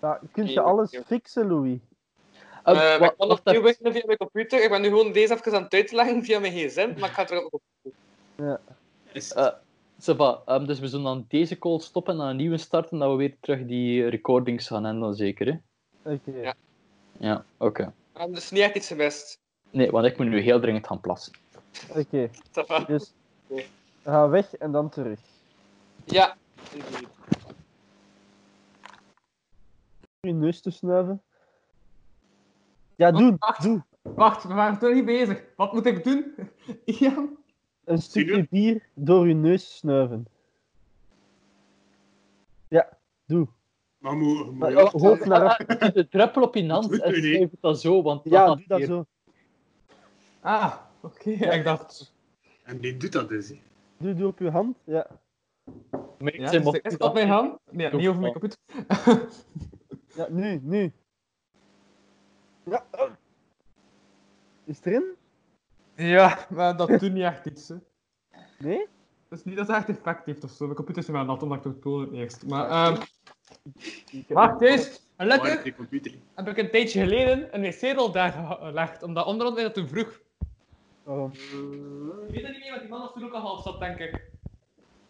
E: Ja, kun je
I: Nee,
E: alles
I: nee.
E: fixen, Louis?
C: Eh,
I: Eh, maar
C: wat-
I: ik kan
C: wat
I: opnieuw
C: dat-
I: beginnen via mijn computer. Ik ben nu gewoon deze even aan het uitleggen via mijn gsm, maar ik ga het er ook op.
D: Is het-
C: Eh, ça va, ehm, dus we zullen dan deze call stoppen en dan een nieuwe starten, dat we weer terug die recordings gaan hebben dan zeker, hè?
E: Oké.
I: Ja.
C: Ja, oké.
I: En dus niet echt iets gemist.
C: Nee, want ik moet nu heel dringend gaan plassen.
E: Oké,
I: Ça va.
E: dus
I: Oké.
E: we gaan weg en dan terug.
I: Ja, indeed.
E: Je neus te snuiven. Ja, doen.
F: wacht.
E: Doe.
F: Wacht, we waren toch niet bezig. Wat moet ik doen? Ian?
E: Een stukje
D: doen?
E: bier door je neus snuiven. Ja, doe.
D: Maar moet, moet
E: Maar,
D: je ook-
E: hoofd naar achter.
C: De druppel op je hand en
D: doet u niet.
C: schuif het dan zo, want
E: Ja,
C: gaat
E: doe dat
C: weer.
E: zo.
F: Ah, oké. Ik dacht...
D: En die doet dat dus. hè.
E: Doe, doe op je hand. Ja.
C: Maar ik
F: Ja,
C: zei,
F: is,
C: maar-
F: is het op mijn hand? Nee,
C: Toch
F: niet over mijn
I: Oh.
C: wel.
F: computer.
E: ja, nu, nu. Ja. oh. Is het erin?
F: ja, maar dat doet niet echt iets. Hè.
E: Nee?
F: Dus niet dat het echt effect heeft of zo. Mijn computer is niet meer nat, omdat ik het toon het eerst. Maar, ehm
E: Ik heb-
F: wacht eens. En
D: Maar
F: lekker,
D: die computer.
F: heb ik een tijdje geleden een wc-rol daar eh, gelegd, omdat onderhand mij dat toen vroeg.
E: Waarom?
F: Ik weet dat niet meer, want die man was toen ook al half zat, denk ik.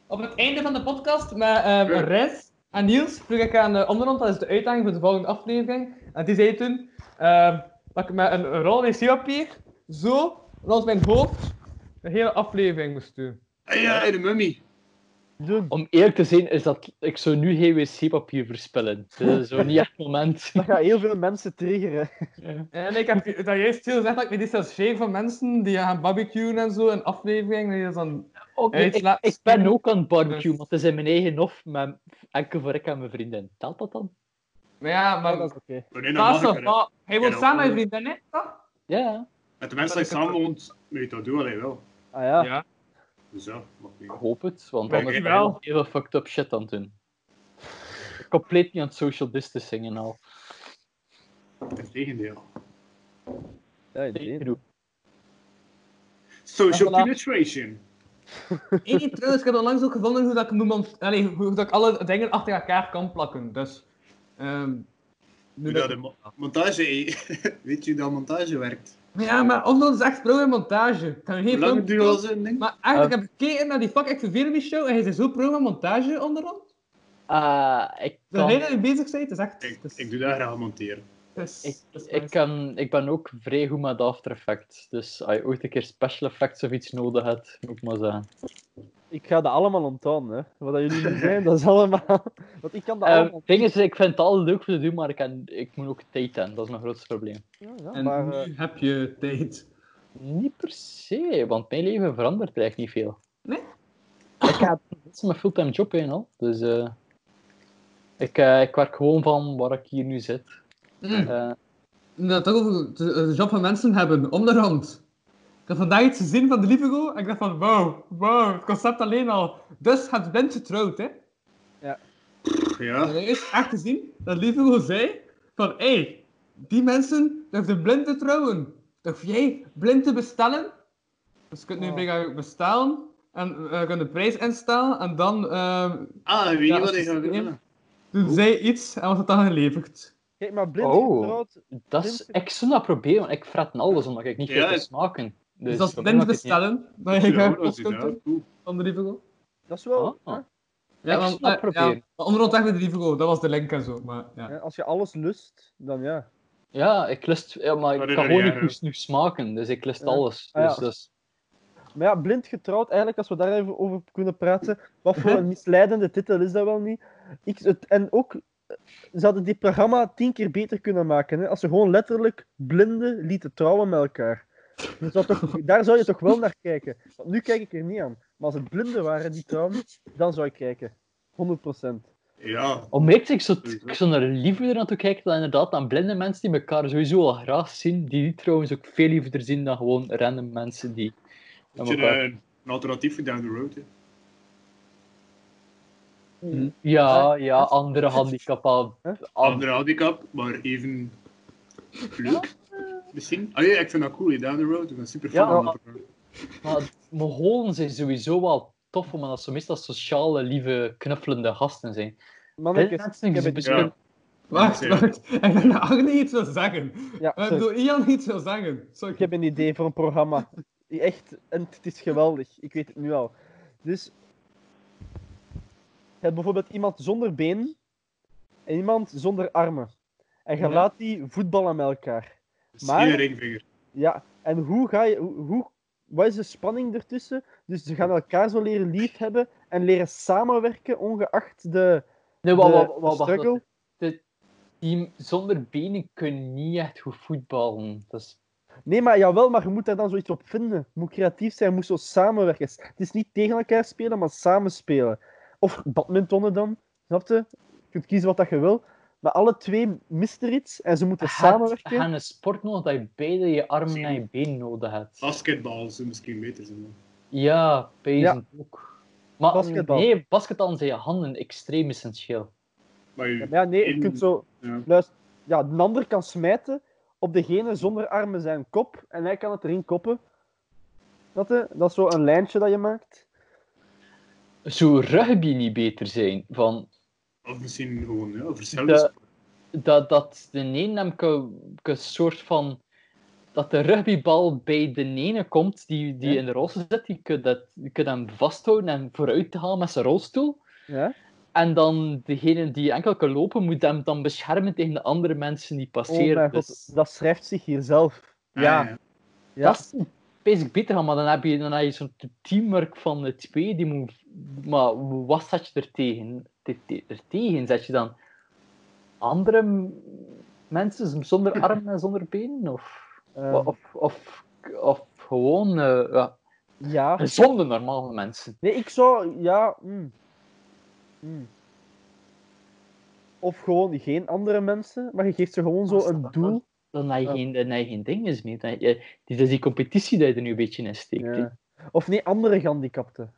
F: Op het einde van de podcast met ehm
D: Ja.
F: Rens en Niels vroeg ik aan eh, onderhand, dat is de uitdaging voor de volgende aflevering. En die zei toen ehm, dat ik met een rol wc-papier zo rond mijn hoofd de hele aflevering moest doen.
D: Ah ja, en de mummy.
E: Doen.
C: Om eerlijk te zijn, is dat ik zou nu geen wc-papier verspillen. Dat is zo niet echt het moment.
E: Dat gaat heel veel mensen triggeren.
F: En ik heb dat juist heel gezegd dat ik me distancieer van mensen die gaan barbecuen en zo, een aflevering. En die is dan...
C: Ook
F: Hey,
C: niet.
F: het
C: ik,
F: laat-
C: ik ben ook aan het barbecue, want het is in mijn eigen hof, met enkel voor ik en mijn vriendin. Telt dat dan?
F: Maar ja,
E: Maar dat
F: maar...
E: is oké.
D: Maar nee, dat
F: Dat is
D: mag
F: toch
D: ik wel.
F: wel- Hij woont
D: Ja,
F: samen met
D: dat-
F: je vriendin, hè? toch?
C: Ja, ja.
D: Met de mensen die samen woont, moet je dat doen, alleen wel.
E: Ah ja.
F: ja.
D: Dus ja, mag niet.
C: ik hoop het, want
F: Maar
C: anders
F: ik
C: ben ik
F: wel.
C: nog heel veel fucked up shit aan het doen. Compleet niet aan het social distancing en al.
D: Integendeel.
E: Ja,
C: Nee,
E: inderdaad.
C: genoeg.
D: Social
F: Ja, voilà.
D: penetration.
F: Eén trouwens, ik heb onlangs ook gevonden hoe dat ik, niemand, allee, hoe dat ik alle dingen achter elkaar kan plakken. Dus, ehm, nu
D: Hoe
F: dat-
D: dat de mo- montage... Weet je hoe dat montage werkt?
F: Maar ja, maar of dat is echt pro in montage. Ik kan
D: Hoe
F: geen
D: lang
F: film
D: duurt al zo'n ding?
F: Maar echt, ik heb gekeken naar die fuck ik verveel me show en hij is zo pro in montage onderhand.
C: Ah, ik
F: De reden dat
C: kan...
F: je bezig bent, is echt...
D: Ik,
F: het is-
D: ik doe daar graag monteren.
F: het is-
C: Ik,
F: het is
C: ik,
F: nice.
C: kan, ik ben ook vrij goed met After Effects. Dus als je ooit een keer special effects of iets nodig hebt, moet ik maar zeggen.
E: Ik ga dat allemaal onthouden, hè. Wat dat jullie nu zijn, dat is allemaal... Want ik kan dat
C: Het
E: allemaal...
C: Ehm, ding is, ik vind het al leuk om te doen, maar ik, kan, ik moet ook tijd hebben. Dat is mijn grootste probleem.
E: Ja, ja,
F: En
E: maar... eh,
F: nu heb je tijd.
C: Niet per se, want mijn leven verandert eigenlijk niet veel.
F: Nee?
C: Ik heb dit is mijn fulltime job in al. Dus eh, ik, eh, ik werk gewoon van waar ik hier nu zit.
F: Mm.
C: Eh,
F: Dat toch over de, eh, de job van mensen hebben, onderhand. Ik had vandaag iets gezien van de Livigo en ik dacht van wow, wow, het concept alleen al. Dus het blind getrouwd, hè. En
D: Ja.
F: er is echt gezien dat Livigo zei van hé, hey, die mensen durfden blind te trouwen. Durf jij blind te bestellen? Dus je kunt nu
E: Oh.
F: blijkbaar bestellen en eh, je kunt de prijs instellen en dan ehm,
D: Ah, weet je
F: Ja,
D: wat
F: als
D: ik
F: je
D: ga
F: het neemt.
D: doen?
F: doen zij iets en wordt het dan geleverd.
E: Kijk, maar blind
C: Oh.
E: getrouwd...
C: dat is, ik zou dat proberen, want ik fret in alles omdat ik niet
D: Ja,
C: veel te
D: het-
C: smaken.
F: Dus,
C: Dus
F: als
C: voor mij
F: blind
C: maakt het niet uit.
F: bestellen, dan je
D: Ja,
F: gaat
D: dat is
F: kost
D: inderdaad
F: doen
D: cool.
F: van de Livigo.
E: Dat is wel...
C: Ah.
E: hè.
F: Ja,
C: Ik
F: want,
C: snap
F: eh,
C: proberen.
F: Ja, maar onderhand weg met de Livigo, dat was de link en zo. Maar, ja.
E: Ja, Als je alles lust, dan ja.
C: Ja, ik lust, ja, maar
D: Maar
C: ik
D: dat
C: kan
D: is
C: gewoon
D: niet
C: niet
D: erg,
C: goed nu smaken, dus ik lust
E: Ja.
C: alles.
E: Ah, ja.
C: Dus, dat is-
E: Maar ja, blind getrouwd, eigenlijk, als we daar even over kunnen praten, wat voor een misleidende titel is dat wel niet? Ik, het, en ook, eh, ze hadden dit programma tien keer beter kunnen maken, hè, als ze gewoon letterlijk blinden lieten trouwen met elkaar. Dat zou toch, daar zou je toch wel naar kijken. Want nu kijk ik er niet aan. Maar als het blinden waren die trouwen, dan zou ik kijken. 100%.
D: Ja.
C: Om eerlijk te zijn, ik
D: Sowieso.
C: zou, ik zou er liever naartoe kijken dan inderdaad aan blinde mensen die elkaar sowieso al graag zien, die die trouwens ook veel liever zien dan gewoon random mensen die...
D: Heb je
C: elkaar-
D: een, eh, een alternatief voor down the road? Hè?
C: Hm. Ja, ja, andere handicap.
E: Hmm.
C: ah,
E: Huh?
D: Andere handicap, maar even leuk. Misschien? Ah ja, ik vind dat cool, hè, down the road. Ik vind dat super
C: Ja,
D: fun.
C: maar- Maar Mongolen zijn sowieso wel tof, omdat dat zo meestal sociale, lieve, knuffelende gasten zijn. Dit
E: Mannetjes,
C: mensen
E: ik heb
C: zijn
E: het-
C: besmet-
F: Wacht,
D: Oké.
F: wacht. Ik denk dat Agne iets wil zeggen.
E: ja,
F: Eh, Ik
E: sorry.
F: bedoel, Ian iets wil zeggen. Sorry.
E: Ik heb een idee voor een programma. Echt, en het is geweldig. Ik weet het nu al. Dus... Je hebt bijvoorbeeld iemand zonder benen en iemand zonder armen. En je
F: Ja.
E: laat die voetballen met elkaar.
D: Maar...
E: Maar-
D: ringvinger.
E: Ja, en hoe ga je... Hoe, hoe- wat is de spanning ertussen? Dus ze gaan elkaar zo leren lief hebben en leren samenwerken, ongeacht de,
C: Nee, wa-
E: de-
C: wa- wa-
E: de
C: wacht, dat-
E: struggle.
C: Die zonder benen kunnen niet echt goed voetballen. Dat is-
E: Nee, maar jawel, maar je moet daar dan zoiets op vinden. Je moet creatief zijn, je moet zo samenwerken. Het is niet tegen elkaar spelen, maar samen spelen. Of badmintonnen dan, snap je? Je kunt kiezen wat dat je wil. Maar alle twee mist er iets en ze moeten
C: Had-
E: samenwerken.
C: had een sport nodig dat je beide je armen en je benen nodig hebt.
D: Basketbal zou misschien beter zijn. dan.
C: Ja, pezen ook. Maar
E: Basketbal.
C: nee, basketbal zijn je handen extreem essentieel.
D: Maar u,
E: Ja, maar ja, nee, je
D: In-
E: kunt zo...
D: ja.
E: Luister, ja, de ander kan smijten op degene zonder armen zijn kop en hij kan het erin koppen. Snap je? Dat is zo een lijntje dat je maakt.
C: Zou rugby niet beter zijn? Van,
D: of misschien gewoon ja, verschillende
C: de,
D: sporten.
C: dat, dat de een hem kan- kan soort van... Dat de rugbybal bij de ene komt die, die
E: Ja.
C: in de rolstoel zit. Je kunt, dat, je kunt hem vasthouden en vooruit te halen met zijn rolstoel.
E: Ja?
C: En dan degene die enkel kan lopen, moet hem dan beschermen tegen de andere mensen die
E: Oh
C: passeren.
E: mijn
C: dus
E: god, dat schrijft zich hier zelf.
D: Ah,
E: Ja, ja.
C: dat is basic beter, gaan, maar dan heb je, dan heb je zo'n teamwork van de twee. Die moet, maar wat zet je er tegen? Te- te- Er tegen zet je dan andere m- mensen zonder armen en zonder benen? Of,
E: Ehm,
C: of, of, of gewoon eh, ja,
E: ja.
C: gezonde, normale mensen?
E: Nee, ik zou... Ja... mm. Mm. Of gewoon geen andere mensen, maar je geeft ze gewoon zo
C: Dat is
E: een
C: toch
E: doel.
C: Dan heb je
E: Ja.
C: geen, dan heb je geen dinges meer. Dan heb je- Het is die competitie die je er nu een beetje in steekt. hè.
E: Ja. Of nee, andere gehandicapten.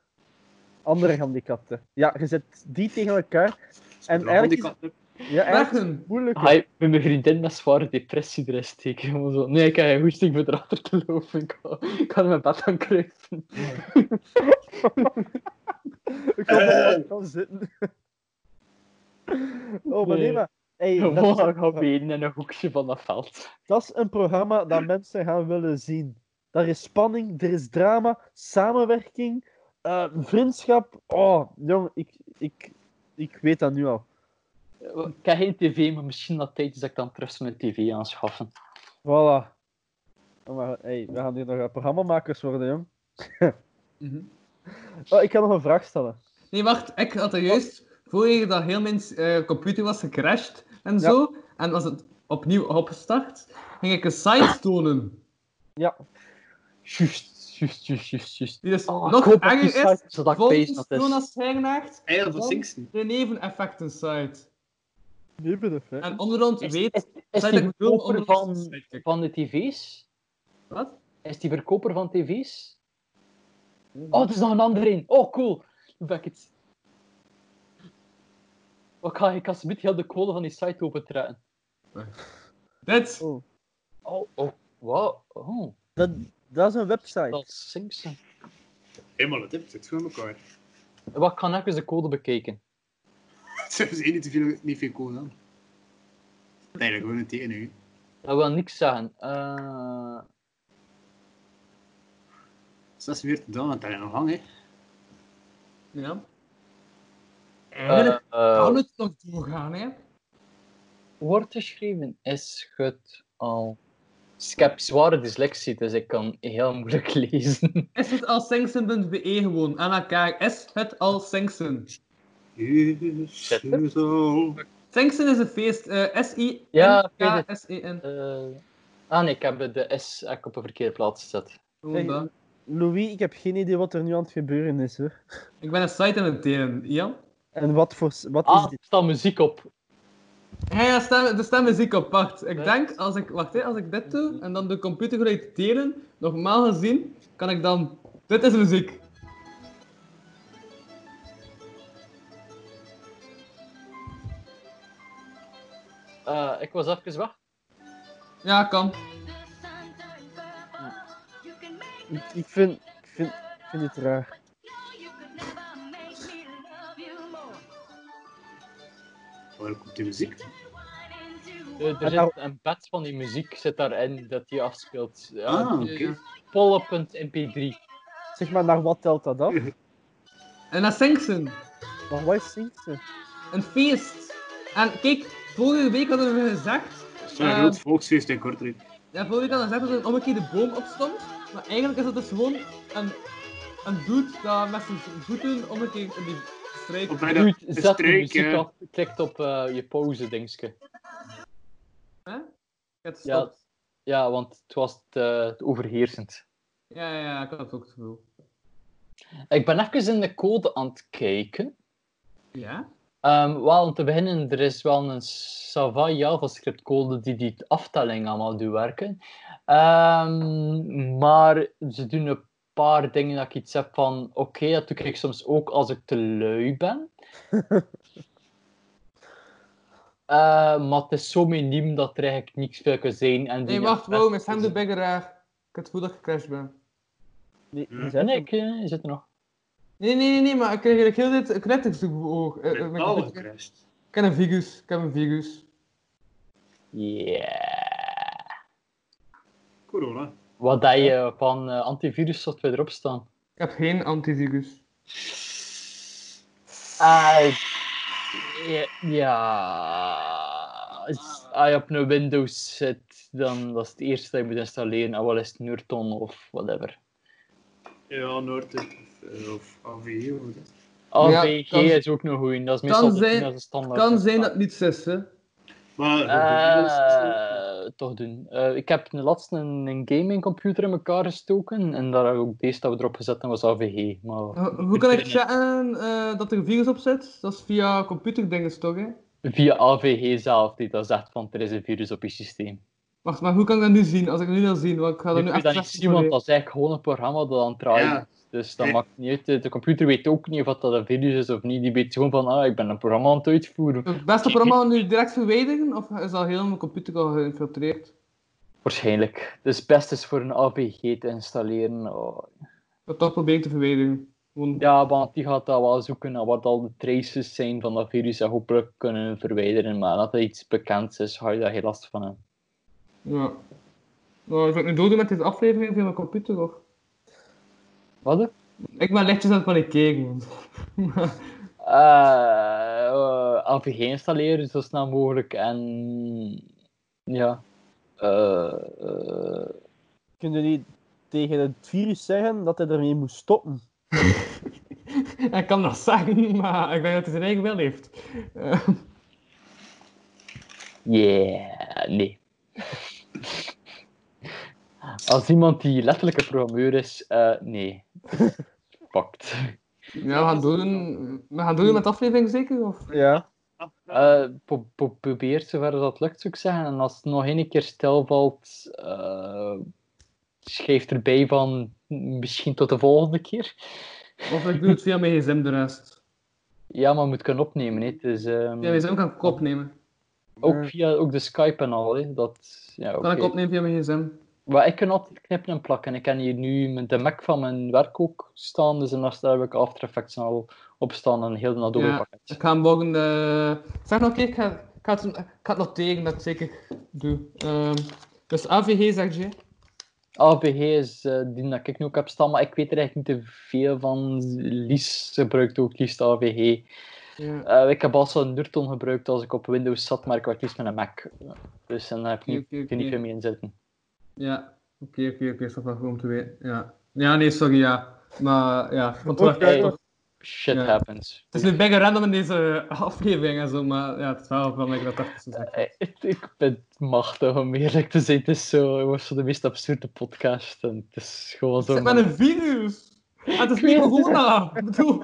E: Andere gehandicapten. Ja, je zet die tegen elkaar. En eigenlijk is-
D: handicap-
E: Ja, eigenlijk is
F: Wagen.
E: het moeilijk.
C: Ga je met Ah, mijn vriendin met zware depressie erin steken? Gewoon zo, Nee, ik heb geen hoesting om erachter te lopen. Ik kan, ik kan in mijn bed gaan kruipen.
E: Ik kan er wel aan zitten. Oh, maar nee,
C: Nee.
E: maar... Hey, dat,
C: Gewoon gaan gaan
E: is,
C: benen in een hoekje van dat veld.
E: dat is een programma dat mensen gaan willen zien. Daar is spanning, er is drama, samenwerking, eh, vriendschap. Oh, jong, ik, ik, ik weet dat nu al.
C: Ik heb geen tv, maar misschien dat tijdens dat ik dan terug mijn tv aanschaffen.
E: Voilà. Oh, maar hey, we gaan hier nog eh, programmamakers worden, jong.
F: Mhm.
E: Oh, ik kan nog een vraag stellen.
F: Nee, wacht. Ik had er juist vorige dat heel mijn eh, computer was gecrashed en
E: Ja.
F: zo. En was het opnieuw opgestart, ging ik een site tonen.
E: Ja,
C: Juist, juist, juist, juist. juist.
F: Die dus
C: Oh, ik
F: nog
C: hoop dat die
F: erger is.
C: site zodat ik weet
F: Volgens
C: dat het is.
F: Jonas Hergenaert,
D: Eiland van
F: dan
D: Singsten.
F: de neveneffecten site.
E: nu ben ik hè.
F: En onderhand
C: Is-
F: weet...
C: Is, is
F: Site
C: die
F: dat ik bedoel,
C: verkoper
F: onderhand
C: van,
F: site, kijk.
C: van de tv's?
F: Wat?
C: Is die verkoper van tv's? Oh, het is nog een andere een. Oh, cool. Nu ben ik het. Wat ga ik als met heel de kolen van die site opentrekken?
F: Dit!
E: Oh.
C: Oh, oh, wow. Oh,
E: Dat, dat is een website.
C: dat is Simpson.
D: Helemaal het tip, zit goed in elkaar.
C: Wat kan ik eens de code bekijken?
D: Ze hebben ze niet, te veel, niet veel code aan. Nee, dat gewoon een tegen nu.
C: Dat wil niks zeggen. Eh,
D: Dus dat is weer te doen, want daar is nog lang, hè.
F: Ja.
C: eh,
F: Eigenlijk
C: eh,
F: kan het nog doorgaan, hè.
C: wordt geschreven is het al. Dus ik heb zware dyslexie, dus ik kan heel moeilijk lezen.
F: Is het al Sengsen.be gewoon aan elkaar? Is het al Sengsen?
D: Yes,
C: Zetten.
D: zo. Oh,
F: Sengsen is een feest. eh, S-I.
C: Ja, ik weet het.
F: S-E-N.
C: Eh, ah nee, ik heb de S heb ik op een verkeerde plaats gezet.
F: Gewoon dat.
E: Louis, ik heb geen idee wat er nu aan het gebeuren is, hoor.
F: Ik ben een site aan het delen, Ian.
E: En wat, voor, s- wat
C: Ah,
E: is
C: er
E: dit?
C: staat muziek op.
F: Ja, ja, stem, de stem is ik apart. Ik
C: Ja.
F: denk, als ik, wacht, hè, als ik dit doe en dan de computer geluid delen, normaal gezien, kan ik dan... Dit is muziek.
C: Eh, ik was even weg.
F: Ja, kan.
E: Ik, ik, vind, ik, vind, ik vind dit raar.
D: Waar komt die muziek? Ah,
C: Er, er zit een bed van die muziek zit daarin dat die afspeelt. Ja,
D: Ah,
C: het is
D: oké.
F: eh,
C: Pollen.mp3.
J: Zeg maar, naar wat telt dat af?
F: En dat zingt ze.
J: Maar wat zingt ze?
F: Een feest. En kijk, vorige week hadden we gezegd...
D: Zo'n
F: eh,
D: groot volksfeest in Kortrijk.
F: Ja, vorige week hadden we gezegd dat er een omgekeerde boom opstond. Maar eigenlijk is dat dus gewoon een, een dude dat met zijn voeten omgekeerd in die streek...
D: Of bijna
C: Goed,
D: een
C: zet de
D: streek,
C: muziek
D: hè.
C: af. Klikt op eh, je pauze, dingske.
F: Het
C: Ja.
F: stopt.
C: Ja, want het was te, te overheersend.
F: Ja, ja, ja, ik had het ook het gevoel.
C: Ik ben even in de code aan het kijken.
F: Ja?
C: Ehm, wel, om te beginnen, er is wel een Sava JavaScript code die die aftelling allemaal doet werken. Ehm, maar ze doen een paar dingen dat ik iets heb van, oké, dat doe ik soms ook als ik te lui ben. Eh, maar het is zo miniem dat er eigenlijk niks veel kan zijn. En die
F: Nee, wacht,
C: aspecten
F: wow, met hem de
C: zijn-
F: biggeraar. Ik heb het gevoel dat ik gecrashed ben.
J: Die, die
E: Hm.
D: Ja.
J: zijn
C: Nee, ik eh, zit er nog.
F: Nee, nee, nee, nee, maar ik kreeg eigenlijk heel dit connectors door mijn oog. Eh, eh, mijn
D: Alle
F: computer.
D: crashed.
F: Ik heb een virus, ik heb een virus.
C: Yeah.
D: Corona.
C: Wat dat je van eh, antivirussoftware erop staan.
F: Ik heb geen antivirus.
C: Ah, ja, ja. Als als je op een Windows zit, dan dat is het eerste dat je moet installeren. En wel is het Nurton of whatever.
D: Ja, Noord of, eh, of AVE. of dat.
C: AVG
F: kan-
C: Ah, is ook nog goed. Dat is meestal
F: kan
C: te doen
F: zijn-
C: als een standaard.
F: kan zijn dat het niet is, hè.
D: Maar
C: Eh, toch doen. Eh, ik heb de laatste een, een gamingcomputer in elkaar gestoken. En daar heb ik ook deze dat we erop gezet en was AVG. Maar
F: Ho- Hoe kan ik chatten eh, dat er een virus op zit? Dat is via computerdingen toch, hè?
C: via AVG zelf, die dat zegt van er is een virus op je systeem.
F: Wacht, maar hoe kan ik dat nu zien? Als ik dat nu wil zien, want ik ga dat
C: Nu
F: nu
C: kun je
F: echt
C: dat niet
F: testen
C: zien, want
F: voor
C: dat is eigenlijk gewoon een programma dat aan het draaien
D: Ja.
C: is. Dus dat
D: Ja.
C: maakt niet uit. De- De computer weet ook niet of dat een virus is of niet. Die weet gewoon van, ah, ik ben een programma aan het uitvoeren.
F: je. Het beste programma nu direct verwijderen, of is al heel mijn computer al geïnfiltreerd?
C: Waarschijnlijk. Dus het beste is voor een APG te installeren. Oh.
F: Dat toch probeer ik te verwijderen. Gewoon-
C: Ja, want die gaat dat wel zoeken naar wat al de traces zijn van dat virus en hopelijk kunnen verwijderen. Maar dat er iets bekends is, ga je daar heel last van hebben.
F: Ja. Nou, zou ik nu doordoen met deze aflevering via mijn computer, of?
C: Wat? eh?
F: Ik ben lichtjes aan het panikeren.
C: Eh, eh, AVG installeren zo snel mogelijk en ja. Eh, eh,
J: Kun je niet tegen het virus zeggen dat hij ermee moest stoppen?
F: Hij kan dat zeggen, maar ik denk dat hij zijn eigen wel heeft. Eh,
C: yeah, nee. Als iemand die letterlijk een programmeur is, eh, nee. Pakt.
F: ja, we gaan doordoen, we gaan doordoen met de aflevering zeker, of?
J: Ja.
C: Eh, pro- pro- probeer zover dat lukt, zou ik zeggen. En als het nog één keer stilvalt, eh schrijf erbij van misschien tot de volgende keer.
F: Of ik doe het via mijn gsm de rest.
C: Ja, maar je moet kunnen opnemen. Hè. Dus, ehm,
F: Via mijn gsm kan ik opnemen.
C: Ook via ook de Skype en al. Hè. Dat, ja,
F: Kan ik
C: oké.
F: opnemen via mijn gsm.
C: Maar ik kan altijd knippen en plakken. Ik heb hier nu mijn- de Mac van mijn werk ook staan. Dus en daar heb ik After Effects en al op staan. En heel de Adobe
F: Ja.
C: pakket.
F: Ik ga hem morgen... eh, Zeg nog een keer, ik ga, ik ga het, ik ga het noteren dat ik zeker doe. Ehm, dus AVG zegt je?
C: AVG is eh, die dat ik nu ook heb staan. Maar ik weet er eigenlijk niet te veel van. Lies gebruikt ook liefst AVG.
F: Ja.
C: Eh, ik heb al zo'n Nurton gebruikt als ik op Windows zat. Maar ik werk liefst met een Mac. Dus en daar heb ik niet,
F: Oké, oké,
C: ik er niet
F: oké.
C: veel mee in zitten.
F: Ja. Oké, oké, oké. Is dat wel goed om te weten? Ja. Ja, nee, sorry, ja. Maar ja, want
J: Oké.
F: we gaan toch-
C: Shit
F: Ja.
C: happens.
F: Het is nu bijna random in deze aflevering en zo, maar ja, het is wel van ik dat dacht. Dus
C: Eh, Ik, ik ben machtig om eerlijk te zijn. Het is zo, het was zo de meest absurde podcast. En het is gewoon zo.
F: Zit met een virus! Ah, het is
C: Ik
F: niet
C: weet het.
F: corona! Ik bedoel,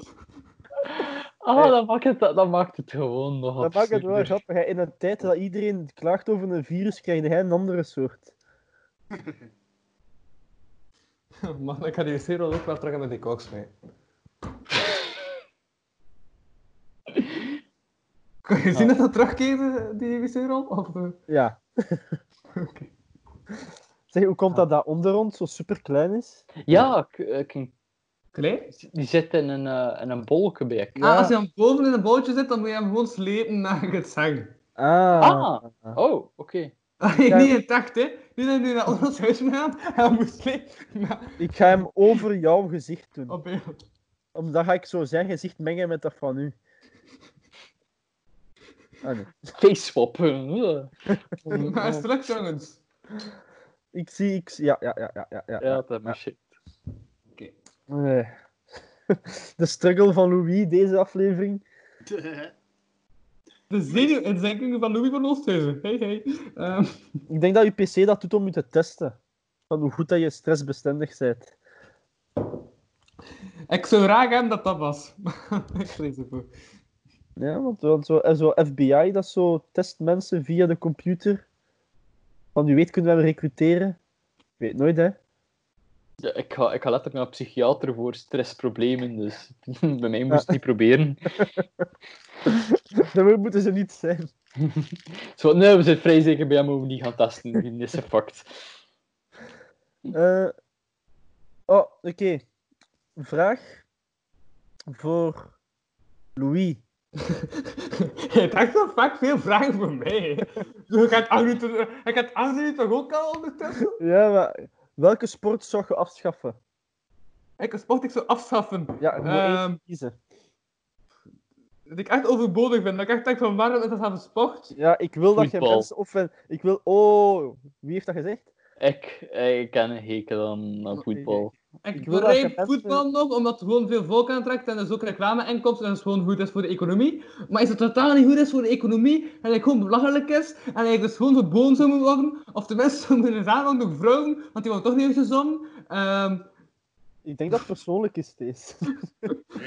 C: Ah, dat maakt het, dat, dat maakt het gewoon nog
J: Dat maakt het wel
C: absurder.
J: grappig. hè. In een tijd dat iedereen klaagt over een virus, krijg hij een andere soort.
F: man, ik ga die serie ook wel terug met die koks mee. Kan je zien dat dat terugkeerde, die wc-rol? Of... eh?
J: Ja. Ah. Zeg, hoe komt dat dat onder ons zo super klein is?
C: Ja, ik, ik,
F: Klein?
C: eh, Die zit in een, eh, in een bolkenbeek.
F: Ah, als je dan boven in een bootje zit, dan moet je hem gewoon slepen naar het zang.
E: Ah.
C: Ah, oh, oké.
F: Dat je
E: Ja.
F: niet intact, hè. Nu zijn nu naar ons huis gegaan en dan moest slepen naar-
E: Ik ga hem over jouw gezicht doen.
F: op beeld.
E: Om- Dan ga ik zo zijn gezicht mengen met dat van u. Ah, nee.
C: Face swap. Mm-hmm.
F: Maar
C: eh,
F: straks, jongens.
E: Ik zie, ik zie, ja, ja, ja, ja, ja. ja.
C: ja, dat is shit.
E: Eh. De struggle van Louis deze aflevering.
F: De zenuwinzinkingen van Louis van Oosthuizen. Hey, hey. Ehm,
E: Ik denk dat je PC dat doet om je te testen. Van hoe goed dat je stressbestendig bent.
F: ik zou graag hebben dat dat was. ik lees het voor.
E: Ja, want, want zo, en zo FBI, dat zo test mensen via de computer. Van u weet kunnen we hem recruteren. Ik weet nooit, hè.
C: Ja, ik, ga, ik ga letterlijk naar een psychiater voor stressproblemen, dus bij mij moest het niet proberen.
E: Dat moeten ze niet zijn.
C: Zo, nee, we zijn vrij zeker bij hem over die gaan testen. Die is gefucked.
E: Eh, oh, oké. Vraag voor Louis.
F: Hij dacht dat vaak veel vragen voor mij. Hij gaat acht minuten, hij gaat acht minuten toch ook al ondertussen?
E: Ja, maar welke sport zou je afschaffen?
F: Ik een sport ik zou afschaffen.
E: Ja, je moet
F: Ehm,
E: één kiezen.
F: Dat ik echt overbodig ben. Dat ik echt denk van waarom is dat aan sport?
E: Ja, ik wil dat
C: voetbal.
E: je mensen offen... Ik wil... Oh, wie heeft dat gezegd?
C: Ik, ik ken een hekel aan, aan voetbal.
E: wil
F: Ik
E: dat je
F: begrijp
E: mensen-
F: voetbal nog, omdat het gewoon veel volk aantrekt en dus ook reclameinkomsten en het gewoon goed is voor de economie. Maar is het totaal niet goed is voor de economie en het gewoon belachelijk is en eigenlijk dus gewoon verboden zou moeten worden. Of tenminste zou moeten zijn aan de vrouwen, want die worden toch niet eens gezongen. Ehm,
E: Ik denk dat het persoonlijk is, Thees.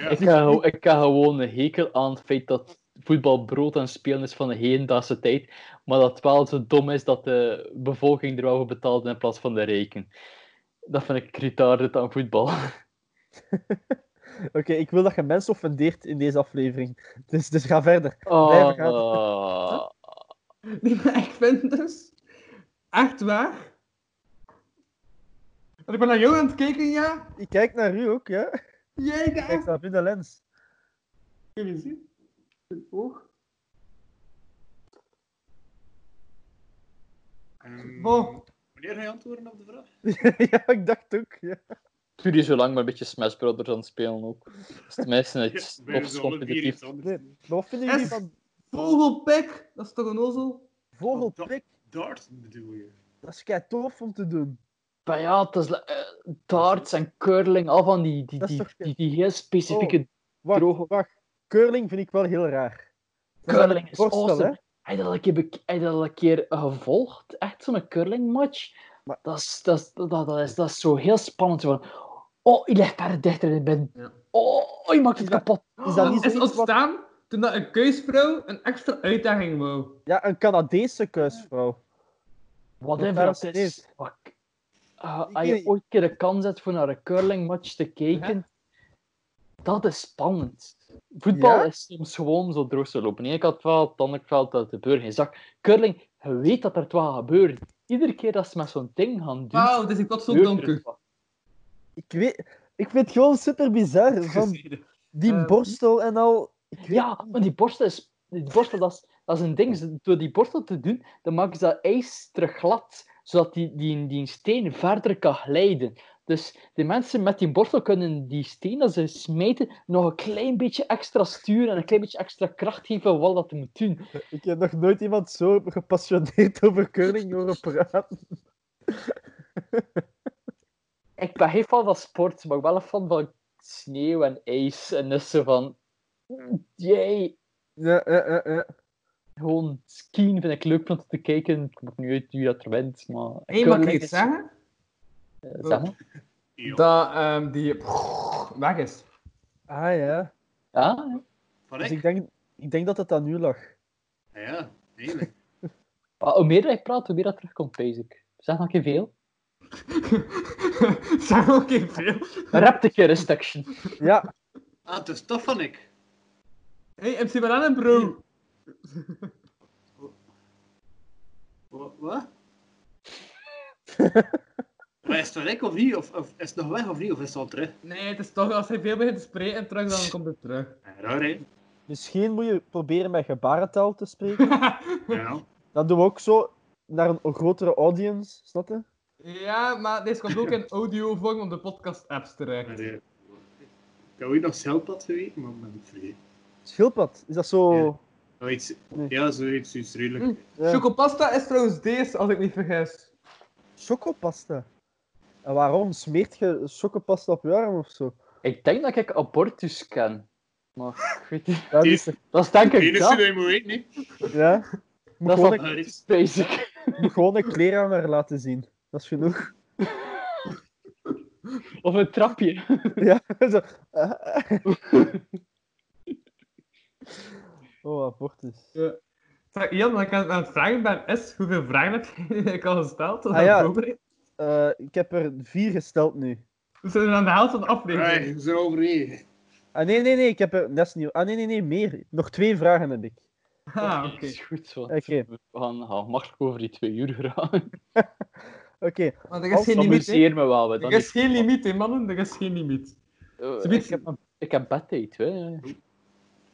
C: Ik heb, ik heb gewoon een hekel aan het feit dat voetbal brood en spelen is van de hedendaagse tijd, maar dat het wel zo dom is dat de bevolking er wel voor betaalt in plaats van de rijken. Dat vind ik retarded aan voetbal.
E: Oké, ik wil dat je mensen offendeert in deze aflevering. Dus, dus ga verder.
C: Ah,
E: gaan.
F: Nee, maar ik vind dus echt waar. Want ik ben naar jou aan het kijken, ja.
E: Ik kijk naar u ook, ja.
F: Jij daar.
E: Kijk naar binnen lens.
F: Kun je zien? Een oog.
D: Ehm,
F: Bon.
D: Wanneer ga je antwoorden op de vraag?
E: ja, ik dacht ook, ja.
C: Stuur je zo lang maar een beetje Smash Brothers aan het spelen ook. Dus de mensen het
D: Wij
C: of
D: zijn alle vier
C: competitief.
D: iets anders.
E: Nee. Maar wat vinden jullie
F: S.
E: van
F: Vogelpik, dat is toch een ozel?
E: vogelprik?
D: Dart bedoel je?
E: Dat is kei tof om te doen.
C: Maar ja, het is, eh, darts en curling, al van die, die,
E: Dat is
C: die,
E: toch-
C: die, die heel specifieke
E: Wacht,
C: Droge-
E: wacht. Curling vind ik wel heel raar. Dat is
C: curling
E: een
C: is
E: voorstel,
C: awesome.
E: hè.
C: Heb je dat een keer, bek- heb je dat een keer eh, gevolgd? Echt zo'n curlingmatch?
E: Maar-
C: Dat, is, dat, is, dat, dat is, dat is zo heel spannend. Zo van, oh, je ligt daar dichter in binnen.
F: Ja.
C: Oh, je maakt het
E: Is dat-
C: kapot.
E: Is dat niet
F: Het is
E: zoiets wat...
F: ontstaan toen dat een keusvrouw een extra uitdaging wou.
E: Ja, een Canadese kuisvrouw.
C: Whatever
E: daar is
C: dat
E: het
C: is.
E: niet.
C: Fuck. Eh,
E: Ik
C: als je
E: weet-
C: ooit een keer de kans hebt voor naar een curlingmatch te kijken, dat is spannend. Voetbal
E: Ja?
C: is soms gewoon zo droog zo lopen. Ik had wel, dan ik wel dat de burger geen zak. Curling, je weet dat er het wel gebeurt. Iedere keer dat ze met zo'n ding gaan doen,
F: Wauw, het is ik wat zo
C: gebeurt er
F: donker.
C: wat.
E: Ik, weet, ik vind het gewoon super bizar. Van die
F: Eh,
E: borstel en al. Ik weet-
C: Ja, maar die borstel is... Die borstel, dat is, dat is een ding. Ze- Door die borstel te doen, dan maken ze dat ijs terug glad, zodat die, die, die steen verder kan glijden. Dus de mensen met die borstel kunnen die steen dat ze smijten nog een klein beetje extra sturen en een klein beetje extra kracht geven wat dat moet doen.
E: Ik heb nog nooit iemand zo gepassioneerd over curling horen praten.
C: Ik ben geen fan van sport, maar wel een fan van sneeuw en ijs. En dus zo van... Jee,
E: Ja, ja, ja, ja.
C: gewoon skiën vind ik leuk om te kijken. Ik moet nu uit wie dat er wint, maar...
F: Hé, maar kan
C: curling
F: ik iets
C: is-
F: zeggen?
C: eh, zeg maar.
D: Ja.
F: Dat ehm, die weg is.
E: Ah ja.
C: Ja,
D: Van ik? Ah,
E: Dus ik denk, ik denk dat het aan u lag.
D: Ja, eigenlijk.
C: Maar Ah, hoe meer dat ik praat, hoe meer dat terugkomt, basic. Zeg nog een keer veel.
F: Zijn ook geen veel.
C: Rap de keer een section.
E: Ja,
D: Ah, het is tof van ik.
F: Hé, MC Banana bro.
D: Wa- Wat? Maar is het weg of niet? Of, of is het nog weg of niet? Of is het al terug?
F: Nee, het is toch, als hij veel begint te spreken en terug, dan komt het terug.
D: Ja, Ah, raar, hè?
E: Misschien dus moet je proberen met gebarentaal te spreken.
D: Ja.
E: Dat doen we ook zo naar een grotere audience, snap je?
F: ja, maar deze komt ook in audiovorm op de podcast-apps
D: Maar,
F: terecht.
D: eh, ik had ooit nog schildpad geweten, maar ik ben het vergeten.
E: Schildpad, is dat zo...
D: Ja. Zoiets,
E: Nee.
D: Ja, zoiets, iets redelijk.
F: Hm.
E: Ja.
F: Chocopasta is trouwens deze, als ik niet vergis.
E: Chocopasta. En waarom smeert je chocopasta op je arm of zo?
C: Ik denk dat ik abortus ken. Maar ik weet niet.
E: Ja, dat is toch-
C: Dat is denk
D: Het
C: ik
D: enige
C: dat.
D: dat je moet weten, hè?
E: ja. Moet
C: Dat
E: gewoon,
C: is
E: een,
D: Maar is-
C: Basic.
E: moet gewoon een kleer aan haar laten zien. Dat is genoeg.
C: Of een trapje.
E: Ja, zo. Oh, abortus.
F: Zeg, Ian, wat ik aan aan het vragen ben, is hoeveel vragen heb je eigenlijk al gesteld?
E: Ah, ja.
F: Hoe
E: Eh, ik heb er vier gesteld nu.
F: zijn we aan de helft van de aflevering?
D: Hey, we zijn overheen.
E: Ah, nee, nee, nee, ik heb er... Dat is nieuw. Ah, nee, nee, nee, meer. Nog twee vragen heb ik.
F: Ah, oké.
C: is goed zo.
E: Oké.
C: We gaan, gaan ah, makkelijk over die twee uur gaan.
E: Oké,
F: Want er is
E: Als
F: geen
C: Dat
F: limiet, hè.
C: amuseer me wel. we
F: Er
C: Dan
F: is geen limiet, hè, mannen. Er is geen limiet.
C: Eh,
F: Ze weet-
C: ik, heb, ik heb bedtijd, hè.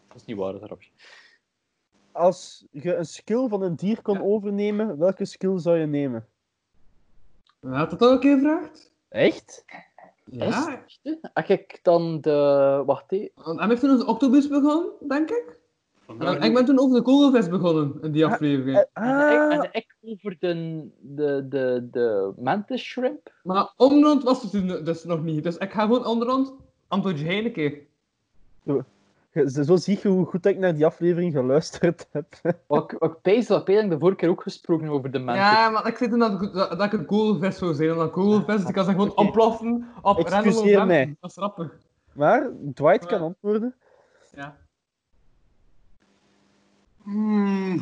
C: Dat is niet waar, dat rapje.
E: als je een skill van een dier kon
F: Ja.
E: overnemen, welke skill zou je nemen?
F: Had dat ook een keer gevraagd?
E: Echt?
F: Ja.
C: Heb ik dan de... Wacht, hé.
F: Want hij heeft toen onze octobus begonnen, denk ik. En
D: Vandaar
F: dan- ik ben toen over de kogelvis begonnen, in die aflevering.
C: En, ik,
E: Ah,
C: en ik over de, de, de, de mantis shrimp.
F: Maar omrond was het toen dus nog niet. Dus ik ga gewoon omrond. Antwoord je een keer.
E: je- zo zie je hoe goed ik naar die aflevering geluisterd heb.
C: Wat ik- wat ik pees dat Pedang de vorige keer ook gesproken over de mantis.
F: Ja, maar ik zei toen dat, ik- dat, dat ik een kogelvis zou zijn. Omdat kogelvis, die kan zich gewoon
E: Oké.
F: ontploffen op random
E: Excuseer
F: momenten.
E: mij.
F: Dat is grappig.
E: Maar Dwight
F: Ja.
E: kan antwoorden.
F: Ja.
D: Hmm.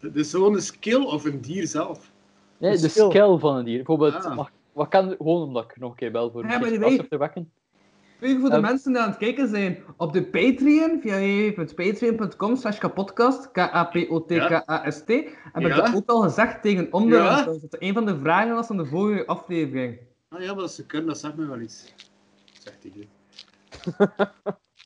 D: Het is gewoon een skill of een dier zelf.
C: nee,
E: de
C: de
E: skill.
C: skill van een dier. Bijvoorbeeld,
D: Ah.
C: mag- wat kan... Gewoon omdat ik nog een keer bel voor
F: Ja, by the
C: een
F: way.
C: keer op te wekken.
F: Weet je voor de
C: Ehm.
F: mensen die aan het kijken zijn? Op de Patreon, via www.patreon.com slash kapodcast, K-A-P-O-T-K-A-S-T, heb ik
D: Ja.
F: dat ook al gezegd tegen onderaan.
D: Ja.
F: Dat het een van de vragen was van de vorige aflevering.
D: Ah ja, maar als ze kunnen, dat zegt me wel iets. Zegt hij. nu.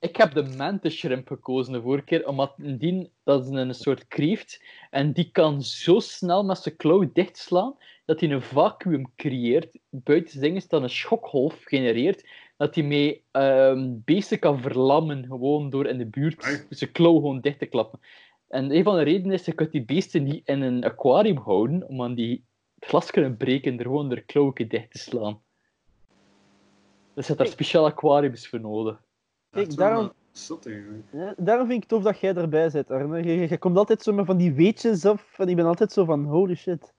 C: Ik heb de mantis shrimp gekozen de vorige keer, omdat die, dat is een soort kreeft, en die kan zo snel met zijn klauw dichtslaan, dat hij een vacuüm creëert, buiten zijn ding is dat een schokgolf genereert, dat hij mee ehm, beesten kan verlammen, gewoon door in de buurt
D: Amai.
C: zijn klauw gewoon dicht te klappen. En een van de redenen is, je kunt die beesten niet in een aquarium houden, omdat die het glas kunnen breken door gewoon er klauwke dicht te slaan. Dus je hebt daar speciaal aquariums voor nodig.
D: Dat is
E: Kijk,
D: wel
E: daarom-
D: wel Zot eigenlijk.
E: Eh, Daarom vind ik het tof dat jij erbij bent, Arne. Je, je- je komt altijd zo met van die weetjes af en ik ben altijd zo van holy shit.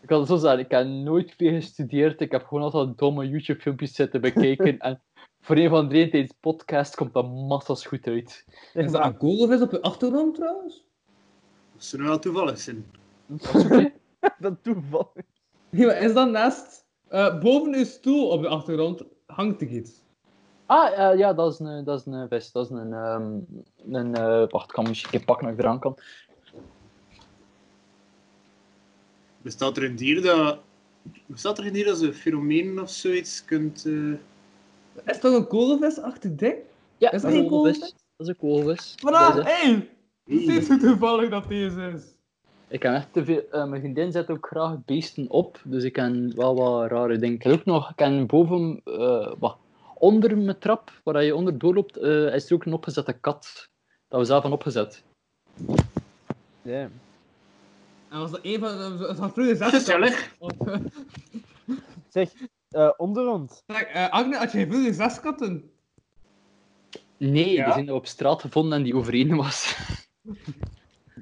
C: Ik kan het zo zeggen, ik heb nooit veel gestudeerd. Ik heb gewoon altijd domme YouTube-filmpjes zitten bekijken. en voor een van de reden tijdens podcast komt dat massas goed uit.
E: Zeg
F: Is dat
E: maar,
F: een kogelvis op je achtergrond trouwens?
D: Dat zou nou wel toevallig zijn.
E: dat toeval.
F: Nee, maar is dat naast... eh, boven uw stoel op de achtergrond hangt er iets.
C: Ah, eh, ja, dat is een, dat is een vest. Dat is een... ehm, een eh, wacht, ik kan misschien een pak nog eraan kan.
D: Bestaat er een dier dat... Bestaat er een dier dat ze fenomenen of zoiets kunt... eh,
F: Is toch een kogelvis achter ding?
C: Ja,
F: Is
C: dat
F: dat
C: is
F: een
C: een koolvis.
F: koolvis?
C: Dat is een koolvis.
F: Vandaag,
C: Dat is het.
F: hey! Ziet hoe toevallig dat deze is. dus.
C: Ik heb echt te veel... eh, mijn vriendin zet ook graag beesten op. Dus ik ken wel wat rare dingen. Ik heb ook nog... Ik ken boven... eh, wat, onder mijn trap, waar je onder doorloopt, eh, is er ook een opgezette kat. Dat we zelf hebben opgezet.
E: Damn.
F: En was dat een van... Het had vroeger zelfs...
D: Gezellig.
F: eh,
E: Zeg, eh onderhand.
F: Zeg, eh, Agne, had jij vroeger zes katten?
C: Nee,
D: Ja?
C: die zijn op straat gevonden en die overeen was.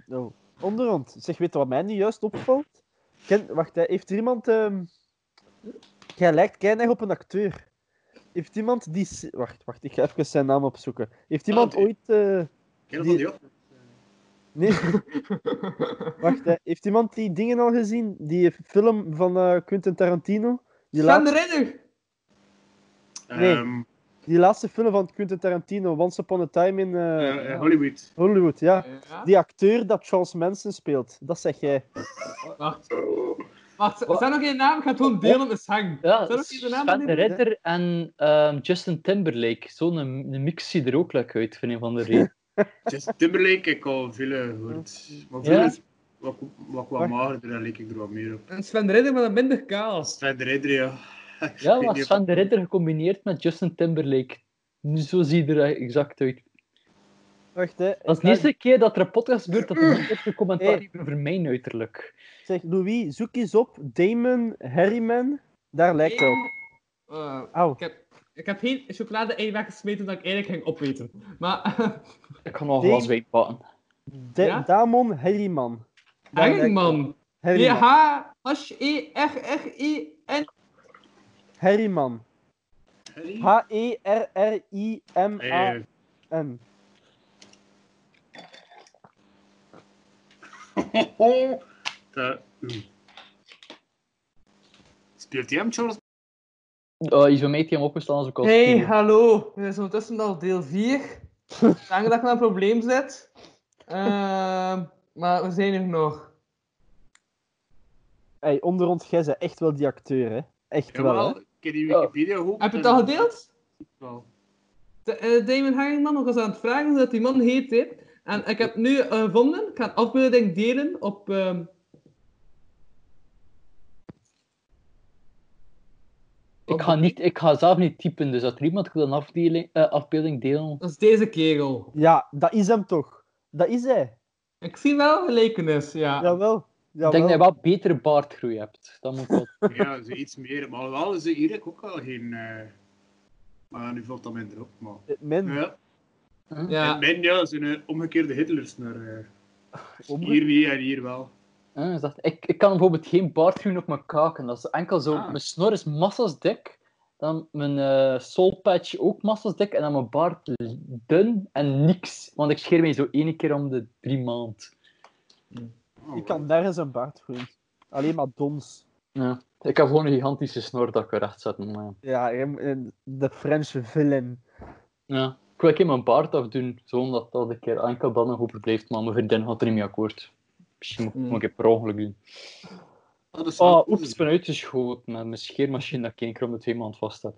E: Oh. Onderhand. Zeg, weet je wat mij nu juist opvalt? Ken, wacht, hè, heeft er iemand... ehm, Jij lijkt keinig op een acteur. Heeft iemand die... s- Wacht, wacht, ik ga even zijn naam opzoeken. Heeft iemand
D: die-
E: ooit... eh,
D: Ken je dat niet op?
E: Nee. Wacht, hè. heeft iemand die dingen al gezien? Die film van eh, Quentin Tarantino? Die,
F: Sven de
E: laat-
F: Ridder!
E: Nee.
D: Ehm,
E: die laatste film van Quentin Tarantino, Once Upon a Time in eh,
D: eh, eh, Hollywood.
E: Hollywood, ja.
F: Ja?
E: Die acteur dat Charles Manson speelt, dat zeg jij.
F: Wacht. Wacht,
C: Wat?
F: zijn nog geen naam? Ik ga het gewoon delen met Hang.
C: Ja,
F: Zijn nog geen naam?
C: Sven
F: aan
C: de
F: die-
C: Ridder en ehm, Justin Timberlake. Zo'n een, een mix ziet er ook lekker uit, van een van de reden.
D: Justin Timberlake heb ik al veel gehoord. Maar
C: Ja?
D: vroeger wat, wat, wat magerder en leek ik er wat meer op.
F: Een Sven de Ridder met een minder kaas.
D: Sven de Ridder, ja. Ik
C: Ja,
D: weet
C: was
D: niet of-
C: Sven de Ridder gecombineerd met Justin Timberlake. Nu Zo ziet er exact uit.
E: Wacht, hè.
C: Dat is de eerste keer dat er een podcast gebeurt dat er niet echt een commentaar
E: Hey.
C: heeft over mijn uiterlijk.
E: Zeg, Louis, zoek eens op Damon Harriman. Daar lijkt hij op.
F: Eh,
E: Au.
F: ik, heb, ik heb geen chocolade ei weggesmeten dat ik eigenlijk ging opeten. Maar
C: Ik kan nog
E: Nee.
C: wel wijn pakken.
E: Da-
F: Ja?
E: Damon Harriman. Daar lijkt hij op.
F: Hangman.
E: Harriman.
F: E H-H-E-R-R-I-N.
E: Harriman. E
D: Harry?
E: H-E-R-R-I-M-A-N.
D: Eh, dat- oeh. Speelt hij hem, Charles?
C: Oh, is bij mij heeft hij hem opgestaan als ik al
F: Hey,
C: stuurde.
F: hallo. Dit is ondertussen al deel 4. Dank dat ik met een probleem zit. Ehm, maar we zijn er nog.
E: Hey, onder ons, jij bent echt wel die acteur, hè. Echt wel, hè.
D: Jawel, ik heb die Wikipedia eh, ook.
F: Heb je het al
D: en-
F: gedeeld?
D: Wel.
F: De, eh, Damon Hangman nog eens aan het vragen hoe dat die man heet. Hè. En ik heb nu eh, gevonden, ik ga een afbeelding delen op. ehm,
C: Ik ga, niet, ik ga zelf niet typen, dus dat er iemand kan een afdeling, eh, afbeelding delen.
F: dat is deze kerel.
E: Ja, dat is hem toch. Dat is hij.
F: Ik zie wel gelijkenis, ja.
E: Jawel.
C: Ik denk dat je
E: Jawel.
C: wel betere baardgroei hebt. Dat moet wel.
D: Ja, zo iets meer. Maar wel, ze hier heb ik ook al geen. eh, Maar ja, nu valt dat minder op. Maar...
E: Min.
D: Ja,
F: ja.
D: En mijn ja, zijn eh, omgekeerde Hitlersner. eh.
E: Omge-
D: Hier niet en hier wel.
C: Ah, is dat- ik, ik kan bijvoorbeeld geen baard groeien op mijn kaken. Dat is enkel zo.
D: Ah.
C: Mijn snor is massas dik. Dan mijn eh soulpatch ook massas dik. En dan mijn baard l- dun en niks. Want ik scheer mij zo één keer om de drie maand.
D: Oh,
E: Je kan nergens een baard groeien. Alleen maar dons.
C: Ja. Ik heb gewoon een gigantische snor dat ik kan rechtzetten. Maar ja.
E: Ja, je moet- eh, de Franse villain.
C: ja. Ik wil een keer mijn baard afdoen. Zodat dat een keer enkel dan nog overblijft. Maar mijn vriendin gaat er niet mee akkoord. Misschien moet ik
F: Hmm.
C: het nog een keer per ongeluk doen.
D: Oh, dat
F: Ah,
D: zou
C: Oh,
D: goed
C: oeps, ik
D: zijn.
C: ben uitgeschoten met mijn scheermachine dat ik één keer om de twee maand vast heb.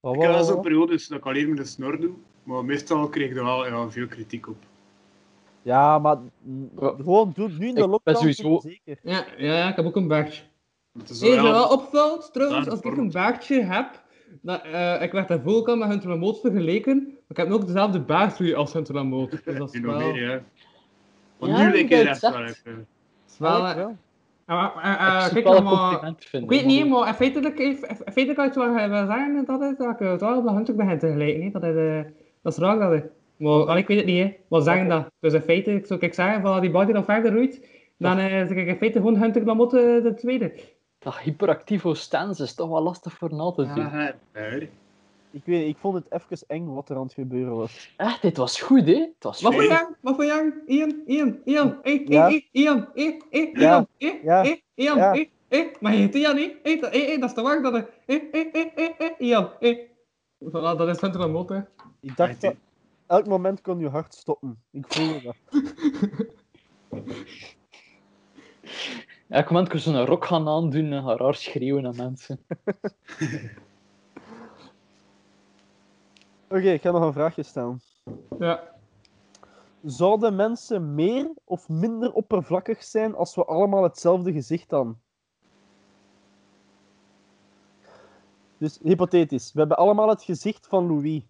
E: Wat,
D: Ik heb wel
E: wat,
D: zo'n
E: wat?
D: periode dus dat ik alleen met de snor doe. Maar meestal kreeg ik er wel ja, veel kritiek op.
E: Ja, maar mm,
C: Wat?
E: gewoon doe het nu in
C: Ik
E: de
C: ben
E: lockdown.
C: sowieso-
E: doe het Zeker.
F: Ja, ja, ik heb ook een baardje.
D: Het is
F: Hey, wat wel
D: wel-
F: opvalt, trouwens,
D: Ja,
F: als ik
D: pardon.
F: een baardje heb, dat, eh, ik werd daarvoor ook al met Hunter Lamoot vergeleken, maar ik heb nu ook dezelfde baardgroei als Hunter Lamoot. Dus dat
D: Nu
F: is
D: nog
F: wel...
D: meer, ja. Want
C: Ja,
D: nu leek
C: dat
D: je
C: je
D: echt
C: het
D: wel
C: zegt.
D: even.
F: is wel,
E: Ja, ik
F: eh,
E: wel.
F: eh, maar- maar, eh,
C: ik
F: kijk
C: zou het
F: nou
C: wel een
F: maar-
C: compliment vinden.
F: Ik weet
C: maar
F: niet,
C: goed.
F: maar in feite dat ik- in feite kan je het wel eh, wel zeggen dat het, dat ik eh, het wel op de Hunter begin te gelijken. hè. Dat, is, eh, dat is raar dat ik... Maar allee, ik weet het niet, hè. Wat zeggen dat? Dus in feite, ik zou ik zeggen, van als die baard die nog verder roeit, dan eh, zeg ik in feite gewoon Hunter Lamoot eh, de tweede.
C: Dat hyperactieve stance is toch wel lastig voor na te zien.
D: Ja, hè.
E: Ik weet niet, ik vond het even eng wat er aan het gebeuren was.
C: Echt, dit was goed, hè? Het was
F: Wat
C: goed.
F: voor jang? Wat voor jang? Ian, Ian, Ian, eh,
E: Ja.
F: eh, eh, Ian, eh, eh,
E: Ja.
F: Ian, eh,
E: Ja.
F: eh, Ian,
E: Ja.
F: eh, eh. Maar je heet Ian, eh, eh, dat- eh, eh, dat is de waar dat er, eh, eh, eh, eh, eh, Ian, eh. Voilà, dat is Hunter van Mot, hè.
E: Ik dacht dat elk moment kon je hart stoppen. Ik voelde dat.
C: Elk moment kun je zo'n rok gaan aandoen en gaan raar schreeuwen naar mensen.
E: Oké, ik ga nog een vraagje stellen.
F: Ja.
E: Zouden mensen meer of minder oppervlakkig zijn als we allemaal hetzelfde gezicht hadden? Dus hypothetisch, we hebben allemaal het gezicht van Louis.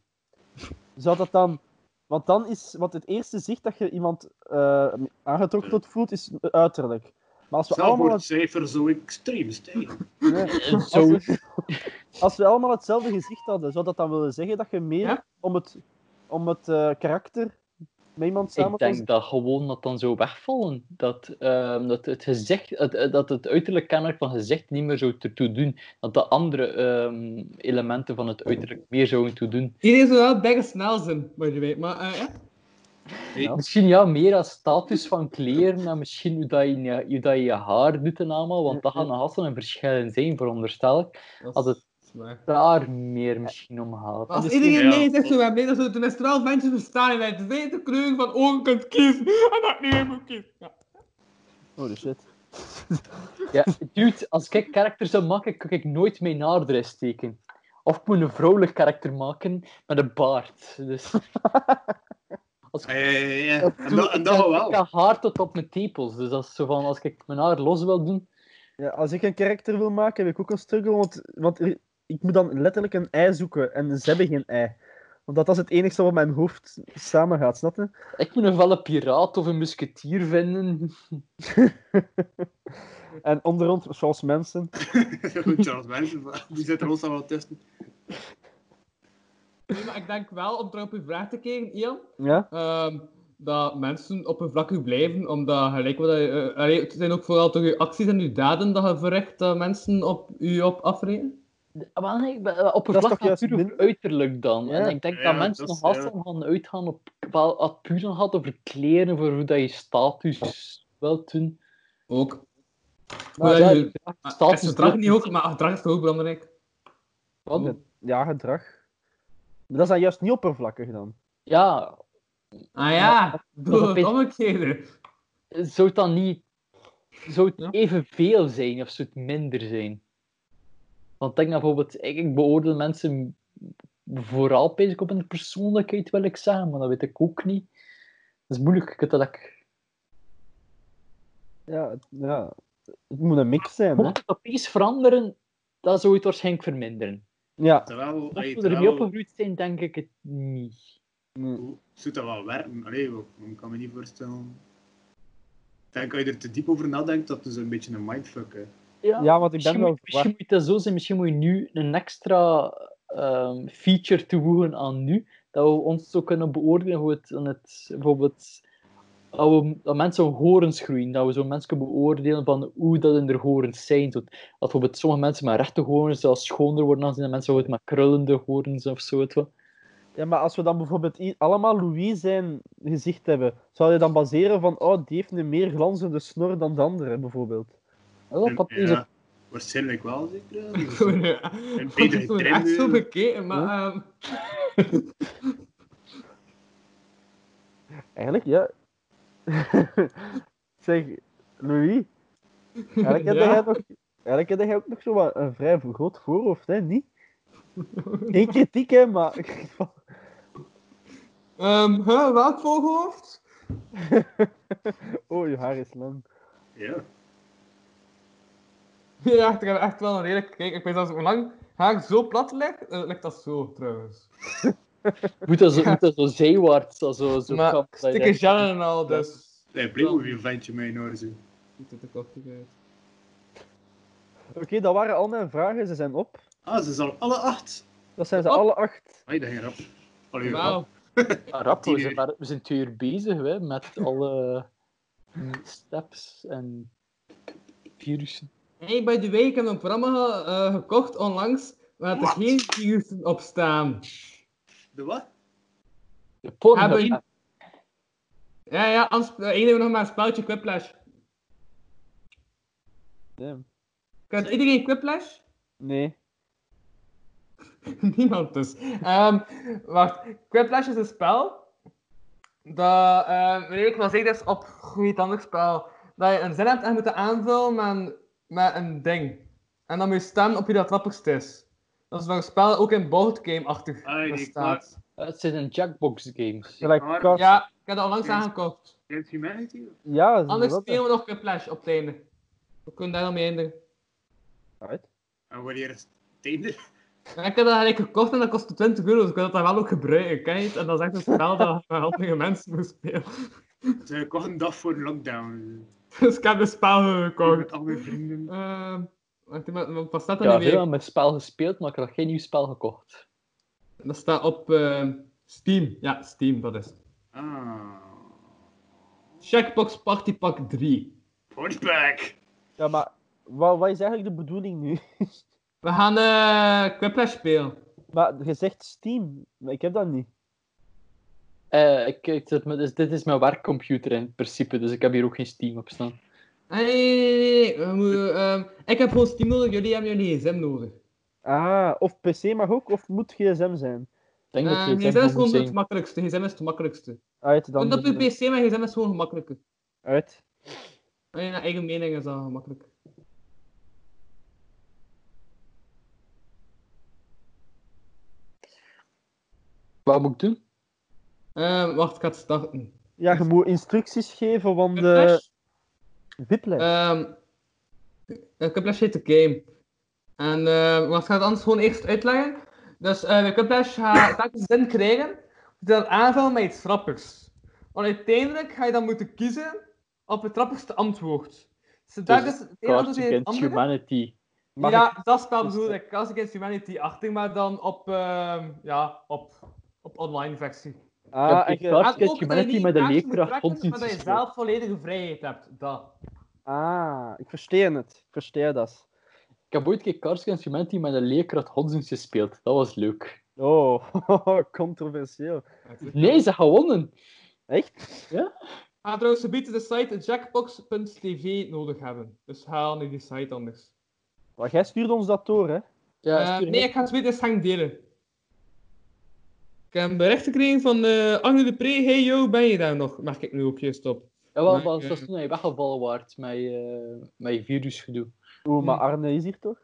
E: Zou dat dan. Want dan is. Want het eerste zicht dat je iemand eh, aangetrokken tot voelt, is uiterlijk. Maar als we
D: Zelf
E: allemaal.
D: wordt het cijfer zo extreem stijgen.
E: Nee.
C: En
E: Als
C: Zo.
E: we, als we allemaal hetzelfde gezicht hadden, zou dat dan willen zeggen dat je meer
F: Ja?
E: om het, om het eh, karakter met iemand samen
C: Ik
E: kon
C: denk dat gewoon dat dan zo wegvallen. Dat, ehm, dat, het gezicht, het- eh, dat het uiterlijk kenmerk van gezicht niet meer zou ertoe doen. Dat de andere ehm, elementen van het uiterlijk meer zouden toe doen.
F: Hier is wel bijna snel zijn, by the way. Maar, eh, ja.
E: Ja.
C: Misschien ja, meer als status van kleren en misschien hoe, dat je, je- hoe dat je je haar doet en allemaal, want dat gaan nog altijd een verschil in zijn, veronderstel ik.
F: Dat
C: Als het
F: is waar.
C: daar meer misschien om gaat.
F: Maar als
E: misschien-
F: iedereen
D: ja.
F: nee zegt, zo, we hebben nee, dan zullen tenminste wel mensen verstaan en wij de kleur van ogen kunt kiezen. En dat ik niet meer moet kiezen. Ja.
E: Oh, shit.
C: Ja, dude, als ik karakter zou maken, kan ik nooit mijn naardere steken. Of ik moet een vrouwelijk karakter maken met een baard. Dus
D: Ja, ja, ja, ja.
C: ik
D: En dat, en dat
C: heb-
D: wel.
C: ik heb haar tot op mijn tepels. Dus dat is zo van, als ik mijn haar los wil doen...
E: Ja, als ik een karakter wil maken, heb ik ook een struggle, want, want er- ik moet dan letterlijk een ei zoeken en ze hebben geen ei. Want dat is het enige wat mijn hoofd samen gaat, snap je?
C: Ik moet een felle piraat of een musketier vinden.
E: En onder ons, zoals mensen.
D: Charles Manson, die zit er ons al wel tussen.
F: Nee, maar ik denk wel, om terug op uw vraag te kijken, Ian,
E: Ja?
F: ehm, dat mensen op hun vlak blijven, omdat gelijk wat je... eh, allee, het zijn ook vooral toch je acties en je daden dat je verricht dat mensen op u op afrekenen.
C: Maar nee, ik ben- op een
E: Dat is
C: vlak
E: toch juist
C: puur
E: minder?
C: op uiterlijk dan.
E: Ja.
C: En ik denk
D: Ja,
C: dat
D: dat
C: mensen
D: is-
C: nog altijd
D: ja.
C: gaan uitgaan op wel, wat puur dan gaat over kleren, voor hoe dat je status wilt doen.
F: Ook.
C: Maar
F: Maar,
C: ja, dus
F: je, maar
C: status
F: is gedrag
C: doet
F: niet ook, maar gedrag is toch ook belangrijk.
C: Wat?
E: Ja. Ja, gedrag. Maar dat is dan juist niet oppervlakkig dan.
C: Ja,
F: Ah ja,
C: dat is
F: doe
C: een
F: het
C: beetje-
F: omgekeerde.
C: zou het dan niet... Zou
F: Ja.
C: het evenveel zijn of zou het minder zijn? Want denk bijvoorbeeld... Ik, ik beoordeel mensen vooral bezig op hun persoonlijkheid, wil ik zeggen. Maar dat weet ik ook niet. Dat is moeilijk. Ik heb dat ik...
E: Ja, het- ja. Het moet een mix zijn, hè?
C: Mocht het opeens veranderen, dan zou het waarschijnlijk verminderen.
E: Ja.
D: Terwijl,
C: Mocht
D: allee,
C: we ermee
D: terwijl
C: opgegroeid zijn, denk ik het niet.
D: hoe zou dat wel werken? Allee, wel, ik kan me niet voorstellen. Ik denk, als je er te diep over nadenkt, dat is een beetje een mindfuck. Hè.
E: Ja, want ik
C: misschien,
E: ben
C: moet,
E: wel
C: misschien moet dat zo zijn. Misschien moet je nu een extra ehm, feature toevoegen aan nu. Dat we ons zo kunnen beoordelen hoe het, aan het bijvoorbeeld... Dat, we, dat mensen hun horens groeien. Dat we zo mensen kunnen beoordelen van hoe dat in hun horens zijn. Zo, Dat bijvoorbeeld sommige mensen met rechte horens zelfs schoner worden dan mensen bijvoorbeeld met krullende horens of zo. weet je wel.
E: Ja, maar als we dan bijvoorbeeld i- allemaal Louis zijn gezicht hebben, zou je dan baseren van, oh, die heeft een meer glanzende snor dan de andere, bijvoorbeeld?
C: Ja, dat is het.
D: Ja, waarschijnlijk wel, zeker. ja. Dus,
F: Gewoon,
D: eh,
F: eh,
D: Een
F: want
D: betere
F: ik word
D: trim,
F: echt zo
D: eh.
F: bekeken, maar... ehm,
E: Eigenlijk, ja. zeg, Louis, eigenlijk heb,
F: Ja.
E: jij nog, eigenlijk heb jij ook nog zo wat een vrij groot voorhoofd, hè, niet? Geen kritiek, hè, maar...
F: ehm, huh, welk voorhoofd?
E: oh, je haar is lang.
D: ja.
F: Ja, ik heb echt wel een redelijk kijk. Ik weet dat hoe lang haar zo plat ligt, eh, ligt dat zo trouwens.
C: Moet dat zo, moet dat zo zeewaarts, dat zo, zo
F: maar
C: kan-
F: stikken gel en al, dus.
D: Nee, Playmobil ventje mee in orde. zo.
F: Ziet het er kloppig uit.
E: Oké, dat waren al mijn vragen, ze zijn op.
D: Ah, ze zal alle acht.
E: Dat zijn ze
F: Op.
E: alle acht.
D: Ai, dat ging rap. Allee, rap.
F: Wauw.
C: Ja, rap, we
D: Tien
C: zijn,
D: uur.
C: maar- we zijn twee uur bezig hè, met alle mm, steps en virussen.
F: Hey, by the way, ik heb een programma ge- eh, gekocht onlangs waar er
D: Wat?
F: geen virussen op staan.
D: De wat?
C: De Pornhub
F: Hebben-
C: app.
F: Ja, ja, anders eh, één hebben we nog maar een spelletje Quiplash.
E: Damn.
F: Kent iedereen Quiplash?
E: Nee.
F: Niemand dus. Ehm, wacht, Quiplash is een spel dat, ehm nee, ik was zeker is op een ander spel, dat je een zin hebt en je moet het aanvullen met een, met een ding. En dan moet je stemmen op wie dat grappigst is. Dat is wel een spel ook in boardgame-achtig
D: Ah, nee,
F: bestaat.
C: Het zijn een Jackbox games.
E: Gelijk
D: Maar-
E: kast.
F: Ja, ik heb dat onlangs
D: Eens.
F: aangekocht.
D: Against Humanity?
E: Ja, dat is
F: Anders
E: dat, hè.
F: spelen we nog Quiplash op het einde. We kunnen daar dan mee eindigen.
E: Alright.
D: En wanneer is het einde?
F: Ja, Ik heb dat eigenlijk gekocht en dat kostte 20 euro, dus ik wil dat dan wel ook gebruiken, ken je het? En dat is echt een spel dat je met handige mensen moet spelen.
D: Ze kocht een dag voor een lockdown.
F: Dus ik heb een spel
C: Oh.
D: Kom
F: gekocht.
D: met al mijn vrienden.
F: Ehm, wacht even, wat- wat staat dat
C: Ja,
F: nu weer?
C: heel aan mijn spel gespeeld, maar ik heb nog geen nieuw spel gekocht.
F: Dat staat op ehm, Steam. Ja, Steam, dat is het.
D: Ah.
F: Checkbox Party Pack 3.
D: Horseback!
E: Ja, maar wat, wat is eigenlijk de bedoeling nu?
F: We gaan eh Quiplash spelen.
E: Maar je zegt Steam, maar ik heb dat niet.
C: Eh, ik, ik zit met- dus dit is mijn werkcomputer in principe, dus ik heb hier ook geen Steam op staan.
F: Nee, nee, nee, nee, nee, we moeten, ehm, ik heb gewoon Steam nodig, jullie hebben jullie gsm nodig.
E: Ah, of PC mag ook, of moet gsm zijn?
C: Ik denk
F: Eh,
C: dat je
F: gsm is gewoon het makkelijkste, gsm is het makkelijkste.
E: Uit,
F: Kunt
E: dan...
F: op je pc, maar gsm is gewoon gemakkelijker.
E: Uit.
F: Nee, naar eigen mening is dat gemakkelijk.
C: Wat moet ik doen?
F: Eh, wacht, ik ga het starten.
E: Ja, je moet instructies geven, want de
F: Whiplash?
E: wiplijn.
F: Ehm, eh, Whiplash heet de game. En eh maar ik ga het anders gewoon eerst uitleggen. Dus eh bij Whiplash ga je telkens zin krijgen, moet je dat aanvullen met iets grappigs. Want uiteindelijk ga je dan moeten kiezen op het grappigste antwoord. Dus telkens het ene
C: Cards
F: antwoord tegen het
C: Against
F: andere.
C: Humanity.
E: Mag
F: ja,
E: ik-
F: dat spel
E: Dus,
F: bedoel
E: eh,
F: ik. Cards Against Humanity 18, maar dan op, ehm, ja, op, op online versie.
E: Ah, en
C: ik
E: je...
C: Cards
F: En
C: Against
F: ook dat je
C: Humanity
F: niet
C: met een
F: kaarten moet
C: leerkracht
F: trekken, maar dat je
C: godsdienst gespeeld.
F: zelf volledige vrijheid hebt. Dat.
E: ah, ik versteer het. Ik versteer dat.
C: Ik heb ooit een keer Cards Against Humanity met een leerkracht godsdienst gespeeld. Dat was leuk.
E: Oh, controversieel.
C: Nee, ze gewonnen.
E: Echt?
F: Ga trouwens een beetje de site jackbox.tv nodig hebben. Dus haal nu die site anders.
E: Maar jij stuurde ons dat door, hè?
F: Eh,
C: Ja, stuur
F: nee, ik ga het weer eens gaan delen. Ik heb een bericht gekregen van eh Arno de Pre. Hey yo, ben je daar nog? Mag ik nu ook juist op.
C: Jawel,
F: Maar,
C: maar dat
F: eh,
C: was toen hij weggevallen waard met, eh met je virusgedoe.
E: Oeh, maar Arne is hier toch?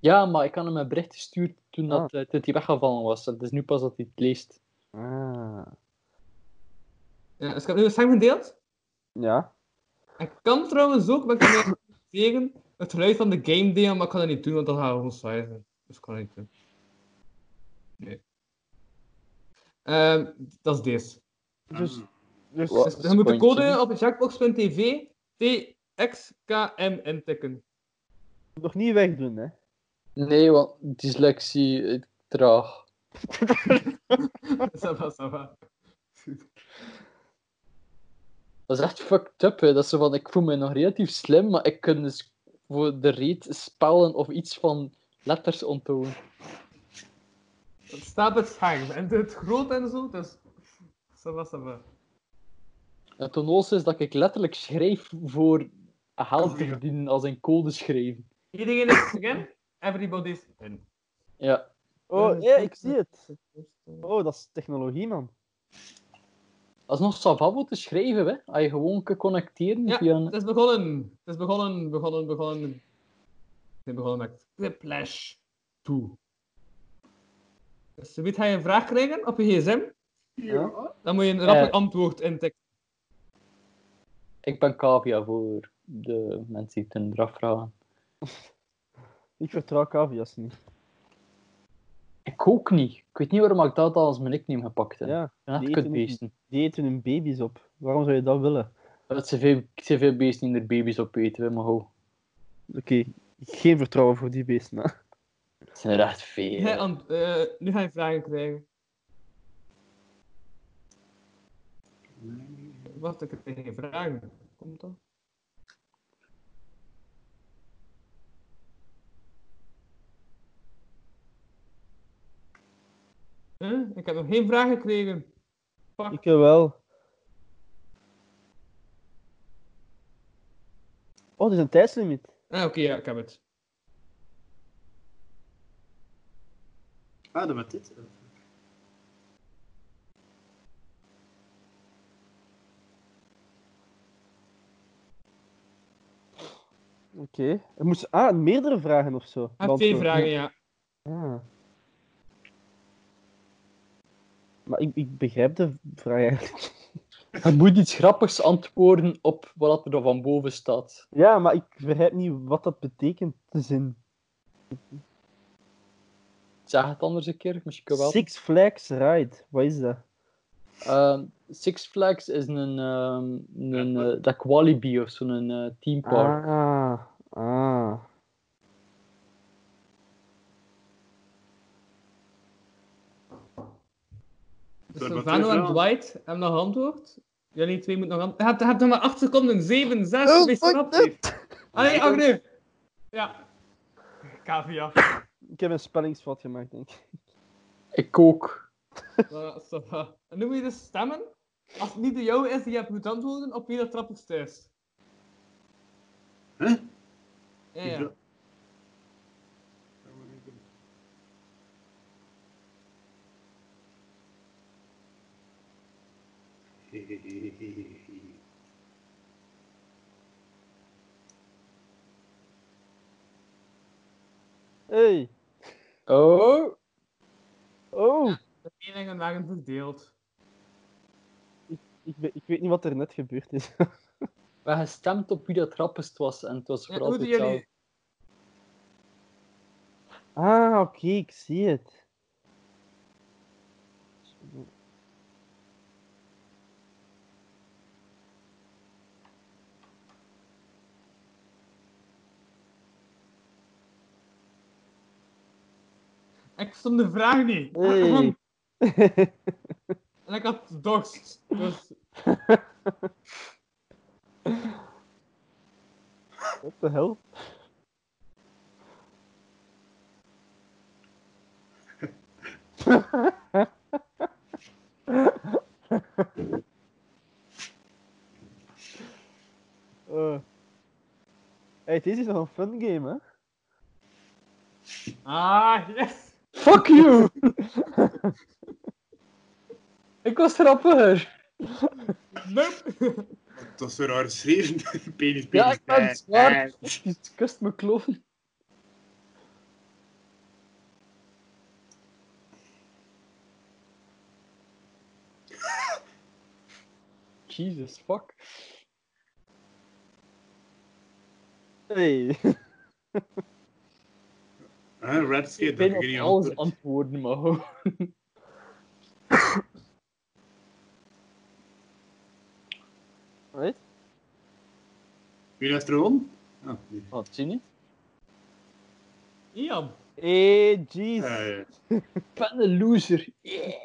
C: Ja, maar ik had hem een bericht gestuurd toen,
E: Ah.
C: dat, eh, toen hij weggevallen was. Het is nu pas dat hij het leest.
E: Ah.
F: Ja, dus ik heb nu een stem gedeeld.
E: Ja.
F: En ik kan trouwens ook, maar ik heb mij tegen het geluid van de game delen, maar ik kan dat niet doen, want dat gaat gewoon saai zijn. Dus ik kan dat niet doen. Nee. Ehm, dat is deze.
E: Dus, dus
C: Wa-
F: Dus je moet de code
C: Spoontje.
F: op jackbox.tv TXKM intikken.
E: nog niet wegdoen, hè?
C: Nee, want dyslexie, eh, traag.
F: ça va, ça va.
C: Dat is echt fucked up, hè. Dat ze van, ik voel me nog relatief slim, maar ik kan dus voor de reet spellen of iets van letters onthouden.
F: Het staat het scherm en het groot en zo, dus ça va, ça va.
C: En toen ons is dat ik letterlijk schrijf voor geld te verdienen als een code schrijven.
F: Iedereen is erin, everybody's in.
C: Ja.
E: Oh,
F: Eh,
E: hé, ik zie het. Oh, dat is technologie, man.
C: Dat is nog savabo te schrijven, hè. Als je gewoon kan connecteren
F: Ja,
C: via een...
F: Het is begonnen. Het is begonnen, begonnen, begonnen. Ik ben begonnen met Quiplash 2. Dus weet hij een vraag krijgen op je gsm?
E: Ja.
F: Dan moet je een rappelijk
C: Eh.
F: antwoord intikken.
C: Ik ben cavia voor de mensen die het eraf vragen.
E: Ik vertrouw cavia's niet.
C: Ik ook niet. Ik weet niet waarom ik dat als mijn nickname gepakt heb.
E: Ja,
C: Ja,
E: die
C: het
E: eten
C: kunt
E: niet.
C: beesten.
E: die eten hun baby's op. Waarom zou je dat willen?
C: Het zijn veel, het zijn veel beesten die er baby's op eten, hè, maar hoe?
E: Oké, geen vertrouwen voor die beesten, hè?
C: Het zijn er echt veel.
F: Hij ant- eh, nu ga je vragen krijgen. Wacht, ik heb geen vragen. Komt dat? Huh? Ik heb nog geen vragen gekregen. Fuck.
E: Ik wel. Oh, er is een tijdslimiet.
F: Ah, oké, ja, ik heb het.
D: Ah, dat was dit.
E: Oké. Er moest... Ah, meerdere vragen of zo.
F: Ik heb twee
E: beantwoorden.
F: vragen, ja.
E: Ah. Maar ik, ik begrijp de vraag eigenlijk.
C: Je moet iets grappigs antwoorden op wat er van boven staat.
E: Ja, maar ik begrijp niet wat dat betekent, de zin.
C: Zeg het anders een keer, misschien kan wel.
E: Six Flags Ride, wat is dat?
C: Ehm, Six Flags is een, ehm een eh, dat Walibi of zo'n eh theme park.
E: Ah, ah.
F: Dus
D: Door wat
F: Vano
D: twee
F: en
D: vragen.
F: Dwight hebben nog antwoord. Jullie twee moeten nog antwoord. Je hebt nog maar 8 seconden. 7, 6,
E: Oh,
F: wees
E: fuck
F: snap. Allee, Agne. Ja. Kavia.
E: Ik heb een spellingsfout gemaakt, denk ik.
C: Ik ook.
F: Voilà, ça va. En nu moet je dus stemmen. Als het niet de jouwe is die je hebt moet antwoorden, op wie dat trappigste is.
D: Huh?
F: Ja, ja.
D: Ja.
E: Hey.
C: Oh,
E: Oh.
F: De meningen waren verdeeld.
E: Ik, ben- ik weet niet wat er net gebeurd is.
C: we hebben gestemd op wie dat rappest was en het was
F: Ja,
C: voor
F: hoe doen
C: altijd
F: jullie?
E: Ah, oké, ik zie het.
F: Ik stond de vraag niet.
E: Hey.
F: En ik had dorst. Dus
E: What the hell? Eh. Hey, deze is nog een fun game, hè?
F: Ah, yes!
C: Fuck you! ik was rapper.
F: Nope!
D: Dat was zo raar geschreven. Penis, penis.
C: Ja, ik ben
D: eh,
C: zwaar.
D: eh.
C: Je kust me kloven. Jesus fuck.
E: Hey.
D: Huh, Red Skate,
C: Ik
D: dat
C: ben
D: ik er niet
C: op
D: aan
C: alles antwoorden, maar ho.
E: Right?
D: Wie heeft er gewonnen? Ah, nee.
C: Wat zie je?
F: Ian!
E: Hey, jeez.
D: Ja, ja.
C: Ik ben een loser.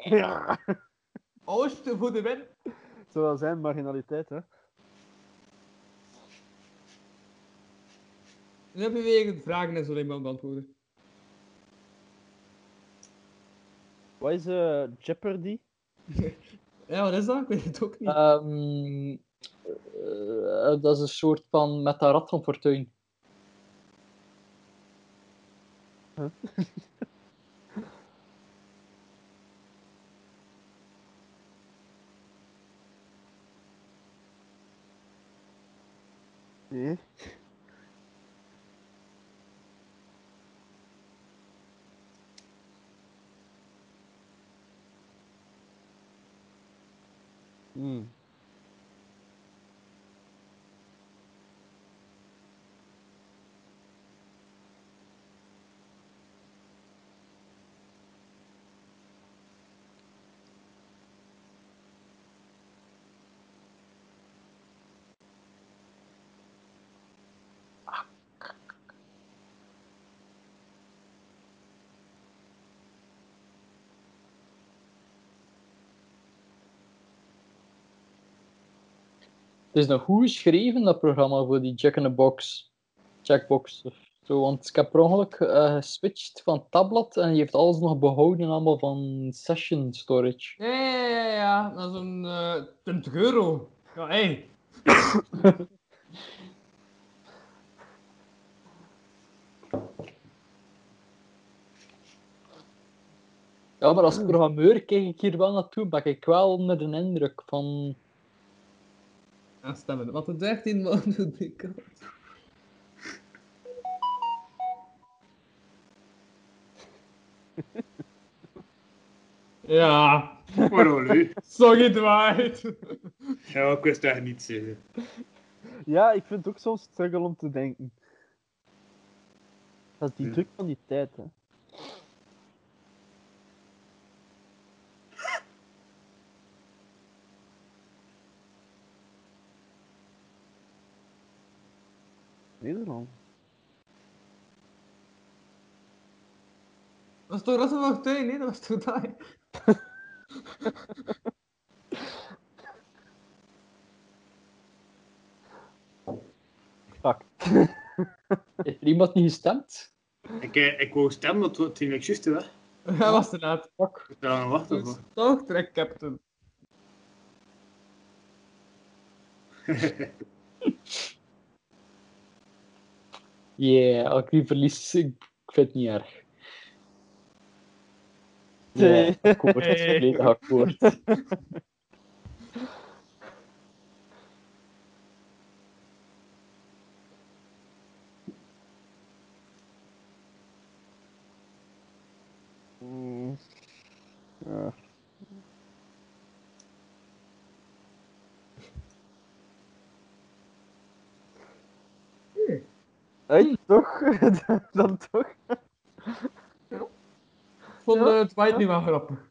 E: Ja.
F: Oost voor de win!
E: Het zou wel zijn, marginaliteit, hè?
F: Nu heb je weer vragen en zo iemand beantwoorden.
E: Wat is eh, Jeopardy?
F: Ja, wat is dat? Ik weet het ook niet.
C: Ehm, eh, dat is een soort van met de rat van fortuin.
E: Nee. Hmm.
C: Het is nog goed geschreven, dat programma voor die Jack in the Box. Checkbox of zo. Want ik heb per ongeluk eh, geswitcht van tabblad en die heeft alles nog behouden, allemaal van session storage.
F: Ja, ja, ja, ja, ja. Dat is een eh 20 euro. Ja, hé. Hey.
C: Ja, maar
E: Ah.
C: als programmeur kijk ik hier wel naartoe, ben ik wel onder de indruk van.
F: Aanstemmen. Wat de 13 man doet ik al. Ja,
D: Waarom nu?
F: sorry Dwight.
D: Ja, ik wist eigenlijk niet zeggen.
E: Ja, ik vind het ook soms struggle om te denken. Dat is die
D: Ja.
E: druk van die tijd, hè. Nederland.
F: Was toch Russell van Tuin? Nee, dat was toch Dwight.
E: Fuck.
C: Heeft er iemand niet gestemd?
D: Ik, eh, ik wou stemmen, dat was toen ik juist hè. Ik
F: Hij was te laat. Fuck.
D: moet daar aan wachten.
F: Dus
D: voor.
F: toch trek captain.
C: Yeah, als ik die verlies, ik, ik vind het niet erg.
E: Nee.
C: Ja, akkoord.
F: Nee.
C: Volledig akkoord.
E: Hmm.
K: Hey, toch?
E: Dan toch?
F: vond eh, Dwight nu wel grappig.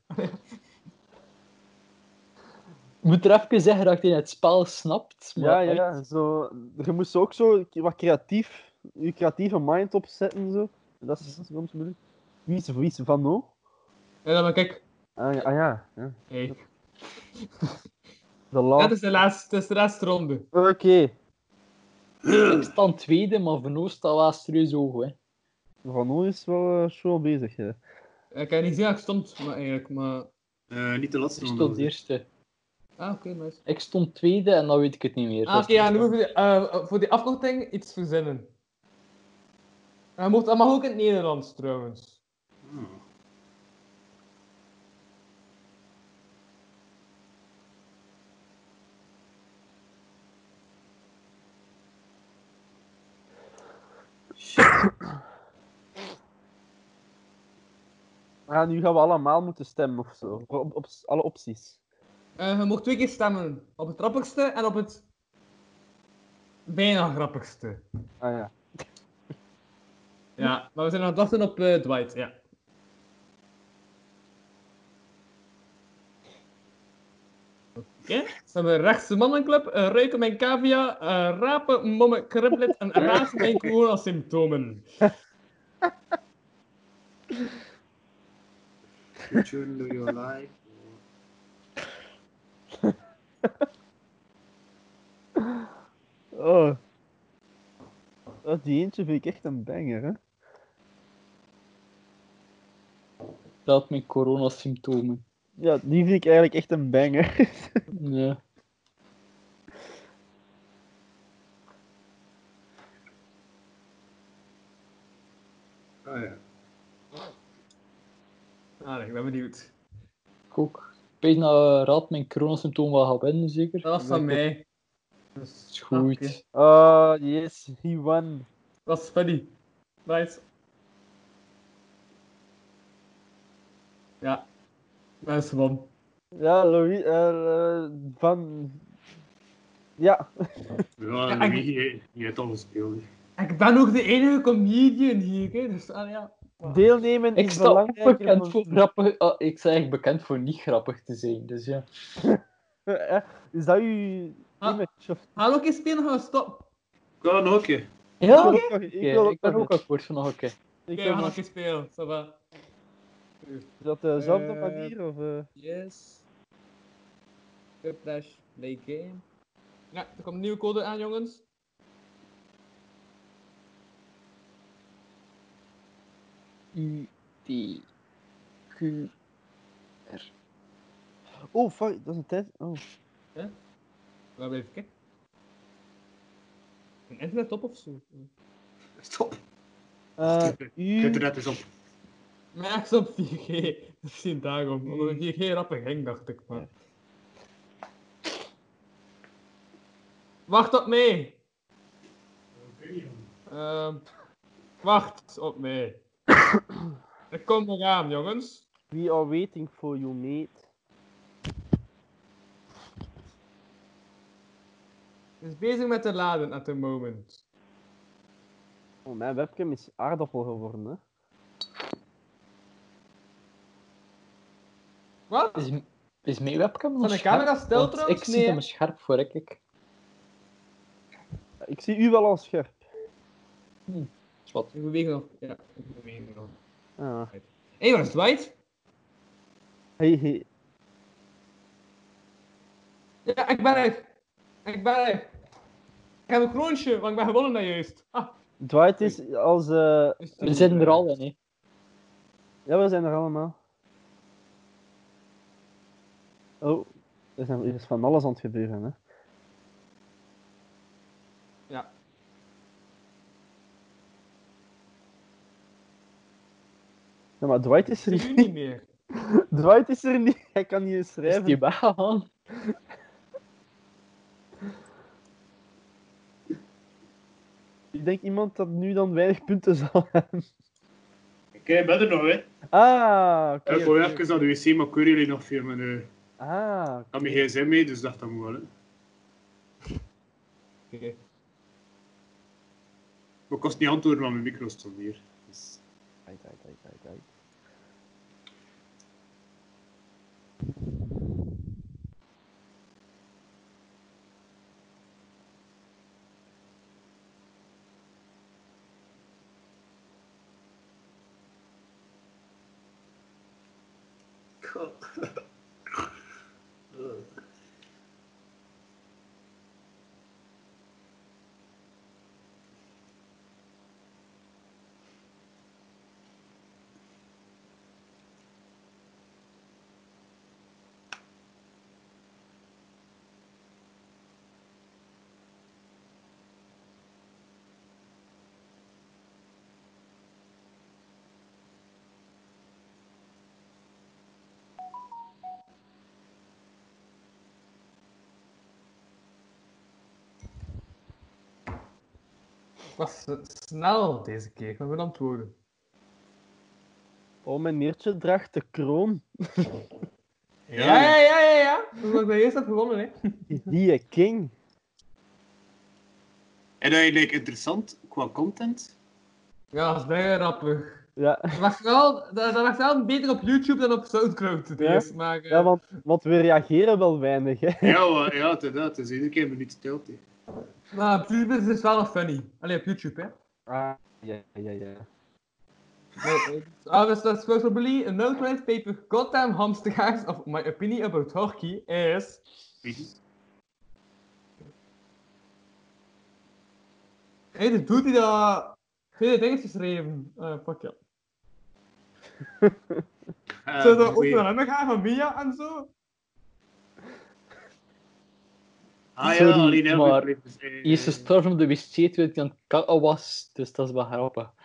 C: Ik moet er even zeggen dat ik die in het spel snapt.
E: Ja,
C: Maar
E: ja, ja, zo. Je moest ook zo wat creatief, je creatieve mind opzetten. Zo. Dat is soms moeilijk. Wie is, wie is Van O?
F: En dan ben ik,
E: Ah ja, ah, ja. ja.
F: hey,
E: De
F: dat
E: laatste.
F: is de laatste, dat is de laatste ronde.
E: Oké.
C: Ik sta tweede, maar Van Oost staat wel serieus hoog. Hè.
E: Van O is wel eh, show bezig. Hè.
F: Ik heb niet zien waar ik stond, maar eigenlijk, maar...
D: Eh, niet de laatste
C: Ik
D: ronde.
C: stond eerste.
F: Ah, oké, nice.
C: Ik stond tweede en dan weet ik het niet meer.
F: Ah, oké, ja, nu moet je eh, voor die afkorting iets verzinnen. Hij mocht, dat mag ook in het Nederlands, trouwens.
D: Ah.
E: Ah, nu gaan we allemaal moeten stemmen of zo. Op, op alle opties.
F: Eh, je mocht twee keer stemmen. Op het grappigste en op het... Bijna grappigste.
E: Ah ja.
F: Ja, maar we zijn aan het wachten op eh, Dwight, ja. Oké, ze hebben rechtse mannenclub, eh, ruiken mijn cavia, eh, rapen, mommen, kribblet en razen mijn coronasymptomen.
D: Return to your life.
E: Oh. Oh, die eentje vind ik echt een banger, hè?
C: Dat met coronasymptomen.
E: Ja, die vind ik eigenlijk echt een banger.
C: Ja.
D: Ah ja.
F: Ah, ik ben benieuwd.
C: Ik ook. Bijna raad mijn coronasymptoom wel gaan winnen, zeker.
F: Dat was van mij.
C: Dat is goed.
F: Ah, Oké.
E: Oh, yes, he won.
F: Dat is funny. Nice. Ja, dat is gewoon.
E: Ja, Louis, eh, eh, van. Ja,
D: Ja,
F: Ja, ik-
D: Louis, je, je hebt al gespeeld.
F: Ik ben ook de enige comedian hier, hè, dus ah, ja.
E: deelnemen
C: Ik
E: is
C: sta ook
E: belangrijker
C: bekend
E: dan-
C: voor grappig. ah, ik sta echt bekend voor niet grappig te zijn, dus ja.
E: Eh, Is dat uw
F: Ah.
E: image? Of...
F: Gaan we ook eens spelen, gaan we stoppen.
D: Kan ook, hè.
C: Ja,
E: ik,
C: oké.
E: wil, ik,
C: Ik,
E: wil ook
C: ben
E: nog
C: ook
E: een-
C: akkoord van nog een keer.
E: ik wil
F: Oké, we gaan
E: nog-
F: nog eens spelen. Ça va.
E: Is dat dezelfde
F: Eh,
E: manier? Of, eh?
F: Yes. Cuplash, play game. Ja, er komt een nieuwe code aan, jongens.
C: U, D, Q.
E: Oh, fuck, dat is een tijd. Oh.
F: Waar blijf ik? hè? Een internet op of zo?
D: Stop.
E: Eh,
D: Je
E: u...
D: internet is op.
F: Max op 4G. Dat is niet daarom. Omdat
C: Hmm.
F: het 4G rapper ging, dacht ik. Maar. Wacht op mij. Ehm, wacht op mij. Ik kom eraan, jongens.
E: We are waiting for you, mate.
F: is bezig met te laden at the moment.
E: Oh, mijn webcam is aardappel geworden, hè?
F: Wat?
C: Is, is mijn webcam nog
F: Van de
C: scherp?
F: camera stil
C: Want
F: trouwens?
C: Ik zie
F: Nee,
C: hem
F: hè?
C: scherp voor, ik. ik.
E: Ik zie u wel al scherp.
C: Wat?
F: Ik beweeg nog. Ja, ik beweeg nog.
E: Ah.
F: Hé, waar is Dwight?
E: Hey, hey.
F: Ja, ik ben er. Ik ben er. Ik heb een kroontje, want ik ben gewonnen daar juist. Ah,
E: Dwight is als... eh,
F: is het
C: We zijn er al in, hè.
E: Ja, we zijn er allemaal. Oh, er, zijn, er is van alles aan het gebeuren, hè?
F: Ja.
E: Ja, maar Dwight is er
F: Zie
E: niet.
F: u niet meer.
E: Dwight is er niet. Hij kan niet eens
C: Is
E: schrijven.
C: die weggegaan?
E: Ik denk iemand dat nu dan weinig punten zal hebben.
D: Oké, eh, ben er nog, hè.
E: Ah, oké.
D: Ik wou even naar de wc, maar ik hoor jullie nog veel. Maar eh, ik
E: Ah,
D: had mijn gsm mee, dus dacht dat moet wel, hè.
F: Oké.
D: Maar ik kost niet antwoorden, maar mijn micro stond hier. Dus...
E: Ai, ai, ai, ai, ai.
F: Was snel deze keer, we hebben antwoorden.
E: Oh, mijn neertje draagt de kroon.
F: Ja, ja, ja, ja, ja. Dat is wat ik bij eerst heb gewonnen, hè.
E: Die eh, king.
D: En eigenlijk interessant qua content.
F: Ja, dat is bijna grappig.
E: Ja,
F: Dat was wel, dat, dat was wel beter op YouTube dan op Soundcloud, het
E: Ja?
F: eerst, maar... eh,
E: ja want, want we reageren wel weinig. Hè.
D: Ja, maar- ja, inderdaad. Het is iedere keer een minuut stilte.
F: Maar op YouTube is het wel nog funny. Alleen op YouTube, hè.
E: Ah, ja, ja, ja.
F: I was supposedly a note paper goddamn hamster guys of my opinion about hockey is Hey, de doet hij dat twee dingen geschreven. Eh fuck ja.
D: Eh,
F: Zou dat ook
D: goeie.
F: naar hem gaan van Mia en zo?
D: Ah ja,
C: Sorry,
D: alleen heel
C: maar-
D: goed. Dus, eh,
C: Hier is gestorven op de wc toen ik aan het kakken was, dus dat is wel grappig.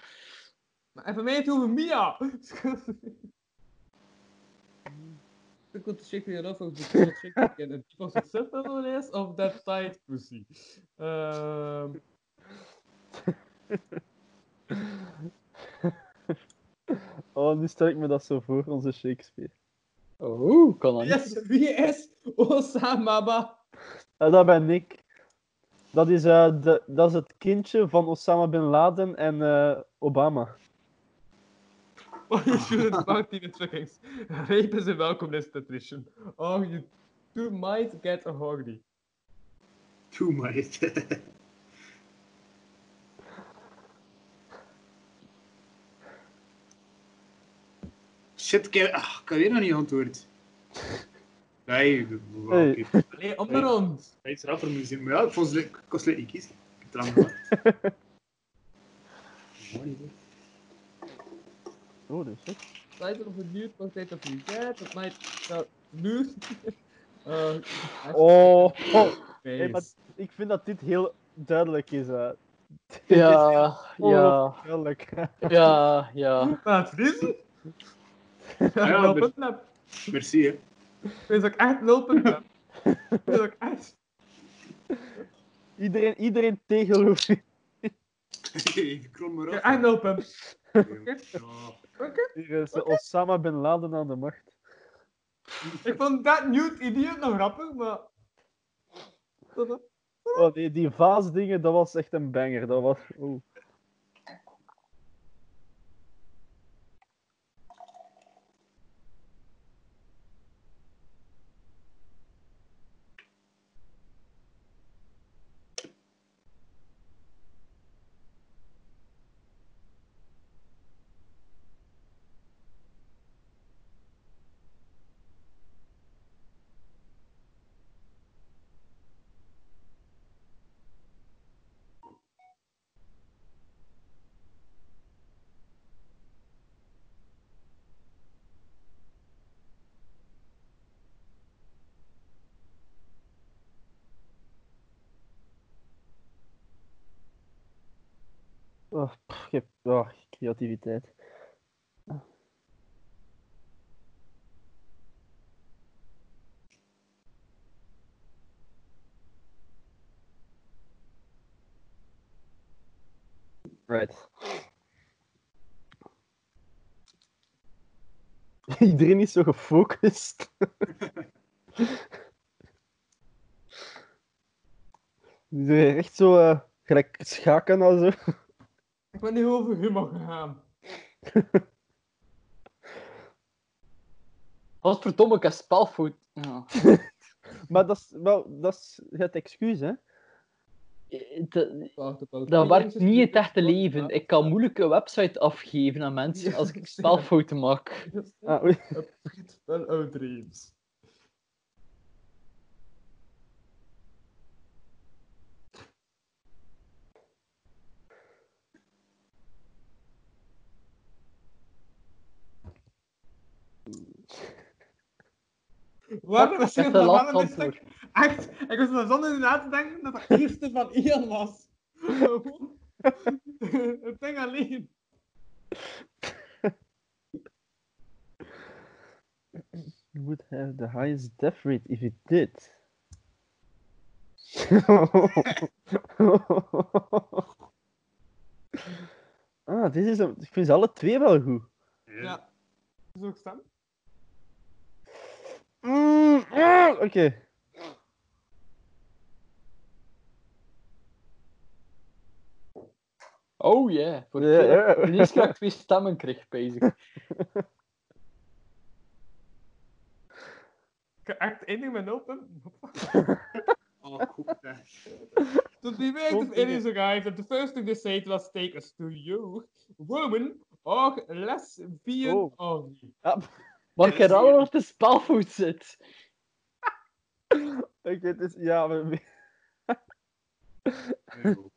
F: Maar even mij het over Mia! Ik wil de check weer af over de check in het was het subtitle is of that tight pussy. Ehm
E: Oh, nu stel ik me dat zo voor, onze Shakespeare.
C: Oh, kan dat niet?
F: yes, wie is Osama? Ba-
E: Ja, Eh, dat ben ik. Dat is, eh, de, dat is het kindje van Osama bin Laden en eh, Obama.
F: Why you shouldn't fuck teenage fuckings. Rape is a welcome institution. Oh, you two might get a horny.
D: Too much. Shit, ik heb, ah, ik heb weer nog niet antwoord. Nee, de- de-
E: Hey.
D: oké. Hij
F: Allee, om de rond.
D: is rapper moeten zien, maar ja, ik vond ze- ik kon ze niet kiezen. Ik heb het eraan gemaakt. Mooi, hè.
E: Oh, dus. hè.
F: Title of a new portrait of you get. It might start loose. Uh,
E: Oh, oh.
F: Space.
E: Hey, maar ik vind dat dit heel duidelijk is. eh. Dit is
C: Ja, ja,
E: heel duidelijk.
C: ja, ja.
F: Maar het vriezen? Ja,
D: ja,
F: nul
D: maar-
F: punten heb.
D: Merci, hè.
F: Dit is ook echt nul punten heb. Dit is ook echt...
E: iedereen, iedereen tegenloopt.
D: Ik krom maar
F: Ik heb
D: af.
F: echt nul punten.
D: Ja.
E: Hier is eh, Osama bin Laden aan de macht.
F: Ik vond dat Newt Idiot nog grappig, maar... Tot dan.
E: Oh, die, die vaasdingen, dat was echt een banger. Dat was... Oh. Oh, pff, ik heb- oh, creativiteit. Right. Iedereen is zo gefocust. Die doen echt zo eh, gelijk schaken en zo.
F: ben niet over humor gegaan.
C: Godverdomme, ik heb spelfout. Ja.
E: Maar dat is, wel, dat is het excuus, hè?
C: Dat-
F: Wacht, wacht.
C: Dat werkt niet in het echte leven. Ik kan moeilijk een website afgeven aan mensen als ik spelfouten maak.
E: Ah, oei.
F: Upgrade van our dreams. Waarom was
C: Ik heb
F: je
C: een
F: waarom dit
C: antwoord.
F: stuk? Echt, ik was er zonder na te denken dat de eerste van Ian was. Gewoon Het ding alleen.
E: You would have the highest death rate if you did. ah, dit is een... Ik vind ze alle twee wel goed.
F: Ja. Is ook stem?
E: Mm, ah, Oké.
C: Oh yeah. Voor
E: Ja,
C: de
E: ja.
C: eerste keer dat ik twee stemmen kreeg, bezig.
F: Ik heb echt één ding met open.
D: Oh, goed, hè.
F: To be made it is a guy that the first thing they say to us take us to you, woman or lesbian
E: Oh.
F: or
C: Maar ik herhaal nog de spelfout zit.
E: Oké, het is... Ja, maar...
D: Nee, goed.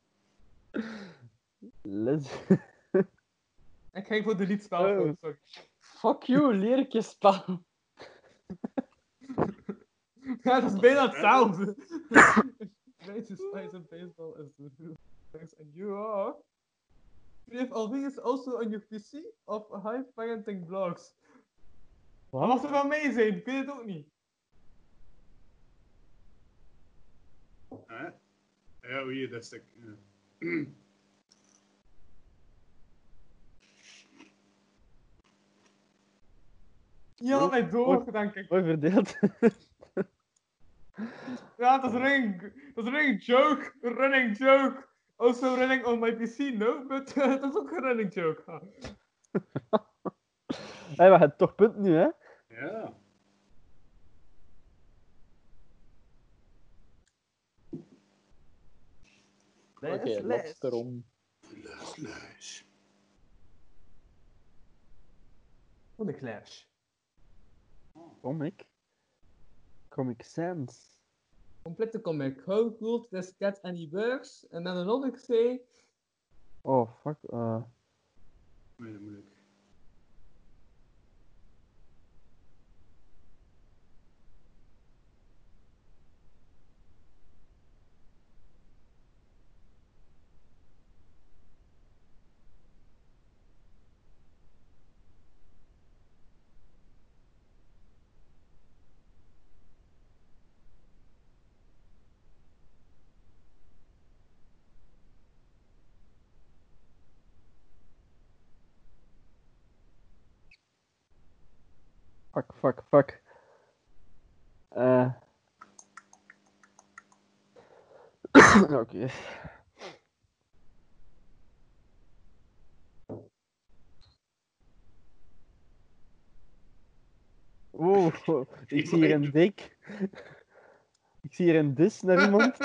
E: Les...
F: Ik ging voor de liedspel.
E: Oh.
F: sorry.
C: Fuck you, leer ik je spel.
F: Ja, dat is bijna hetzelfde. Greatest plays in baseball is the Thanks, and you are. Creative Alvin is also on your PC of high parenting blogs. Wat mag er van mee zijn? Ik weet het ook niet.
D: Hè? Ja, oh, hier, dat stuk. Ja.
F: Ja, had mij door, denk ik.
E: Mooi verdeeld.
F: Ja, dat is running, dat is running joke, running joke. Also running on my PC, no, but eh, dat is ook een running joke. Ah.
E: Hé, we hebben toch punten nu, hè?
D: Ja.
C: Oké, laatste rond.
D: Luis, luis.
F: Wat een clash.
E: Comic. Comic Sans.
F: Complete comic. How cool does get any works? En dan another say,
E: Oh, fuck. eh.
D: Nee, dat moeilijk.
E: Fuck, fuck, fuck. Eh. Oké. Wow, wow. ik zie hier een dik. Ik zie hier een dis naar iemand.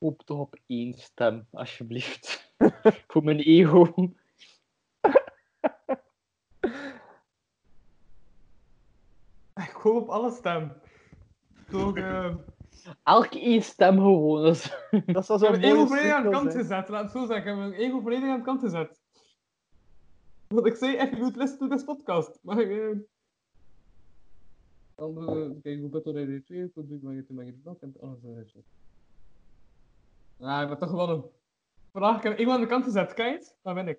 C: Hoop toch op één stem, alsjeblieft. Voor mijn ego.
F: ik hoop op alle stem. Toch, eh,
C: Elk één stem gewoon. dus Dat is-
E: Dat zou
F: ik heb
E: zo'n
F: mijn
E: mooie
F: ego volledig aan de
E: cirkel
F: kant
E: zijn.
F: gezet, laat het zo zeggen. Ik heb mijn ego volledig aan de kant gezet. Want ik zei echt, je moet listen to this podcast. Maar ik... eh, Dan eh, kijk ik op Battle Radio 2, ik doe ik maar het maar het blok en alles eh, eruit. Ah, ik ben toch gewonnen. Vandaag heb ik iemand aan de kant gezet, kijk eens. Daar ben ik.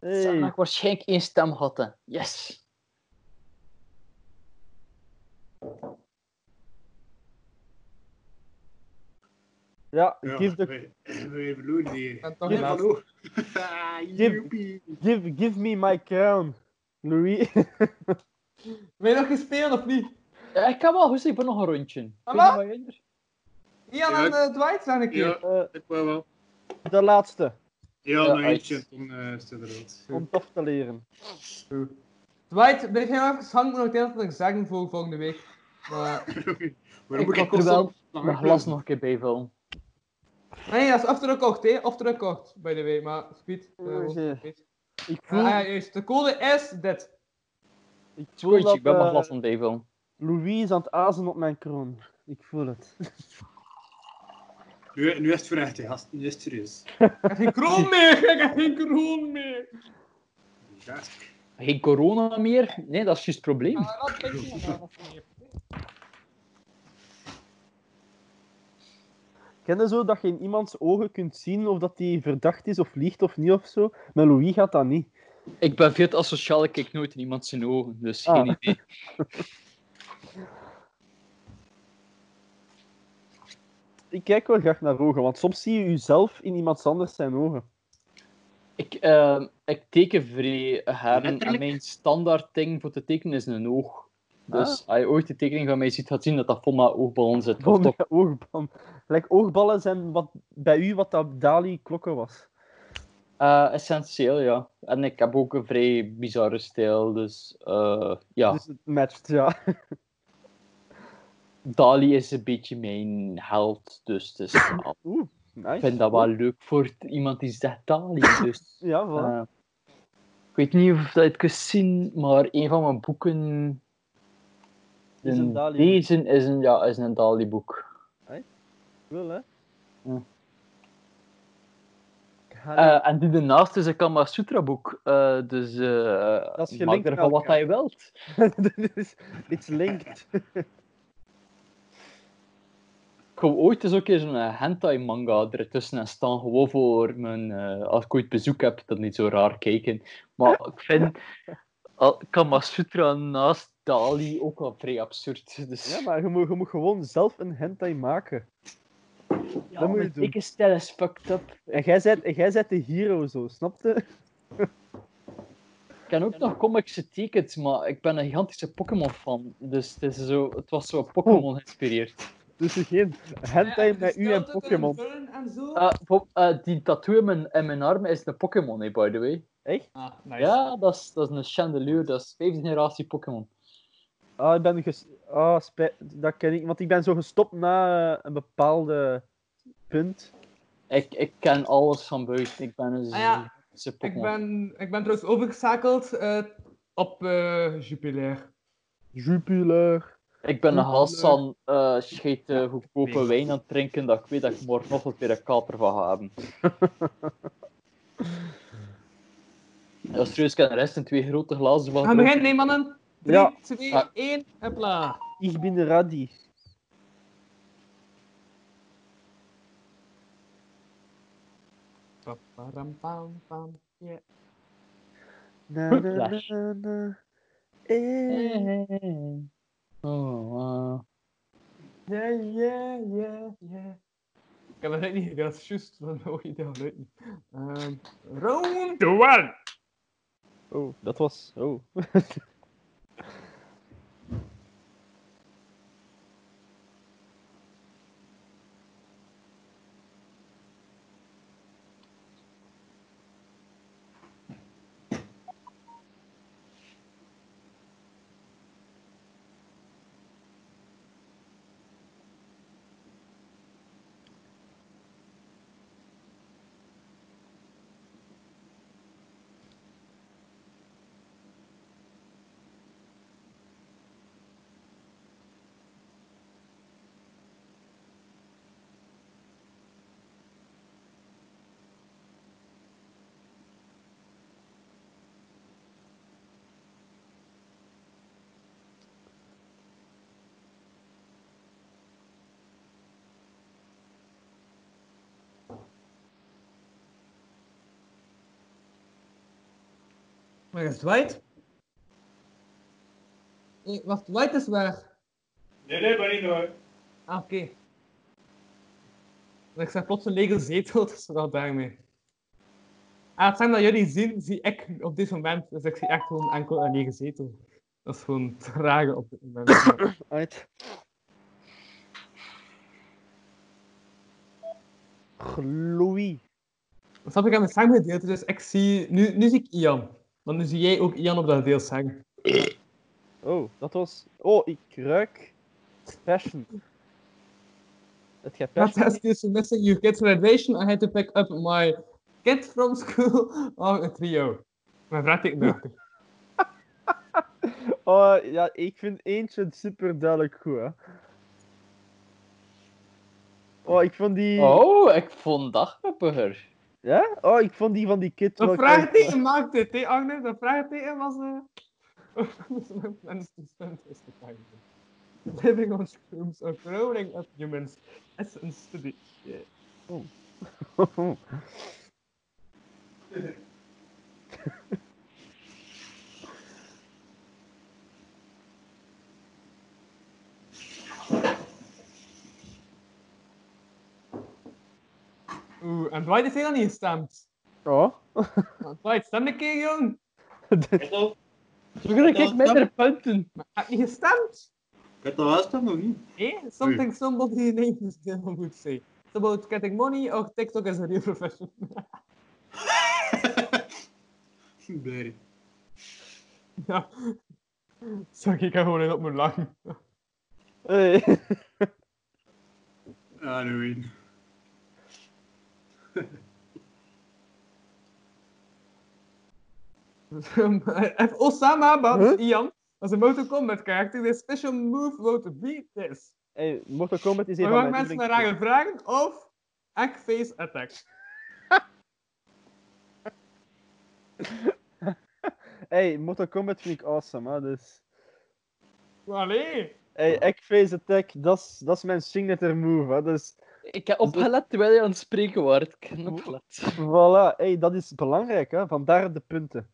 C: Zou
E: Hey.
C: ik waarschijnlijk één stem had. hè. Yes.
E: Ja,
D: Ja,
E: give, the,
D: wij, wij verloren die.
L: En toch
E: Ja,
L: laatst.
D: Hallo. Ah, joepie.
E: give, give me my crown, Louis.
F: Wil je nog eens spelen of niet?
C: Ja, Eh, ik kan wel goed, ik ben nog een rondje.
F: Mama?
C: Kun je nog wat
F: Ian
D: Ja,
F: en
D: ik-
F: eh, Dwight zijn een keer.
D: Ja,
E: Eh,
D: ik wou wel.
E: de laatste,
D: Ja,
C: Ja,
D: nog
C: uit.
D: eentje en dan eh, is het er rood.
E: om tof te leren.
F: Dwight, blijf jij nog even hangen nog het enige dat ik zeggen voor volgende week. Maar,
D: Waarom
C: Ik
D: moet ik
C: had er wel
D: constant langer
C: Mijn glas nog een keer bijvullen.
F: nee, dat is off the record, hè. Off the record, by the way. Maar, speed. eh,
E: Oh, jee.
F: speed.
E: Ik
F: Ah,
E: voel,
F: ja, juist. De code is dit.
E: ik voel
C: Goeie,
E: dat
C: ik ben mijn
E: eh,
C: glas aan het bijvullen.
E: Louis is aan het azen op mijn kroon. Ik voel het.
D: Nu, nu is het voor echt, hè, gast. Nu is het serieus.
F: Ik heb geen kroon meer! Ik heb geen kroon meer!
D: Ja,
C: Geen corona meer? Nee, dat is juist het probleem.
F: Ah, dat denk ik nog wel.
E: Ken je zo dat je in iemands ogen kunt zien of dat die verdacht is of liegt of niet of zo? Met Louis gaat dat niet.
C: Ik ben veel te asociaal, ik kijk nooit in iemand zijn ogen, dus
E: Ah.
C: geen idee.
E: Ik kijk wel graag naar ogen, want soms zie je jezelf in iemand anders zijn ogen.
C: Ik, ehm, ik teken vrij heren en
D: Letterlijk?
C: mijn standaard ding voor te tekenen is een oog. Dus als je ooit de tekening van mij ziet, gaat zien dat dat vol met oogballon zit. Of
E: Gewoon
C: toch?
E: met oogballen. Gelijk, oogballen zijn wat, bij u wat dat Dali klokken was.
C: Eh, essentieel, ja. En ik heb ook een vrij bizarre stijl, dus eh, ja.
E: Dus het matcht, ja.
C: Dali is een beetje mijn held, dus het is-
E: Oeh,
C: ik
E: nice.
C: vind dat wel leuk voor t- iemand die zegt Dali. Dus,
E: Ja, voilà.
C: eh, ik weet niet of dat je het kunt zien, maar een van mijn boeken...
E: Is een Dali.
C: Deze is een, ja, is een Dali-boek.
E: Wel, hè?
C: Ja.
E: Ga-
C: Eh, en die ernaast is een Kama Sutra-boek, eh, dus eh
E: Dat is
C: maak
E: gelinkt
C: ervan
E: aan
C: wat
E: elkaar.
C: je wilt.
E: Dit is- It's linked.
C: Ik wou ooit eens ook eens een eh, hentai manga ertussen en staan, gewoon voor mijn, eh, als ik ooit bezoek heb, dat niet zo raar kijken. Maar ik vind al- Kamasutra naast Dali ook wel vrij absurd. Dus,
E: Ja, maar je moet, je moet gewoon zelf een hentai maken.
C: Ja,
E: dat moet je
C: mijn
E: doen.
C: dikke stijl is fucked up.
E: En jij bent, en jij bent de hero zo, snapte?
C: Ik ken ook nog comics getekend, maar ik ben een gigantische Pokémon-fan. Dus het, is zo, het was zo Pokémon geïnspireerd.
E: Dus geen hentai met u en Pokémon.
F: En zo.
C: Eh, Bob, eh, die tattoo in mijn, in mijn arm is een Pokémon, eh, by the way.
E: Echt?
F: Ah, nice.
C: Ja, dat is, dat is een chandelier, dat is vijfde generatie Pokémon.
E: Ah, ik ben ges... Ah, spijt. Dat ken ik. Want ik ben zo gestopt na eh, een bepaalde punt.
C: Ik, ik ken alles van buiten. Ik ben een
F: Ah ja,
C: ze
F: Ik
C: Pokémon.
F: ben, ik ben trouwens overgeschakeld eh, op eh Jupiler.
E: Jupiler.
C: Ik ben een Hassan eh scheet eh, goedkope wijn aan het drinken dat ik weet dat ik morgenochtend weer een kater van ga hebben. Ja, serieus, ik heb de rest in twee grote glazen van.
F: Gaan we beginnen, nee mannen? 3,
E: Ja.
F: 2,
C: Ah.
F: 1, hopla.
E: Ik ben de Raddi.
F: Pam, pam, pam. Yeah.
E: Na,
C: Goed,
E: na,
C: Lars.
E: na, na. Eh,
C: Oh, wow.
F: Yeah, yeah, yeah, yeah. Ik heb dat net niet gedaan, dat is juist. Dan hoor je dat geluid niet. Ehm, round
E: Oh, dat was... Oh.
F: Waar is Dwight? Nee, wacht, Dwight is weg.
D: Nee, nee, maar niet hoor.
F: Ah, oké. En ik zag plots een lege zetel, dus wel daarmee. En hetgeen dat jullie zien, zie ik op dit moment. Dus ik zie echt gewoon enkel een lege zetel. Dat is gewoon trage op dit moment.
E: Uit. Gloei.
F: Dat heb ik aan het zanggedeelte, dus ik zie... Nu, nu zie ik Ian. Maar nu zie jij ook Ian op dat deel zang.
E: Oh, dat was... Oh, ik ruik... Passion. Het gaat
F: That
E: passion.
F: has this missing your kid's graduation. I had to pick up my kid from school of a trio. Mijn vraagteken erachter.
E: Oh, ja, ik vind eentje super duidelijk goed, hè. Oh, ik vond die...
C: Oh, ik vond dat grappiger.
E: Ja? Oh, ik vond die van die kid... wel
F: Een
E: kijk-
F: vraagteken maakt dit, hè Agnes? Oh, Een vraagteken was... eh en is de stunt is de vraagteken. Living on shrooms or growing up humans is een studie. Oeh, en Dwight heeft helemaal niet gestemd.
E: Oh.
F: Maar Dwight, stem een keer, jong.
M: Ik
C: Zo krijg
M: Ja,
C: ik minder punten.
F: Heb je gestemd?
M: heb toch wel stemmen of niet?
F: Eh? Something somebody named Dylan would say. It's about getting money or TikTok is a real profession.
D: Nee.
F: ja. Sorry, ik heb gewoon op mijn lang.
E: Hey.
D: Halloween.
F: If Osama but Ian als een Mortal Kombat character, the special move would be this.
E: Hey, Mortal Kombat is een
F: We
E: van
F: maken
E: mijn
F: mensen naar
E: lievelings-
F: rare vragen of Eggface Attack.
E: Hey, Mortal Kombat vind ik awesome, hè, dus...
F: Allee.
E: Hey, Eggface Attack, dat is- dat is mijn signature move, hè, dus...
C: Ik heb opgelet terwijl je aan het spreken was. Ik heb opgelet.
E: Voilà, hey, dat is belangrijk, hè. Vandaar de punten.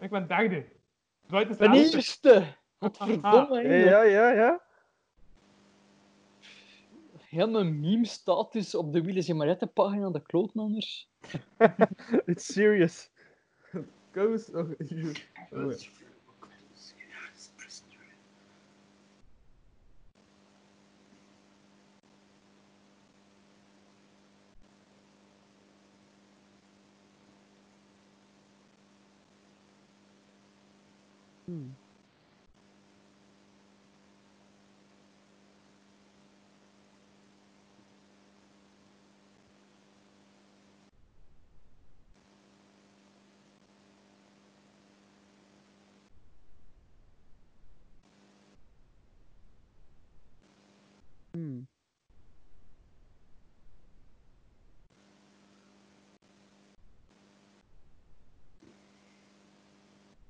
F: Ik ben derde. Dwight is
C: Mijn
F: laatste.
C: eerste! Godverdomme,
E: Hey,
C: hè.
E: Ah. ja, ja, ja.
C: Heel mijn meme-status dus op de Wielen Zimarette pagina, de klootmanners.
E: It's serious.
F: Koos of you.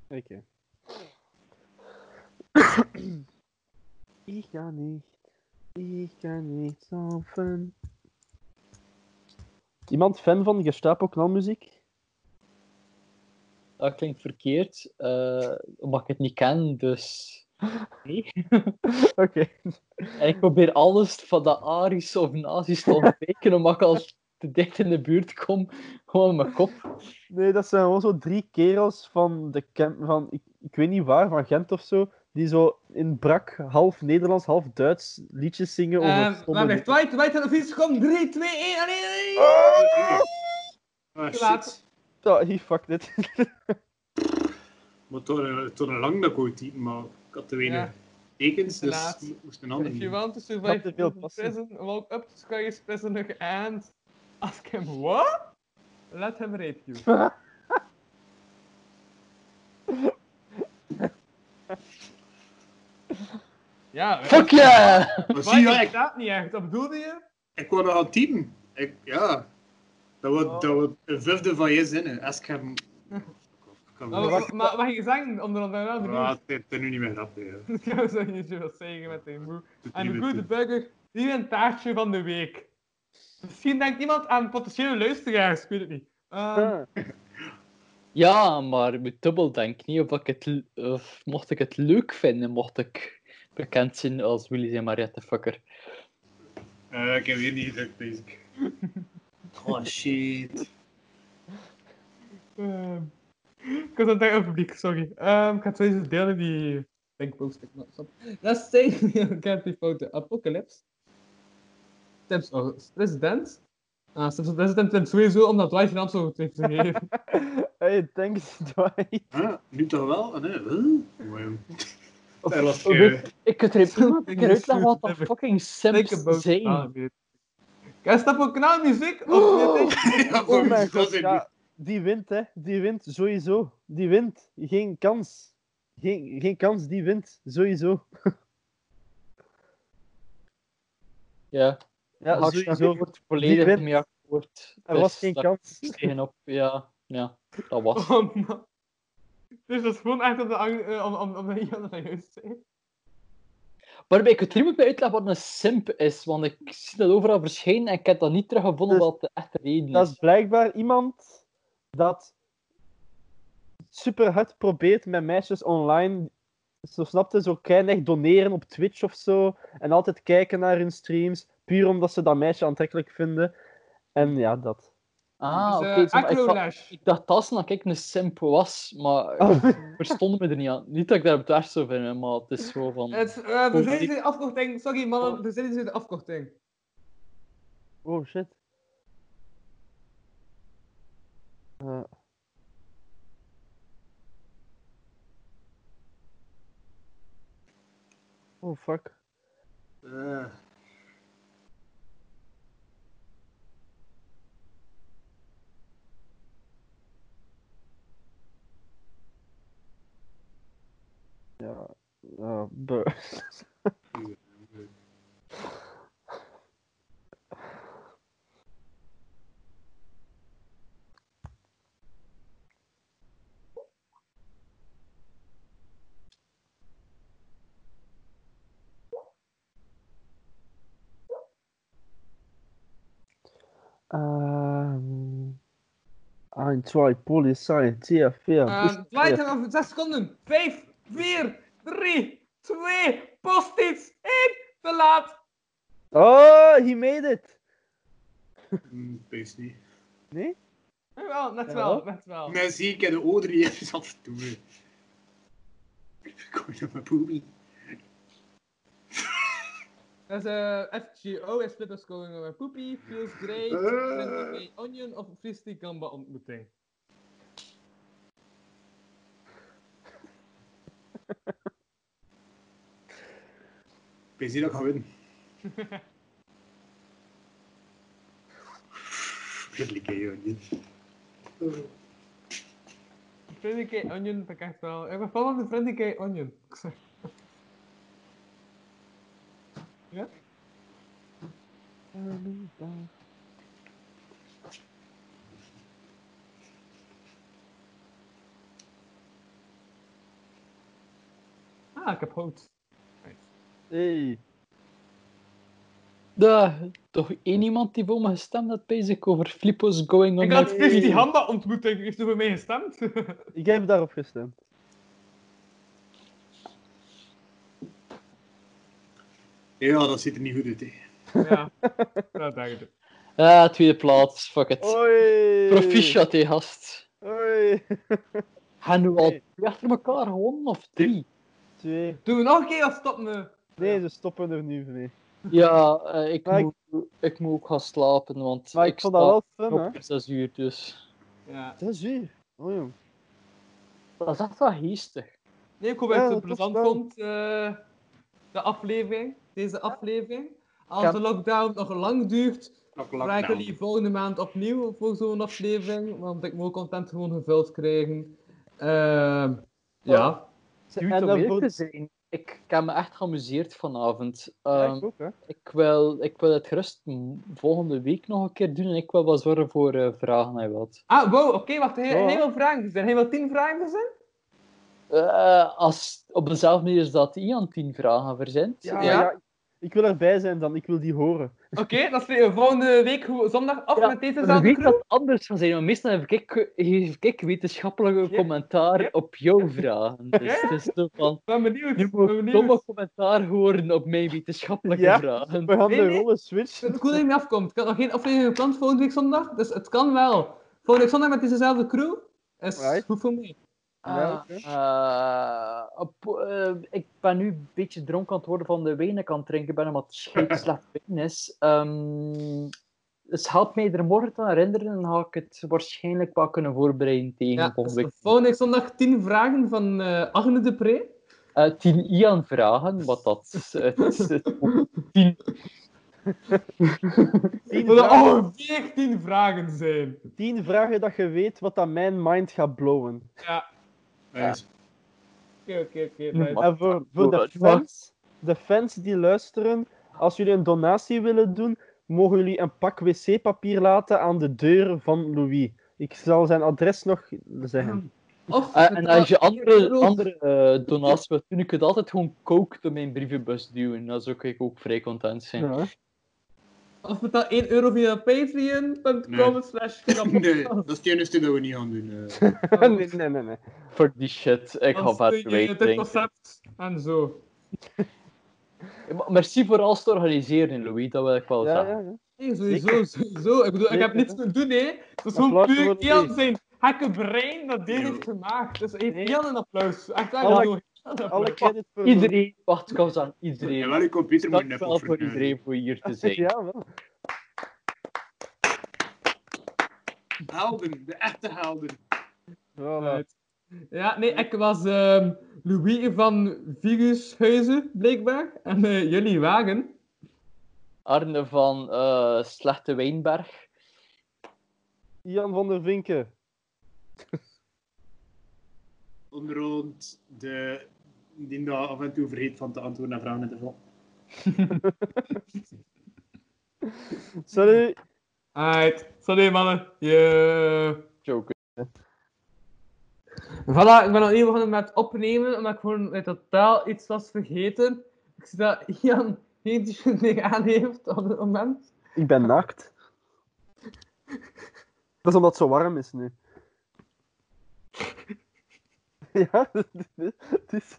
E: Oké. ik kan niet. Ik kan niet slapen. Iemand fan van Gestapo knalmuziek?
C: Dat klinkt verkeerd, eh, omdat ik het niet ken, dus...
E: Oké.
C: En ik probeer alles van de Aries of nazi's te ontwijken, omdat ik als te dicht in de buurt kom, gewoon mijn kop.
E: Nee, dat zijn gewoon zo drie kerels van de camp, van ik, ik weet niet waar, van Gent of zo, die zo in brak half Nederlands, half Duits liedjes zingen over
F: Ehm,
E: Oh, stomme
F: Waar
E: dingen.
F: blijft Dwight? Dwight had op iets gekomen. 3, 2, 1, allee!
D: Ah,
F: Laat.
D: shit.
E: Ja, he fucked it.
D: Maar het was een- het was een lang dat ik wou typen, maar ik had te weinig
F: Ja.
D: tekens,
F: Te
D: dus
F: laat.
D: ik moest een ander
F: If you
D: doen.
F: want to survive
E: te veel
F: prison,
E: passen.
F: prison, walk up to Sky's prisoner and ask him what? Let him rape you. ja,
C: Fuck yeah!
D: Maar
F: Zie
D: zie je, ik,
F: staat niet echt. Dat bedoelde je?
D: ik wou nog aan typen. Ik, ja. Dat wordt
E: Oh.
D: dat wordt een vijfde van je zinnen. Als ik hem... Ik kan
E: Oh,
F: Maar, maar, Oh, maar wat ging je zeggen? Onder andere wel de
D: Ja,
F: move.
D: het het is nu niet meer grappig. hè.
F: Ik zou zo niet zoveel zeggen met die move.
D: Het is
F: En
D: niet
F: de
D: meer
F: goede
D: te-
F: burger, die een taartje van de week. Misschien denkt iemand aan potentiële luisteraars, ik weet het niet. Ehm,
E: Ah.
C: Ja, maar met dubbel denk ik niet of ik het, l- of mocht ik het leuk vinden, mocht ik bekend zijn als Willy en Mariette Fucker.
D: Eh, ik heb weer niet gedrukt, basic. Oh shit.
F: Ehm, ik was aan het denken aan publiek, sorry. Ehm, ik ga twee eens delen die denkpost. ik nou, stop. Let's say we can before the apocalypse. Tips of president. Ah, tips of president Tim sowieso omdat Dwight zijn antwoord goed heeft gegeven.
E: Hey, thanks, Dwight.
D: Huh? Nu toch wel? Ah, nee. Huh? Wow. Daar was
C: Of-
D: ik.
C: Ik kan er iemand
F: Something
C: keer uitleggen wat dat
F: never
C: fucking
F: Think
C: simps
F: about
C: zijn.
F: it. Kan je stappen op kanaalmuziek? Of weet ik?
D: Ja,
E: Oh
D: voor
E: mijn
D: mijn
E: god,
D: dat is
E: ja. Die wint, hè. Die wint, sowieso. Die wint. Geen kans. Geen, geen kans, die wint. Sowieso.
C: Ja,
E: Ja,
C: Haksnavel
E: sowieso.
C: wordt
E: Die
C: volledig
E: wint.
C: mee akkoord.
E: Er
C: Dus
E: was geen
C: daar
E: kans.
C: is tegenop. Ja, ja, dat was.
F: Oh man. Dus dat is gewoon echt om de ang- eh, om- om- om de Jan van Heus te zijn.
C: Waarbij ik het niet moet bij uitleggen wat een simp is, want ik zie dat overal verschijnen en ik heb dat niet teruggevonden
E: Dus-
C: wat de echte reden
E: Dat
C: is.
E: is blijkbaar iemand dat super hard probeert met meisjes online. Zo snapte, zo keinig doneren op Twitch of zo. En altijd kijken naar hun streams. Puur omdat ze dat meisje aantrekkelijk vinden. En ja, dat.
C: Ah,
F: Dus,
C: oké.
F: eh,
C: zo, maar ik, dacht-
F: Acrolash.
C: ik dacht dat dat ik een simp was, maar
E: Oh.
C: ik verstond me er niet aan. Niet dat ik daar op het zou vinden, maar het is gewoon van...
F: Het, eh
C: Oh,
F: we zijn de afkorting. Sorry mannen, we zijn de afkorting.
E: Oh shit. Eh, Oh fuck.
D: Eh,
E: Ja, eh, buh. Ehm, Ein, zwei, Polizei, vier, vier.
F: Uh, Dwight hebben we 6 seconden. 5, 4, 3, 2, post iets. 1, te laat.
E: Oh, he made it!
D: mm, Pees niet.
E: Nee?
F: Jawel, net
E: Ja.
F: wel, net wel.
D: Nee, zie, ik heb de O3 even af toe. Kom je op mijn boobie?
F: Dat is eh, FGO en Splitters going over poepie, feels great,
D: Eh.
F: 20k onion of Fristi Gamba ontmoeting.
D: Pees niet dat ik ga winnen. Vriendelijk, hè, jongen.
F: 20k onion vind ik echt wel. Ik ben fan van de 20k onion. Ik zeg- Ja? Ah, ik heb hout.
E: Hey.
C: Da, toch één iemand die voor me gestemd had, basic, over Flippo's going on.
F: Ik had Fristi Gamba ontmoeting, heeft u voor mij gestemd?
E: Ik heb daarop gestemd.
D: Ja, dat ziet er niet goed uit, hè.
F: ja, dat denk ik.
C: Ah, tweede plaats, fuck it.
E: Oei!
C: Proficiat, hé, gast.
E: Oei!
C: Gaan nu al
E: Hey.
C: twee achter elkaar gewonnen, of drie?
E: Twee.
F: Doen we nog een keer of stoppen we?
E: Nee, ze stoppen er nu mee.
C: Ja, eh, ik,
E: Maar ik-
C: moet, ik moet ook gaan slapen, want
E: Maar ik,
C: ik
E: vond
C: sta
E: dat wel fun, hè?
C: op om zes uur, dus...
F: Ja.
E: Dat is hier. Oh jong.
C: Dat is echt wel geestig.
F: Nee, ik hoop dat je
E: Ja,
F: het
E: dat
F: plezant
E: was wel.
F: vond, eh, de aflevering, deze aflevering. Als
E: Ja.
F: de lockdown nog lang duurt,
D: Knock, knock,
F: vraag ik
D: knock.
F: jullie volgende maand opnieuw voor zo'n aflevering, want ik moet content gewoon gevuld krijgen. Ehm, ja.
C: Dude,
E: en
C: om
E: dan
C: eerlijk
E: voor-
C: te zijn, ik, ik heb me echt geamuseerd vanavond.
E: Ja,
C: Ehm,
E: ik ook, hè?
C: ik, wil, ik wil het gerust m- volgende week nog een keer doen en ik wil wel zorgen voor eh, vragen en wat.
F: Ah, wow, oké, wacht, hij,
E: Ja.
F: hij wil vragen zijn. Hij wil tien vragen zijn?
C: Eh, als, op dezelfde manier als dat Ian tien vragen verzint.
E: Ja,
F: Ja.
E: ja, Ik wil erbij zijn dan, ik wil die horen.
N: Oké, dan spreken we volgende week hoe- zondag af
C: Ja,
N: met deze
C: Ik
N: zaal.
C: weet dat het anders gaat zijn, want meestal heb ik, geef ik wetenschappelijke
N: Ja.
C: commentaar
N: Ja.
C: op jouw vragen. Dus het is zo van,
N: Ik ben benieuwd.
C: nu
N: Ik
C: moet
N: ben
C: ik
N: benieuwd.
C: domme commentaar horen op mijn wetenschappelijke
E: Ja.
C: vragen.
E: We gaan
N: Nee,
E: de
N: nee.
E: rollen
F: Ik
E: switchen.
F: vind het cool dat je niet afkomt. Ik had nog geen aflevering gepland volgende week zondag, dus het kan wel. Volgende week zondag met dezezelfde crew is
E: Right.
F: goed voor mij.
E: Ja, oké.
C: Ah, op- eh, ik ben nu een beetje dronken aan het worden van de wijn ik aan het drinken ben, omdat het scheet slecht wijn is. Ehm, dus help mij er morgen aan herinneren en dan ga ik het waarschijnlijk wel kunnen voorbereiden tegen
F: Ja,
C: volgende
F: dus
C: week.
F: volgende week zondag 10 vragen van eh Agne de Pre.
C: Eh, tien Ian vragen, wat dat is. Het is het woord tien.
E: Tien
F: Dat er
E: vragen,
F: ongeveer 10 vragen zijn.
E: tien vragen dat je weet wat dat mijn mind gaat blowen.
D: Nice.
F: Oké, oké, oké. nice.
C: Wat?
E: En voor, voor de,
C: Wat?
E: fans, de fans die luisteren, als jullie een donatie willen doen, mogen jullie een pak wc-papier laten aan de deur van Louis. Ik zal zijn adres nog zeggen.
F: Of
C: Eh, en als je andere,
F: euro.
C: andere eh, donaties wilt doen, je kunt altijd gewoon coke door mijn brievenbus duwen. Dan zou ik ook vrij content zijn.
E: Ja.
F: Of betaal 1 euro via patreon.com
D: Nee.
F: slash
D: Nee, dat is het enige dat we niet gaan doen. eh.
E: nee, nee, nee, nee.
C: Fuck die shit, ik ga verder wijn
F: Het
C: drinken.
F: concept en zo.
C: Maar Merci voor alles te organiseren, Louis, dat wil ik wel
E: Ja,
C: zeggen.
E: ja, ja.
F: Nee, sowieso, sowieso. Ik bedoel, ik heb
E: Zeker,
F: niets te doen, hè. Het is gewoon
E: Applaus
F: puur
E: voor Louis.
F: Kian zijn hakkenbrein dat dit
D: Nee,
F: heeft gemaakt. Dus heeft
E: Nee.
F: Kian een applaus. Echt waar,
E: Alle-
F: ik
E: Alle credit voor
C: Iedereen, wacht, ik was aan
D: En
C: iedereen.
D: wel, je computer moet
C: Dank
D: net
C: wel voor iedereen voor hier te zijn.
E: Ja, wel.
D: Helden, de echte helden.
E: Voilà.
F: Ja, nee, ik was ehm, Louis van Virushuizen, blijkbaar. En eh, jullie wagen.
C: Arne van eh, Slechte Wijnberg.
E: Ian van der Vinken.
D: Onderhand de... Die daar af en toe vergeet van te antwoorden naar vragen in de vol.
E: Salut.
F: Alright, salut mannen. Yeah.
C: Joke.
F: Voilà, ik ben opnieuw begonnen met opnemen, omdat ik gewoon in totaal iets was vergeten. Ik zie dat Ian geen ding aan heeft op dit moment.
E: Ik ben naakt. Dat is omdat het zo warm is nu. Ja, het is...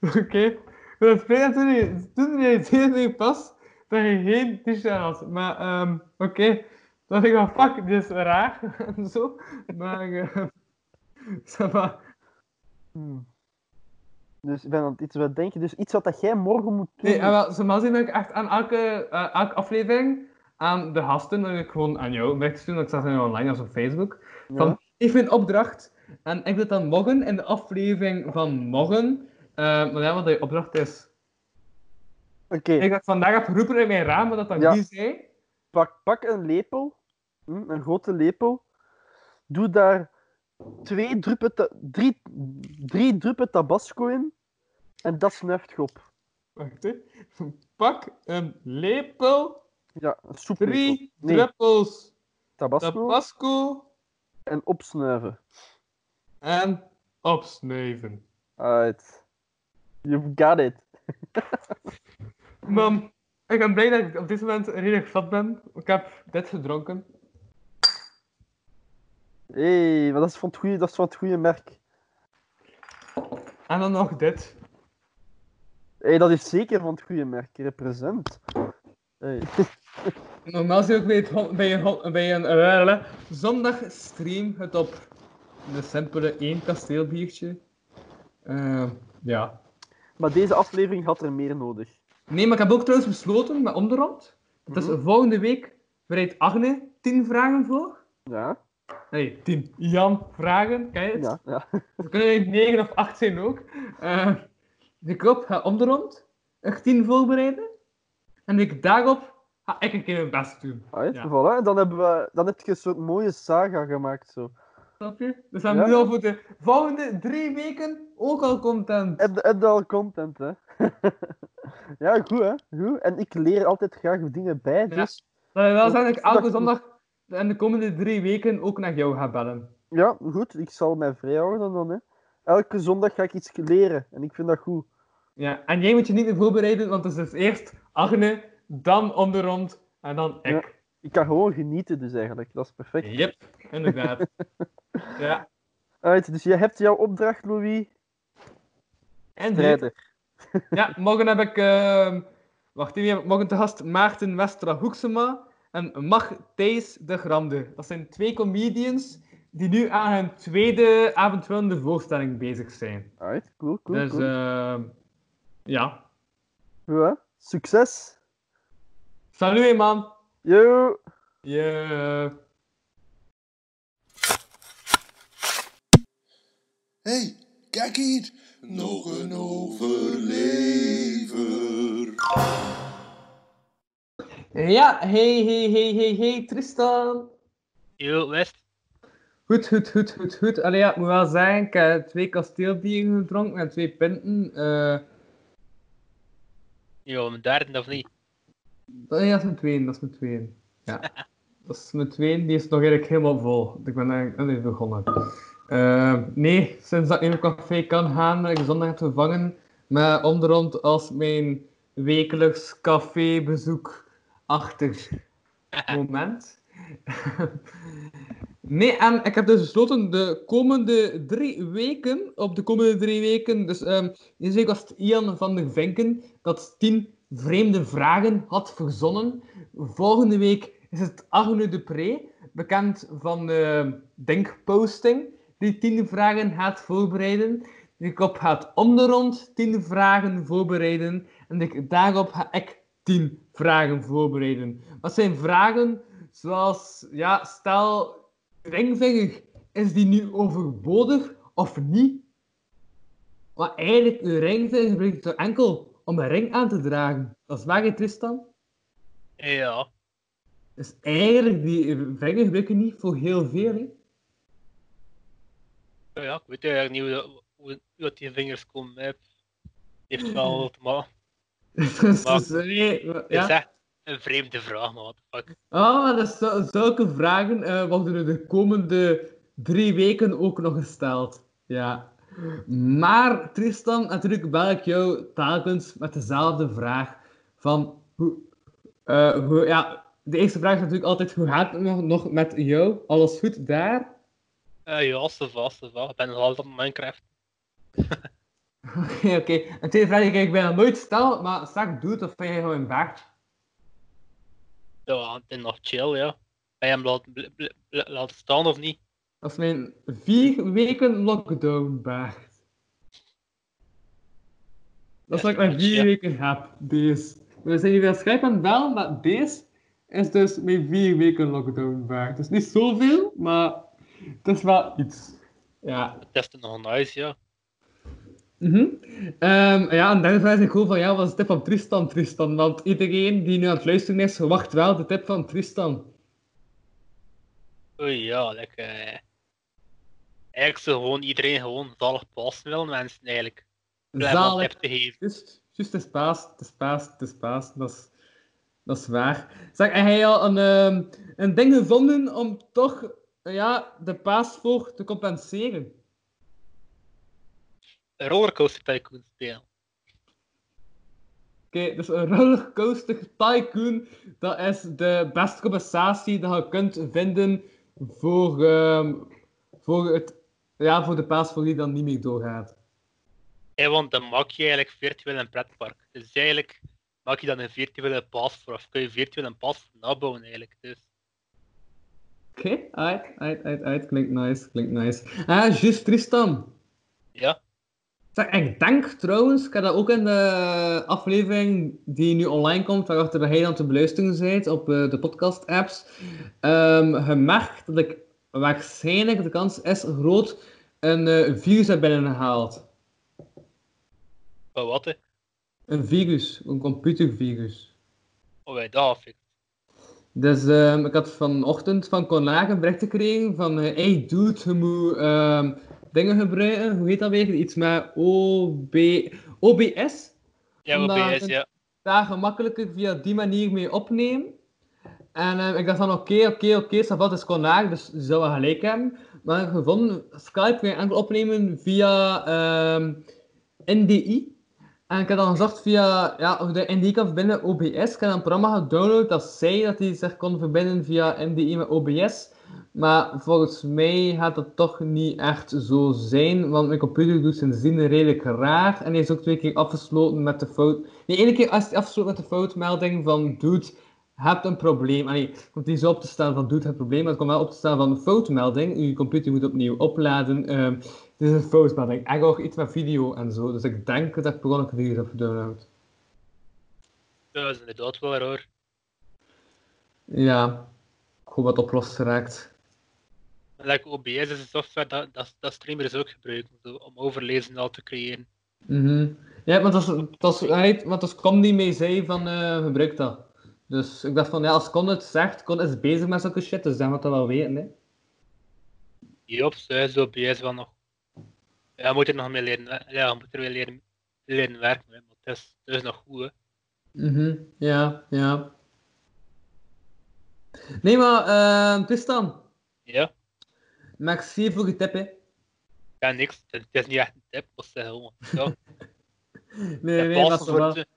F: Oké. Dat is fijn dat toen je- toen realiseerde ik pas dat je geen t-shirt had. Maar ehm, oké, dat ik wel fuck, dit is raar en zo. Maar eh, ça va.
E: Hmm. Dus ik ben aan het iets wat denken. Dus iets wat dat jij morgen moet doen.
F: Nee, ah, en wel, ze maar zien dat ik echt aan elke, eh, elke aflevering aan de gasten, dat ik gewoon aan jou merk stuur, want ik zag ze nu online als op Facebook.
E: Ja.
F: Van, ik vind opdracht. En ik doe het dan morgen in de aflevering van morgen. Eh, maar ja, wat de opdracht is.
E: Oké,
F: Ik dat ik vandaag heb geroepen in mijn raam, wat dat dan
E: Ja.
F: die zei.
E: pak, pak een lepel. Hm, een grote lepel. Doe daar twee druppen ta- drie, drie druppen tabasco in. En dat snuift je op.
F: Wacht, hè. Pak een lepel,
E: Ja, een soeplepel.
F: drie
E: Nee,
F: druppels
E: tabasco
F: tabasco
E: en opsnuiven.
F: en opsnuiven.
E: Alright. You've got it.
F: Mam, ik ben blij dat ik op dit moment redelijk vat ben. Ik heb dit gedronken.
E: Hé, hey, maar dat is van het goede, dat is van het goede merk.
F: En dan nog dit.
E: Hé, hey, dat is zeker van het goede merk. Represent. Hey.
F: Normaal zie ik bij, het, hol- bij een, hol- bij een eh, zondag stream het op de simpele één kasteelbiertje. Ehm, ja.
E: Maar deze aflevering had er meer nodig.
F: Nee, maar ik heb ook trouwens besloten met onderhand. Dat is volgende week bereidt Agne 10 vragen voor.
E: Ja,
F: Nee, 10. Jan vragen, ken je het?
E: ja, ja.
F: Er kunnen er 9 of 8 zijn ook. Eh ik op, ga om de rond. Er 10 voorbereiden. En ik daarop ga ik een keer mijn best doen.
E: Alright,
F: Ja.
E: voilà. En dan, hebben we, dan heb je een soort mooie saga gemaakt. Zo.
F: Snap je? Dus
E: Ja.
F: dan hebben we al voor de volgende drie weken ook al content.
E: Heb, heb je al content, hè? ja, goed, hè? Goed. En ik leer altijd graag dingen bij,
F: Ja.
E: dus...
F: Dat wil wel
E: dat-
F: zeggen dat ik
E: dat-
F: elke zondag in de komende drie weken ook naar jou ga bellen.
E: Ja, goed. Ik zal mij vrijhouden dan, hè. Elke zondag ga ik iets leren. En ik vind dat goed.
F: Ja, en jij moet je niet meer voorbereiden, want het is dus eerst Agne dan om de rond en dan ik.
J: Ik kan gewoon genieten dus eigenlijk. Dat is perfect.
F: Yep, inderdaad. ja,
J: Alright, dus je hebt jouw opdracht, Louis.
F: en dit.
J: Strijden.
F: Ja, morgen heb ik. ehm, wacht, wie heb ik morgen te gast? Maarten Westra Hoeksema en Mag Thijs de Grande. Dat zijn twee comedians die nu aan hun tweede avondvullende voorstelling bezig zijn.
J: Alright, cool, cool,
F: dus
J: cool.
F: ehm, ja.
J: Ja, succes.
F: Salut, hè, man.
J: Yo.
F: Je. eh,
A: hey, kijk hier. Nog een overlever.
F: Ja, hey, hey, hey, hey, hey, Tristan.
O: Yo, West.
F: Goed, goed, goed, goed, goed. Allee, ja, ik moet wel zeggen, ik heb twee kasteelbieren gedronken en twee pinten. Eh,
O: Yo, een derde of niet?
F: dat, Eh, ja, dat is mijn tweeën, dat is mijn tweeën. Ja. Dat is mijn tweeën, die is nog eigenlijk helemaal vol. Ik ben eigenlijk net even begonnen. Eh, nee, sinds dat ik niet meer café kan gaan, heb ik zondag heb vervangen met onderhand als mijn wekelijks cafébezoek achter moment. Nee, en ik heb dus besloten de komende drie weken, op de komende drie weken, dus ehm deze week was het Ian van der Venken dat tien vreemde vragen had verzonnen. Volgende week is het Agne Dupré, bekend van de Denkposting, die tien vragen gaat voorbereiden. Die ik op gaat om de rond tien vragen voorbereiden en die- daarop ga ik tien vragen voorbereiden. Wat zijn vragen zoals, ja, stel ringvinger, is die nu overbodig of niet? Want eigenlijk, uw ringvinger gebruikt toch enkel om een ring aan te dragen. Dat is waar, hè, Tristan?
O: Ja.
F: Dus eigenlijk, die vinger gebruik je niet voor heel veel, hè?
O: Ja, ik weet eigenlijk niet hoe, dat- hoe, hoe dat die vingers komen. hè. Het heeft wel te maken.
F: Dus,
O: Maar-
F: dus, nee, maar-
O: Het is
F: ja.
O: echt een vreemde vraag, maar what the fuck.
F: Ah, maar dat is zo- zulke vragen eh, worden er de komende drie weken ook nog gesteld. Ja. Maar, Tristan, natuurlijk bel ik jou telkens met dezelfde vraag van hoe, eh, hoe, ja, de eerste vraag is natuurlijk altijd, hoe gaat het nog, nog met jou? Alles goed daar?
O: Eh, ja, ze va, ze va. Ik ben nog altijd op Minecraft.
F: Oké, oké. Een tweede vraag die ik bijna nooit stel, maar straks doe het of ben jij gewoon een baard?
O: Ja, het is nog chill, ja. Ben je hem laten, bl- bl- bl- laten staan of niet?
F: Dat is mijn vier weken lockdown baard. Dat is
O: Ja,
F: wat ik mijn vier
O: ja.
F: weken heb, deze. We zijn hier weer Skype aan het bellen, maar deze is dus mijn vier weken lockdown baard. Dat is niet zoveel, maar het is wel iets. Ja.
O: Het is toch nog nice, ja.
F: Mhm. Ehm, ja, en derde vraag is ik gewoon van, ja, wat is de tip van Tristan, Tristan? Want iedereen die nu aan het luisteren is, verwacht wel de tip van Tristan.
O: Oei, ja, lekker. Eigenlijk zou gewoon iedereen gewoon zalig passen willen, mensen, eigenlijk. Blijf wat
F: Zalig.
O: tip te geven.
F: Juist, juist, het is paas, het is paas, het is paas. Dat is, dat is waar. Zeg, heb jij al een, ehm, een ding gevonden om toch eh, ja, de paas voor te compenseren?
O: Rollercoaster Tycoon spelen.
F: Oké, dus een rollercoaster tycoon, dat is de beste compensatie dat je kunt vinden voor, ehm, voor, het, ja, voor de paas voor die dan niet meer doorgaat.
O: Hey, want dan maak je eigenlijk virtueel een pretpark. Dus eigenlijk maak je dan een virtuele pas voor, of kun je virtueel een pas voor nabouwen eigenlijk. Dus
F: Oké, uit, uit, uit, uit. Klinkt nice, klinkt nice. Ah, juist Tristan.
O: ja,
F: Zeg, ik denk trouwens, ik heb dat ook in de aflevering die nu online komt, waarachter jij aan te beluisteren bent op eh, de podcast-apps, ehm, gemerkt dat ik waarschijnlijk, de kans is groot, een eh, virus heb binnengehaald.
O: maar wat hè?
F: Een virus, een computervirus.
O: Oh, wij dat vind ik.
F: Dus ehm, ik had vanochtend van Conlagen een bericht gekregen van, eh, hey dude, je moet ehm, dingen gebruiken, hoe heet dat weer? Iets met OB... OBS?
O: Ja,
F: Omdat
O: OBS,
F: het-
O: ja.
F: daar gemakkelijker via die manier mee opnemen. En eh, ik dacht van oké, oké, oké, ça va, het is Conaar, dus ze zullen gelijk hebben. Maar ik heb gevonden, Skype kun je enkel opnemen via ehm, NDI. En ik heb dan gezocht via, ja, of de NDI kan verbinden met OBS. Ik heb een programma gedownload dat zei dat hij zich kon verbinden via NDI met OBS. Maar volgens mij gaat dat toch niet echt zo zijn, want mijn computer doet zijn zin redelijk raar. En hij is ook twee keer afgesloten met de fout. Nee, één keer is hij afgesloten met de foutmelding van Dude, hebt een probleem. Allee, komt die zo op te staan van Dude, hebt een probleem, maar het komt wel op te staan van foutmelding. Uw computer moet opnieuw opladen. Ehm, dit is een foutmelding. En ook iets met video en zo. Dus ik denk dat ik per ongeluk een virus heb gedownload.
O: Dat is inderdaad wel raar.
F: Ja, ik hoop dat het oplost geraakt.
O: En like OBS is een software dat, dat, dat streamers ook gebruiken zo, om overlezen al te creëren.
F: Mhm. Ja, want als, als, allee, want als Comedy mee zei van eh, gebruik dat. Dus ik dacht van ja, als Con het zegt, Con is bezig met zulke shit, dus dan moet dat wel weten. Hè.
O: Jops, zo is OBS wel nog. Ja, je moet er nog mee leren, wer- ja, je moet er weer leren, leren werken, hè, maar het is, het is nog goed. Hè.
F: Mhm, ja, ja. Nee, maar ehm Tristan,
O: Ja,
F: merci voor je tip. Hè.
O: ja, niks. Het, het is niet echt een tip, maar het is gewoon. Ja.
F: Nee, nee,
O: plassen
F: dat is
O: voor
F: wel.
O: het-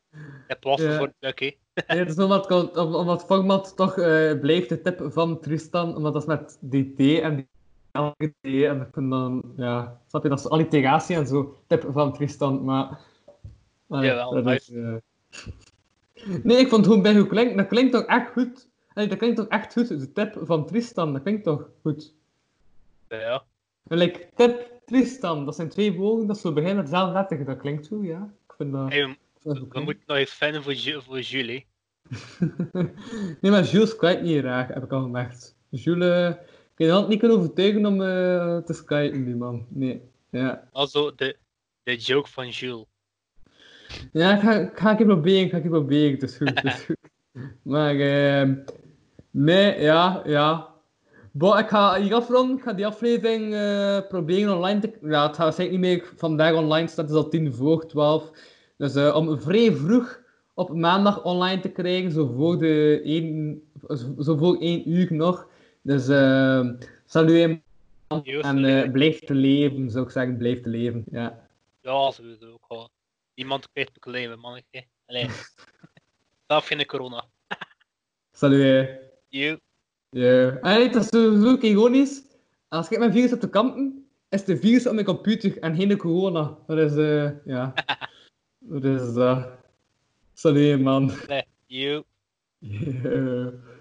O: Het plassen
F: Ja.
O: voor het werk, hè.
F: Nee, het is omdat, ik- om- omdat Fogmat toch eh, blijft de tip van Tristan, omdat dat is met DT en die andere T en ik vind dan, ja, snap je, dat is alliteratie en zo, tip van Tristan, maar... maar
O: Jawel,
F: dat is, eh, Nee, ik vond hoe bij hoe klinkt, dat klinkt toch echt goed. Nee, dat klinkt toch echt goed, de tip van Tristan, dat klinkt toch goed.
O: Ja.
F: En like, tip, Tristan, dat zijn twee woorden, dat is zo begin hetzelfde letterlijk, dat klinkt goed, ja. Ik vind dat...
O: Hey, we,
F: dat is ook
O: we
F: leuk.
O: moeten nog even vinden voor, Ju- voor Jules. hè.
F: Nee, maar Jules skype niet graag, heb ik al gemerkt. Jules, eh, ik kan je hand niet kunnen overtuigen om eh, te skypen, die man. Nee. Ja,
O: Also, de, de joke van Jules.
F: ja ik ga, ik ga een keer proberen, ik ga een keer proberen. Het is goed, het is goed. Maar, ehm nee, ja, ja. Bon, ik ga hier afronden. Ik ga die aflevering eh, proberen online te... Ja, het gaat zeker niet meer vandaag online staan. Het is al tien voor twaalf. Dus eh, om vrij vroeg op maandag online te krijgen, zo voor, de één, zo voor één uur nog. Dus eh salut en, en eh, blijf te leven, zou ik zeggen. Blijf te leven, ja.
O: Ja, sowieso ook al. Niemand krijgt problemen, mannetje. Allee. Zelf geen corona.
F: Salut. eh.
O: You.
F: Ja. En het is sowieso ook ironisch. Als ik mijn virus heb te kampen, is het de virus op mijn computer en geen de corona. Dat is, eh, ja. Dat is, eh. Salut, man.
O: Allee. You.
F: Ja.